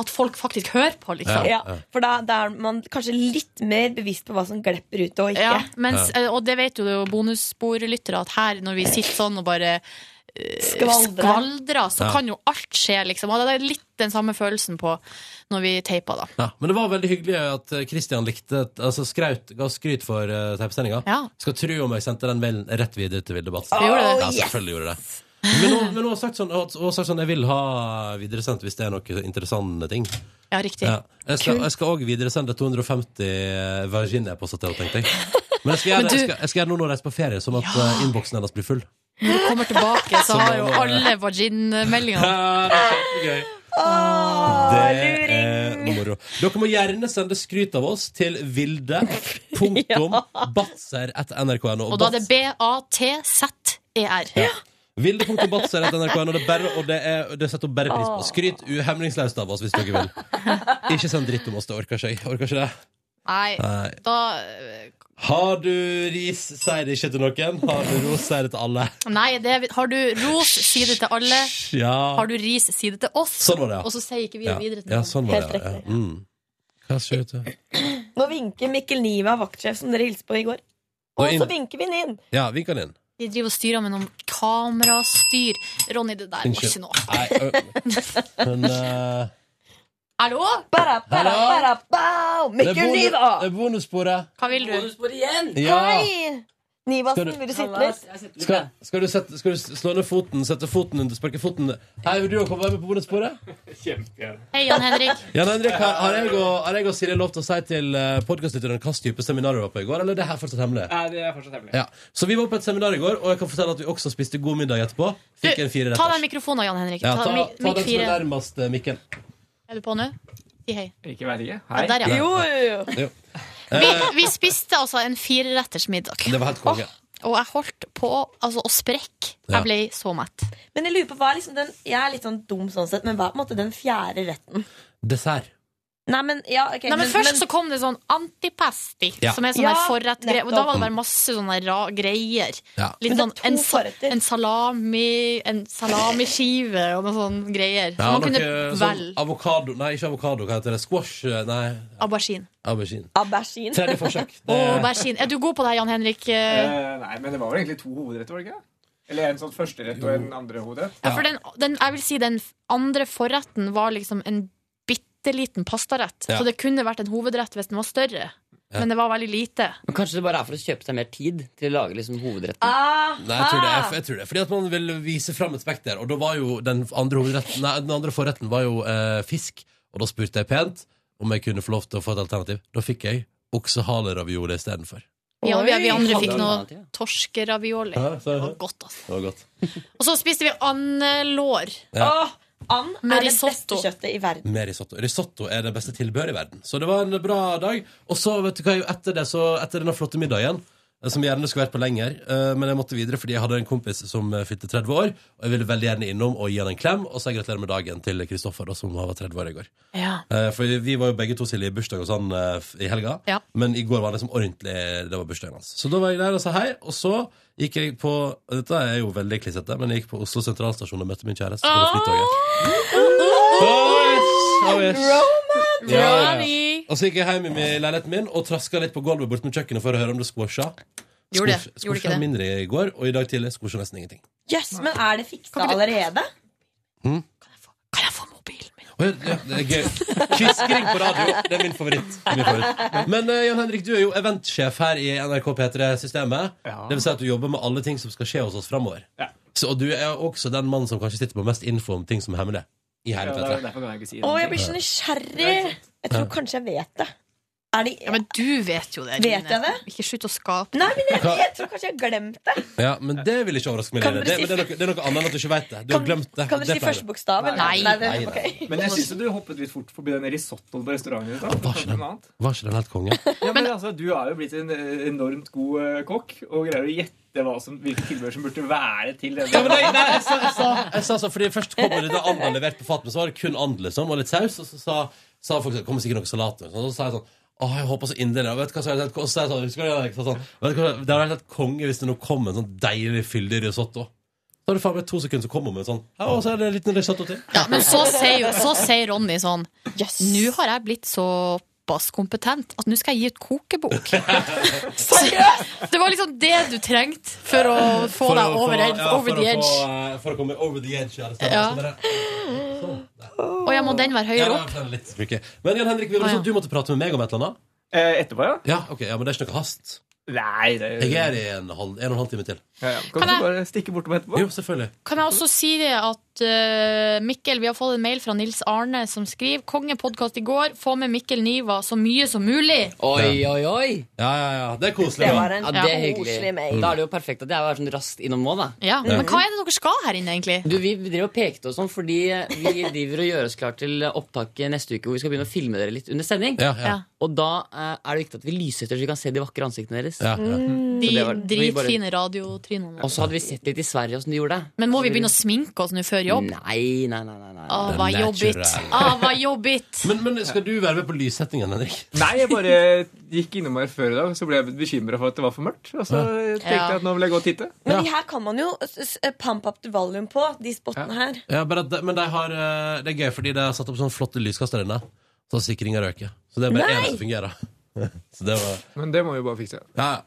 Speaker 2: at folk faktisk hører på, liksom.
Speaker 10: Ja, for da, da er man kanskje litt mer bevisst på hva som glepper ute og ikke.
Speaker 2: Ja, mens, eh, og det vet jo bonussporlyttere at her, når vi sitter sånn og bare eh,
Speaker 10: Skvaldrer.
Speaker 2: skvaldrer, så
Speaker 3: Ja.
Speaker 2: kan jo alt skje, liksom. Og det er litt den samme følelsen på når vi teiper, da.
Speaker 3: Ja, men det var veldig hyggelig at eh, Christian likte altså skraut, ga skryt for uh, teipesendinga.
Speaker 2: Ja.
Speaker 3: Skal tro om jeg sendte den mailen rett videre til Vilde Batsen.
Speaker 2: Du gjorde det?
Speaker 3: Ja, selvfølgelig gjorde jeg det. Men hun, men hun har sagt sånn, hun har sagt sånn Jeg vil ha videresendt hvis det er noen interessante ting.
Speaker 2: Ja, riktig.
Speaker 3: Ja. Jeg skal- jeg skal òg videresende 250 Virgin-e-poster til henne, tenkte jeg. Men jeg skal gjøre det- jeg
Speaker 2: Men du-
Speaker 3: skal- jeg skal gjøre det nå når jeg reiser på ferie, sånn at
Speaker 2: Ja.
Speaker 3: eh, innboksen hennes blir full.
Speaker 2: Når du kommer tilbake, så
Speaker 3: Så
Speaker 2: har jo
Speaker 3: må man-
Speaker 2: alle vagin-meldingene.
Speaker 3: Kjempegøy. Det er moro. Dere må gjerne sende skryt av oss til vilde.batser.nrk.no.
Speaker 2: Og da er det B-A-T-Z-E-R.
Speaker 3: Vilde.batser.nrk.no. Det, er bare- og det, er- det setter hun bare pris på. Skryt uhemningsløst av oss hvis dere vil. Ikke send dritt om oss, det orker ikke jeg. Orker ikke det.
Speaker 2: Nei,
Speaker 3: Nei.
Speaker 2: da
Speaker 3: Har du ris, sier det ikke til noen. Har du ros, sier det til alle.
Speaker 2: Nei, det, er- har du ros, si det til alle.
Speaker 3: Ja.
Speaker 2: Har du ris, si det til oss.
Speaker 3: Sånn var det, ja.
Speaker 2: Og så sier ikke vi det
Speaker 3: ja.
Speaker 2: videre til
Speaker 3: ja,
Speaker 2: noen.
Speaker 3: sånn var
Speaker 10: Helt
Speaker 3: det. Ja.
Speaker 10: riktig,
Speaker 3: Ja. Mm. Hva skjer ute?
Speaker 10: Nå vinker Mikkel Niva, vaktsjef, som dere hilste på i går.
Speaker 3: Og
Speaker 10: Og så
Speaker 3: inn-
Speaker 10: vinker vi den inn.
Speaker 3: Ja, vink han inn.
Speaker 2: De driver og styrer med noen kamerastyr. Ronny, det der var
Speaker 3: Unnskyld.
Speaker 2: ikke noe.
Speaker 3: Nei, ø, men eh,
Speaker 2: Hallo?
Speaker 10: Bara, bara,
Speaker 3: Hallo?
Speaker 10: bara, bow!
Speaker 3: det er
Speaker 10: Mikkel
Speaker 3: bonu-
Speaker 10: Niva!
Speaker 3: Det er bonussporet.
Speaker 2: Hva vil du?
Speaker 3: Ja.
Speaker 10: Hei! Nivasen,
Speaker 3: Skal du-
Speaker 10: vil du sitte litt?
Speaker 3: Skal, skal, du sette, skal du slå ned foten, sette foten under, sparke foten Hei, vil du òg komme med på bonussporet?
Speaker 2: Hei, Jan Henrik.
Speaker 3: Jan Henrik, har, har, jeg og, har jeg og Silje lov til å si til eh, podcastlytterne hva slags type seminar du var på i går, eller er det her fortsatt hemmelig?
Speaker 11: Nei, det er fortsatt hemmelig.
Speaker 3: Ja. Så vi var på et seminar i går, og jeg kan fortelle at vi også spiste god middag etterpå.
Speaker 2: Du,
Speaker 3: Fikk en fire
Speaker 2: ta
Speaker 3: retters.
Speaker 2: den mikrofonen, Jan Henrik.
Speaker 3: Ja, ta, ta
Speaker 2: mi-
Speaker 3: den som
Speaker 2: mikk
Speaker 3: er
Speaker 2: fire.
Speaker 3: nærmest eh, mikken.
Speaker 2: Er du på nå? Si hei.
Speaker 11: Ikke vet ikke.
Speaker 2: Ja, der, ja.
Speaker 10: Jo, jo, jo.
Speaker 3: Jo.
Speaker 2: Vi,
Speaker 3: Eh,
Speaker 2: vi spiste altså en fireretters middag.
Speaker 3: det var helt konge.
Speaker 2: Og jeg holdt på altså, å sprekke.
Speaker 3: Ja.
Speaker 2: Jeg ble så mett.
Speaker 10: Men jeg lurer på hva er liksom den Jeg er litt sånn dum sånn sett, men hva er på en måte den fjerde retten?
Speaker 3: Dessert.
Speaker 10: Nei, men ja, ok
Speaker 2: Nei, men Først så kom det sånn antipasti,
Speaker 3: Ja.
Speaker 2: som er sånn
Speaker 10: Ja,
Speaker 2: der forrettgreie. Og da
Speaker 10: nettopp.
Speaker 2: var det bare masse sånne ra greier.
Speaker 3: Ja.
Speaker 2: Litt
Speaker 10: Men
Speaker 2: sånn
Speaker 10: det er
Speaker 2: en,
Speaker 10: to
Speaker 2: sa
Speaker 10: forretter.
Speaker 2: en salami En salamiskive og noe sånn greier. Så
Speaker 3: Ja,
Speaker 2: man kunne
Speaker 3: noe
Speaker 2: vel
Speaker 3: sånn avokado Nei, ikke avokado, hva heter det? Squash? eh, Nei,
Speaker 2: Aubergine.
Speaker 3: aubergine.
Speaker 10: Aubergine.
Speaker 3: Tredje forsøk. Det,
Speaker 2: Aubergine. Er du god på det, Jan Henrik? Ja,
Speaker 11: Eh, nei, men det var vel egentlig to hovedretter, var det ikke? det? Eller en sånn førsterett og en andre hovedrett.
Speaker 2: for den, den, jeg vil si den andre forretten var liksom en bitte liten pastarett.
Speaker 3: Ja.
Speaker 2: Så det kunne vært en hovedrett hvis den var større. Men det var veldig lite.
Speaker 12: Men Kanskje det bare er for å kjøpe seg mer tid til å lage liksom hovedretten.
Speaker 3: nei, jeg tror det er, jeg tror det er fordi at man vil vise fram et spekter. Og da var jo den andre, hovedretten- nei, den andre forretten var jo eh, fisk, og da spurte jeg pent om jeg kunne få lov til å få et alternativ. Da fikk jeg oksehaleraviola istedenfor.
Speaker 2: Ja, vi, vi andre fikk
Speaker 12: Hadde
Speaker 2: noe
Speaker 12: alternativ, ja.
Speaker 2: torskeravioli.
Speaker 3: Ja, så-
Speaker 2: Det var godt, altså.
Speaker 3: Det var godt.
Speaker 2: Og så spiste vi andelår.
Speaker 10: Åh, and
Speaker 2: Med
Speaker 10: er det
Speaker 2: risotto.
Speaker 10: beste kjøttet i verden.
Speaker 3: med risotto. Risotto er det beste tilbehøret i verden. Så det var en bra dag. Og så, vet du hva, jo, etter det, så etter denne flotte middagen eh, som gjerne skulle vært på lenger. eh, Men jeg måtte videre fordi jeg hadde en kompis som eh, fylte 30 år. Og jeg ville veldig gjerne innom og gi han en klem og si gratulerer med dagen til Kristoffer, da, som var 30 år i går.
Speaker 8: Ja.
Speaker 3: Eh, For vi var jo begge to Silje, i bursdag og sånn eh, f- i helga.
Speaker 8: Ja.
Speaker 3: Men i går var det liksom ordentlig Det var bursdagen hans. Så da var jeg der og sa hei. Og så gikk jeg på Dette er jo veldig klissete, men jeg gikk på Oslo sentralstasjon og møtte min kjæreste. på det flytoget. Oi, oi. Ja, ja, ja. Og så gikk jeg hjem i min- leiligheten min og traska litt på gulvet bort med kjøkkenet for å høre om det squasha.
Speaker 10: Gjorde det.
Speaker 3: Squash-
Speaker 10: Gjorde ikke
Speaker 3: squasha
Speaker 10: det.
Speaker 3: mindre i går, og i dag tidlig squasha nesten ingenting. Hm?
Speaker 10: Yes, men er det fiksa allerede?
Speaker 3: Å, ja, ja, det er gøy. Kviskring på radio. Det er min favoritt. Min favoritt. Men eh, Jan Henrik, du er jo eventsjef her i NRK P3-systemet. Det vil si at du jobber med alle ting som skal skje hos oss framover. Og du er også den mannen som kanskje sitter på mest info om ting som er hemmelig. I hele
Speaker 11: Ja, det er
Speaker 3: P3.
Speaker 11: derfor kan jeg ikke si
Speaker 10: Å, jeg blir så nysgjerrig! Jeg tror kanskje jeg vet det. Er det
Speaker 2: Ja, men du vet jo det.
Speaker 10: Vet
Speaker 2: Line.
Speaker 10: jeg det?
Speaker 2: Ikke slutt å skape.
Speaker 10: Nei, men jeg, jeg tror kanskje jeg har glemt det.
Speaker 3: Ja, men det vil ikke overraske meg.
Speaker 10: Kan
Speaker 3: Lene. Det,
Speaker 10: dere si-
Speaker 3: men det, er noe, det er noe annet enn at du ikke vet det. Du har glemt det.
Speaker 10: Kan dere
Speaker 3: Det
Speaker 10: si
Speaker 3: pleier
Speaker 10: første bokstaven?
Speaker 3: Nei.
Speaker 10: det,
Speaker 3: Nei,
Speaker 10: ok.
Speaker 11: Men jeg syns du hoppet litt fort forbi den risottoen på restauranten. i stad.
Speaker 3: Var ikke den, var ikke den helt konge?
Speaker 11: Ja, men altså, Du er jo blitt en eh, enormt god eh, kokk og greier å gjette hva som, hvilke tilbehør som burde være til denne.
Speaker 3: Ja, men nei, nei, jeg, sa, jeg, sa, jeg sa så, fordi Først kom det da and var levert på fat, men så var det kun and liksom, og litt saus. Og så sa, sa folk sånn, kommer sikkert noe salat. Og sånn, så sa jeg sånn Åh, jeg håper så inderlig. Og vet du hva, så er det helt- og så sa jeg sånn, husker du det? Jeg sa sånn vet du hva, det hadde vært helt konge hvis det nå kom en sånn deilig fyldig risotto. Så hadde det faen meg to sekunder så kom hun med en sånn Ja, og så er det en liten risotto til.
Speaker 2: Ja, men så sier, jo- så sier Ronny sånn Nå har jeg blitt såpass kompetent at nå skal jeg gi ut kokebok. Så det var liksom det du trengte for å få
Speaker 3: For å
Speaker 2: deg
Speaker 3: få-
Speaker 2: over, edge-
Speaker 3: ja, for
Speaker 2: over
Speaker 3: å
Speaker 2: the
Speaker 3: få,
Speaker 2: edge.
Speaker 3: eh, For å komme over the edge. Ja, det stemmer.
Speaker 2: Ja.
Speaker 3: Så bare-
Speaker 2: Og jeg må den være
Speaker 3: Ja,
Speaker 2: høyere opp.
Speaker 3: det er litt spooky. Men Jan Henrik, vi var
Speaker 2: Å, ja.
Speaker 3: sånn, du måtte prate med meg om et eller annet?
Speaker 11: Eh, etterpå, ja.
Speaker 3: Ja, ok, ja, Men det er ikke noe hast?
Speaker 11: Nei, det
Speaker 3: Jeg er i en, halv, en og en halv time til.
Speaker 11: Kan, du bare stikke bortom etterpå?
Speaker 3: Jo, selvfølgelig.
Speaker 2: Kan jeg også si det at eh, Mikkel, vi har fått en mail fra Nils Arne som skriver Kongepodkast i går, få med Mikkel Niva så mye som mulig.
Speaker 12: Oi, oi, oi!
Speaker 3: Ja, ja, ja. Det er koselig.
Speaker 12: Det
Speaker 3: da.
Speaker 12: var en Ja, det er hyggelig.
Speaker 2: koselig
Speaker 12: mail. Da er det jo perfekt at jeg var sånn raskt innom nå, da.
Speaker 2: Ja, Men hva er det dere skal her inne, egentlig?
Speaker 12: Du, Vi driver og pekte og sånn fordi vi driver og gjør oss klar til opptak neste uke hvor vi skal begynne å filme dere litt under sending.
Speaker 2: Ja, ja. Ja.
Speaker 12: Og da eh, er det viktig at vi lyser etter så vi kan se de vakre ansiktene deres. Så
Speaker 2: De
Speaker 12: det var- vi bare-
Speaker 2: dritfine radiotrinene.
Speaker 12: Og så hadde vi sett litt i Sverige åssen de gjorde det.
Speaker 2: Men må vi begynne å sminke oss nå før jobb?
Speaker 12: Nei, nei, nei. nei, nei.
Speaker 2: Å, hva
Speaker 12: Natural.
Speaker 2: jobbigt. Å, hva jobbigt.
Speaker 3: Men, men skal du være med på lyssettingen, Henrik?
Speaker 11: Nei, jeg bare gikk innom her før i dag, så ble jeg bekymra for at det var for mørkt. Og så tenkte
Speaker 10: Ja.
Speaker 11: jeg at nå vil jeg gå og titte.
Speaker 10: Men de her kan man jo s- s- pump up the volume på, de spottene her.
Speaker 3: Ja, bare at de, men de har, eh, det er gøy, fordi de har satt opp sånne flotte lyskastere inne. Så sikringa røker. Så det er bare
Speaker 11: Nei!
Speaker 3: én som fungerer. Så det, var,
Speaker 11: Men det må vi bare fikse.
Speaker 3: ja,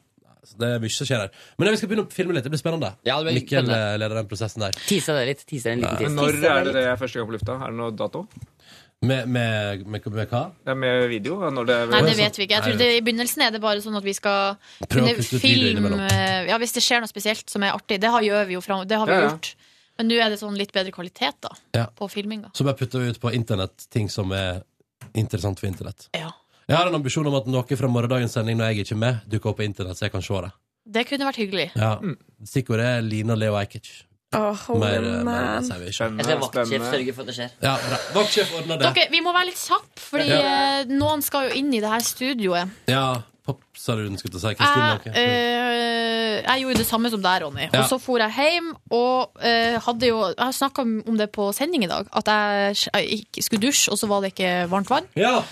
Speaker 3: så det er mye som skjer her. Men vi skal begynne å filme litt. Det blir spennende.
Speaker 11: det blir
Speaker 3: Mikkel
Speaker 11: spennende.
Speaker 3: eh, leder den prosessen der.
Speaker 12: Tisa det litt. Tisa en liten
Speaker 11: Men når er det det er første gang på lufta? Er det noe dato?
Speaker 3: Med, med, med, med hva?
Speaker 11: Det er med video? ja, Når det er sånn
Speaker 2: Nei, det vet vi ikke. Jeg tror det, I begynnelsen er det bare sånn at vi skal
Speaker 11: Prøve å
Speaker 2: kunne
Speaker 11: putte ut video
Speaker 2: film
Speaker 11: innimellom.
Speaker 2: eh, Ja, Hvis det skjer noe spesielt som er artig. Det har, gjør vi jo fram, det har vi
Speaker 3: Ja, ja.
Speaker 2: gjort. Men nå er det sånn litt bedre kvalitet da,
Speaker 3: Ja.
Speaker 2: på filminga.
Speaker 3: Så bare putter vi ut på internett ting som er interessant for internett.
Speaker 2: Ja.
Speaker 3: Jeg har en ambisjon om at noe fra morgendagens sending når jeg ikke er med, dukker opp på internett, så jeg kan se det.
Speaker 2: Det kunne vært hyggelig.
Speaker 3: Ja. Stikkordet er Lina Leo Ajkic. Mer, eh, mer sier vi ikke.
Speaker 12: Jeg skal vaktsjef sørge for at det skjer.
Speaker 3: Ja, bra. Vaktsjef ordner det.
Speaker 2: Dere, vi må være litt kjappe, fordi
Speaker 3: Ja.
Speaker 2: eh, noen skal jo inn i det her studioet.
Speaker 3: Ja, popsaluden skulle jeg til å si. Kristin
Speaker 2: Jeg,
Speaker 3: Løke.
Speaker 2: eh, jeg gjorde det samme som deg, Ronny.
Speaker 3: Ja.
Speaker 2: Og så for jeg hjem og eh, hadde jo Jeg har snakka om det på sending i dag, at jeg, jeg gikk- skulle dusje, og så var det ikke varmt vann.
Speaker 3: Ja.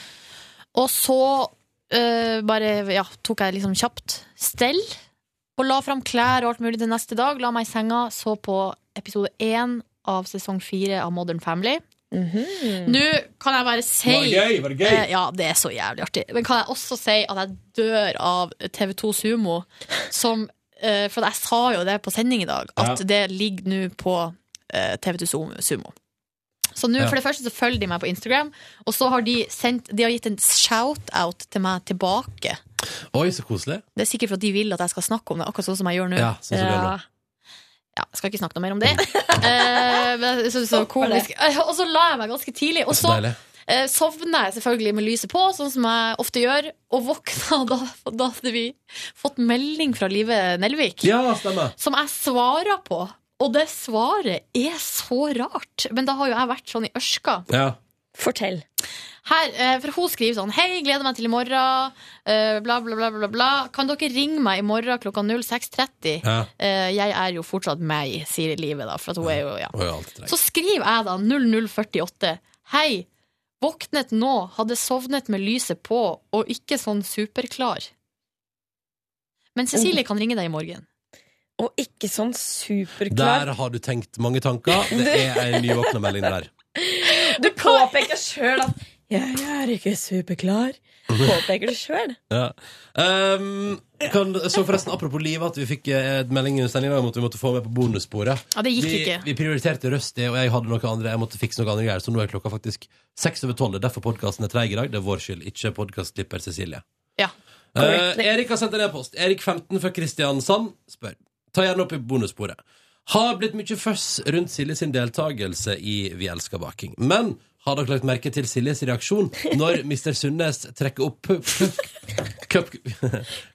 Speaker 2: Og så eh, bare ja, tok jeg liksom kjapt stell og la fram klær og alt mulig til neste dag. La meg i senga, så på episode én av sesong fire av Modern Family. Nå kan jeg bare si
Speaker 3: Var det gøy? Var det gøy?
Speaker 2: Eh, Ja, det er så jævlig artig. Men kan jeg også si at jeg dør av TV2 Sumo, som eh, For jeg sa jo det på sending i dag, at
Speaker 9: Ja.
Speaker 2: det ligger nå på eh, TV2 Sumo- Sumo. Så nå,
Speaker 9: Ja.
Speaker 2: for det første, så følger de meg på Instagram, og så har de sendt De har gitt en shout-out til meg tilbake.
Speaker 3: Oi, så koselig.
Speaker 2: Det er sikkert for at de vil at jeg skal snakke om det, akkurat sånn som jeg gjør nå. Eh,
Speaker 3: Ja, sånn som du gjør nå.
Speaker 2: Ja, jeg skal ikke snakke noe mer om det. Eh, men jeg synes det var komisk. Eh, Og så la jeg meg ganske tidlig. Og
Speaker 3: Så
Speaker 2: så
Speaker 3: deilig.
Speaker 2: eh, sovner jeg selvfølgelig med lyset på, sånn som jeg ofte gjør, og våkna da, da hadde vi fått melding fra Live Nelvik.
Speaker 3: Ja, stemmer.
Speaker 2: Som jeg svarer på. Og det svaret er så rart. Men da har jo jeg vært sånn i ørska.
Speaker 3: Ja.
Speaker 1: Fortell.
Speaker 2: Her, eh, for hun skriver sånn Hei, gleder meg til i morgen. eh, Bla, bla, bla, bla, bla. Kan dere ringe meg i morgen klokka 06.30?
Speaker 6: Ja.
Speaker 2: Eh, Jeg er jo fortsatt meg, sier livet, da. For at hun er jo, ja.
Speaker 6: Hun er jo alltid treg.
Speaker 2: Så skriver jeg da 0048. Hei, våknet nå, hadde sovnet med lyset på og ikke sånn superklar. Men
Speaker 3: Oh.
Speaker 2: Cecilie kan ringe deg i morgen.
Speaker 9: Og ikke sånn superklar.
Speaker 3: Der har du tenkt mange tanker. Det er ei nyvåkna melding der.
Speaker 9: Du påpeker sjøl at 'jeg er ikke superklar'. Påpeker du sjøl?
Speaker 3: Ja. Um, kan, så forresten, apropos livet, at vi fikk eh, et melding i sendingen om at vi måtte få med på bonussporet.
Speaker 2: Ja, det gikk
Speaker 3: vi,
Speaker 2: ikke.
Speaker 3: Vi prioriterte Rusty, og jeg hadde noe andre Jeg måtte fikse noe andre greier, så nå er klokka faktisk seks over tolv. Det er Derfor podkasten er treig i dag. Det er vår skyld, ikke podkastklipper Cecilie.
Speaker 2: Ja.
Speaker 3: Eh, Erik har sendt en e-post. Erik15 fra Kristiansand spør. Ta gjerne opp i bonussporet. Har blitt mye føss rundt Silje sin deltakelse i Vi elsker baking. Men har dere lagt merke til Siljes reaksjon når Mr. Sundnes trekker opp pu- pu- cup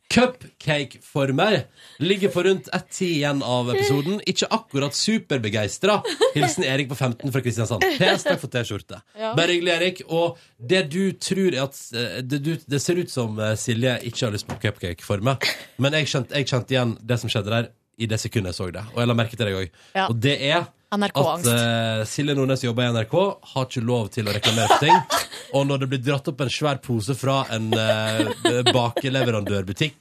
Speaker 3: cupcake for meg? Ligger på rundt 1.10 igjen av episoden. Ikke akkurat superbegeistra. Hilsen Erik på 15 fra Kristiansand. PS, takk for T-skjorte.
Speaker 6: Ja.
Speaker 3: Bare hyggelig, Erik. Og det du tror er at eh, det, du, det ser ut som eh, Silje ikke har lyst på cupcake for meg, men jeg kjente, jeg kjente igjen det som skjedde der, i det sekundet jeg så det. Og jeg la merke til deg òg.
Speaker 2: Ja.
Speaker 3: Og det er at
Speaker 2: NRK-angst.
Speaker 3: eh, Silje Nordnes jobber i NRK, har ikke lov til å reklamere for ting. Og når det blir dratt opp en svær pose fra en eh, bakeleverandørbutikk,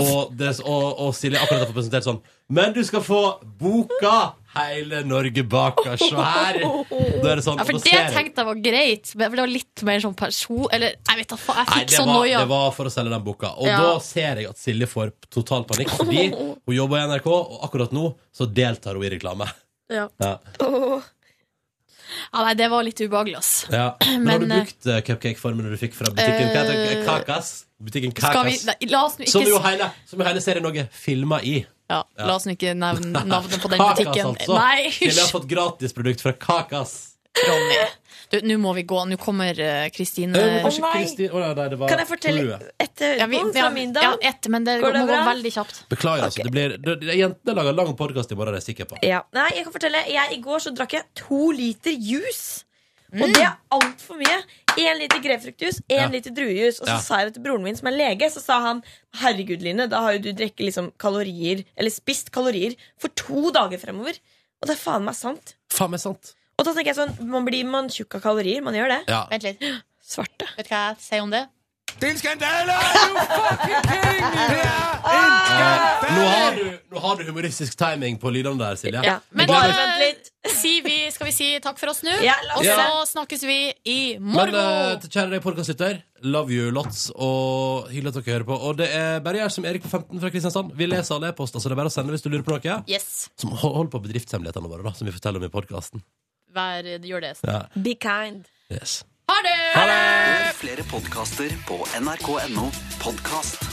Speaker 3: og, det, og, og Silje akkurat har fått presentert sånn Men du skal få boka 'Hele Norge baker', så her! Da er det sånn.
Speaker 2: Ja,
Speaker 3: og
Speaker 2: for
Speaker 3: da
Speaker 2: det
Speaker 3: ser jeg-
Speaker 2: tenkte jeg var greit, men det var litt mer sånn person... Eller jeg vet da faen, jeg
Speaker 3: Nei,
Speaker 2: fikk
Speaker 3: det
Speaker 2: sånn
Speaker 3: var,
Speaker 2: noia.
Speaker 3: det var for å selge den boka. Og
Speaker 2: Ja. Oh.
Speaker 3: da ser jeg at Silje får total panikk, fordi hun jobber i NRK, og akkurat nå så deltar hun i reklame.
Speaker 2: Ja.
Speaker 3: Ja.
Speaker 2: nei, det var litt ubehagelig, ass.
Speaker 3: Ja. Men, har du
Speaker 2: Men, eh,
Speaker 3: brukt eh, cupcakeformelen du fikk fra butikken Hva heter det?
Speaker 2: Eh,
Speaker 3: Kakas? Butikken
Speaker 2: Skal vi,
Speaker 3: Kakas.
Speaker 2: nei, la oss nå ikke
Speaker 3: Som jo hele, som jo hele serien Norge filma i.
Speaker 2: Ja, La oss nå ikke nevne navnet på den
Speaker 3: Kakas,
Speaker 2: butikken.
Speaker 3: altså.
Speaker 2: Nei,
Speaker 3: Silje har
Speaker 2: hysj!
Speaker 3: fått gratisprodukt fra Kakas.
Speaker 2: Du, Nå må vi gå. Nå kommer eh, Kristine.
Speaker 3: Eh, kanskje Å, nei. Kristin- å, nei, nei, det var Kan jeg fortelle Frue.
Speaker 2: ett høydepunkt
Speaker 9: fra min dag?
Speaker 2: Ja, ett, men det
Speaker 9: Går det
Speaker 2: må gå
Speaker 9: bra?
Speaker 2: veldig kjapt.
Speaker 3: Beklager, altså. Det blir, det, det, jentene lager lang podkast i morgen, det er jeg sikker på.
Speaker 9: Ja. Nei, jeg kan fortelle. Jeg, I går så drakk jeg to liter juice. Og det er altfor mye. Én liter grepfruktjuice, én
Speaker 1: Mm. Ja.
Speaker 9: liter druejus. Og så
Speaker 1: Ja.
Speaker 9: sa jeg det til broren min, som er lege. Så sa han herregud, Line, da har jo du drukket liksom kalorier, eller spist kalorier for to dager fremover. Og det er faen meg sant.
Speaker 3: Faen meg sant.
Speaker 9: Og da tenker jeg sånn, man blir man tjukk av kalorier. Man gjør det.
Speaker 3: Ja.
Speaker 2: Vent litt.
Speaker 9: Svarte.
Speaker 2: Vet du hva jeg sier om det?
Speaker 6: Din skandale! Are you fucking kidding me? Det er en
Speaker 3: Eh,
Speaker 6: skandale!
Speaker 3: Nå har, du, nå har du humoristisk timing på lydene der, Silje.
Speaker 2: Ja,
Speaker 3: Jeg
Speaker 2: Men
Speaker 3: gleder meg-
Speaker 2: eh, si vi, skal vi si takk for oss nå?
Speaker 9: Ja, la
Speaker 2: og
Speaker 3: oss
Speaker 2: så
Speaker 3: gjøre
Speaker 2: snakkes vi i
Speaker 3: Men
Speaker 2: morgen!
Speaker 3: eh, til kjære deg, podkastlytter, love you lots, og hyggelig at dere hører på. Og det er bare gjør som Erik på 15 fra Kristiansand. Vi leser alle e-poster, så det er bare å sende hvis du lurer på noe.
Speaker 2: Yes.
Speaker 3: Som hol- Hold på bedriftshemmelighetene våre, da, som vi forteller om i podkasten.
Speaker 2: Vær, gjør det.
Speaker 3: Ja.
Speaker 9: Be kind.
Speaker 3: Yes.
Speaker 2: Ha det!
Speaker 13: Hør flere podkaster på nrk.no podkast.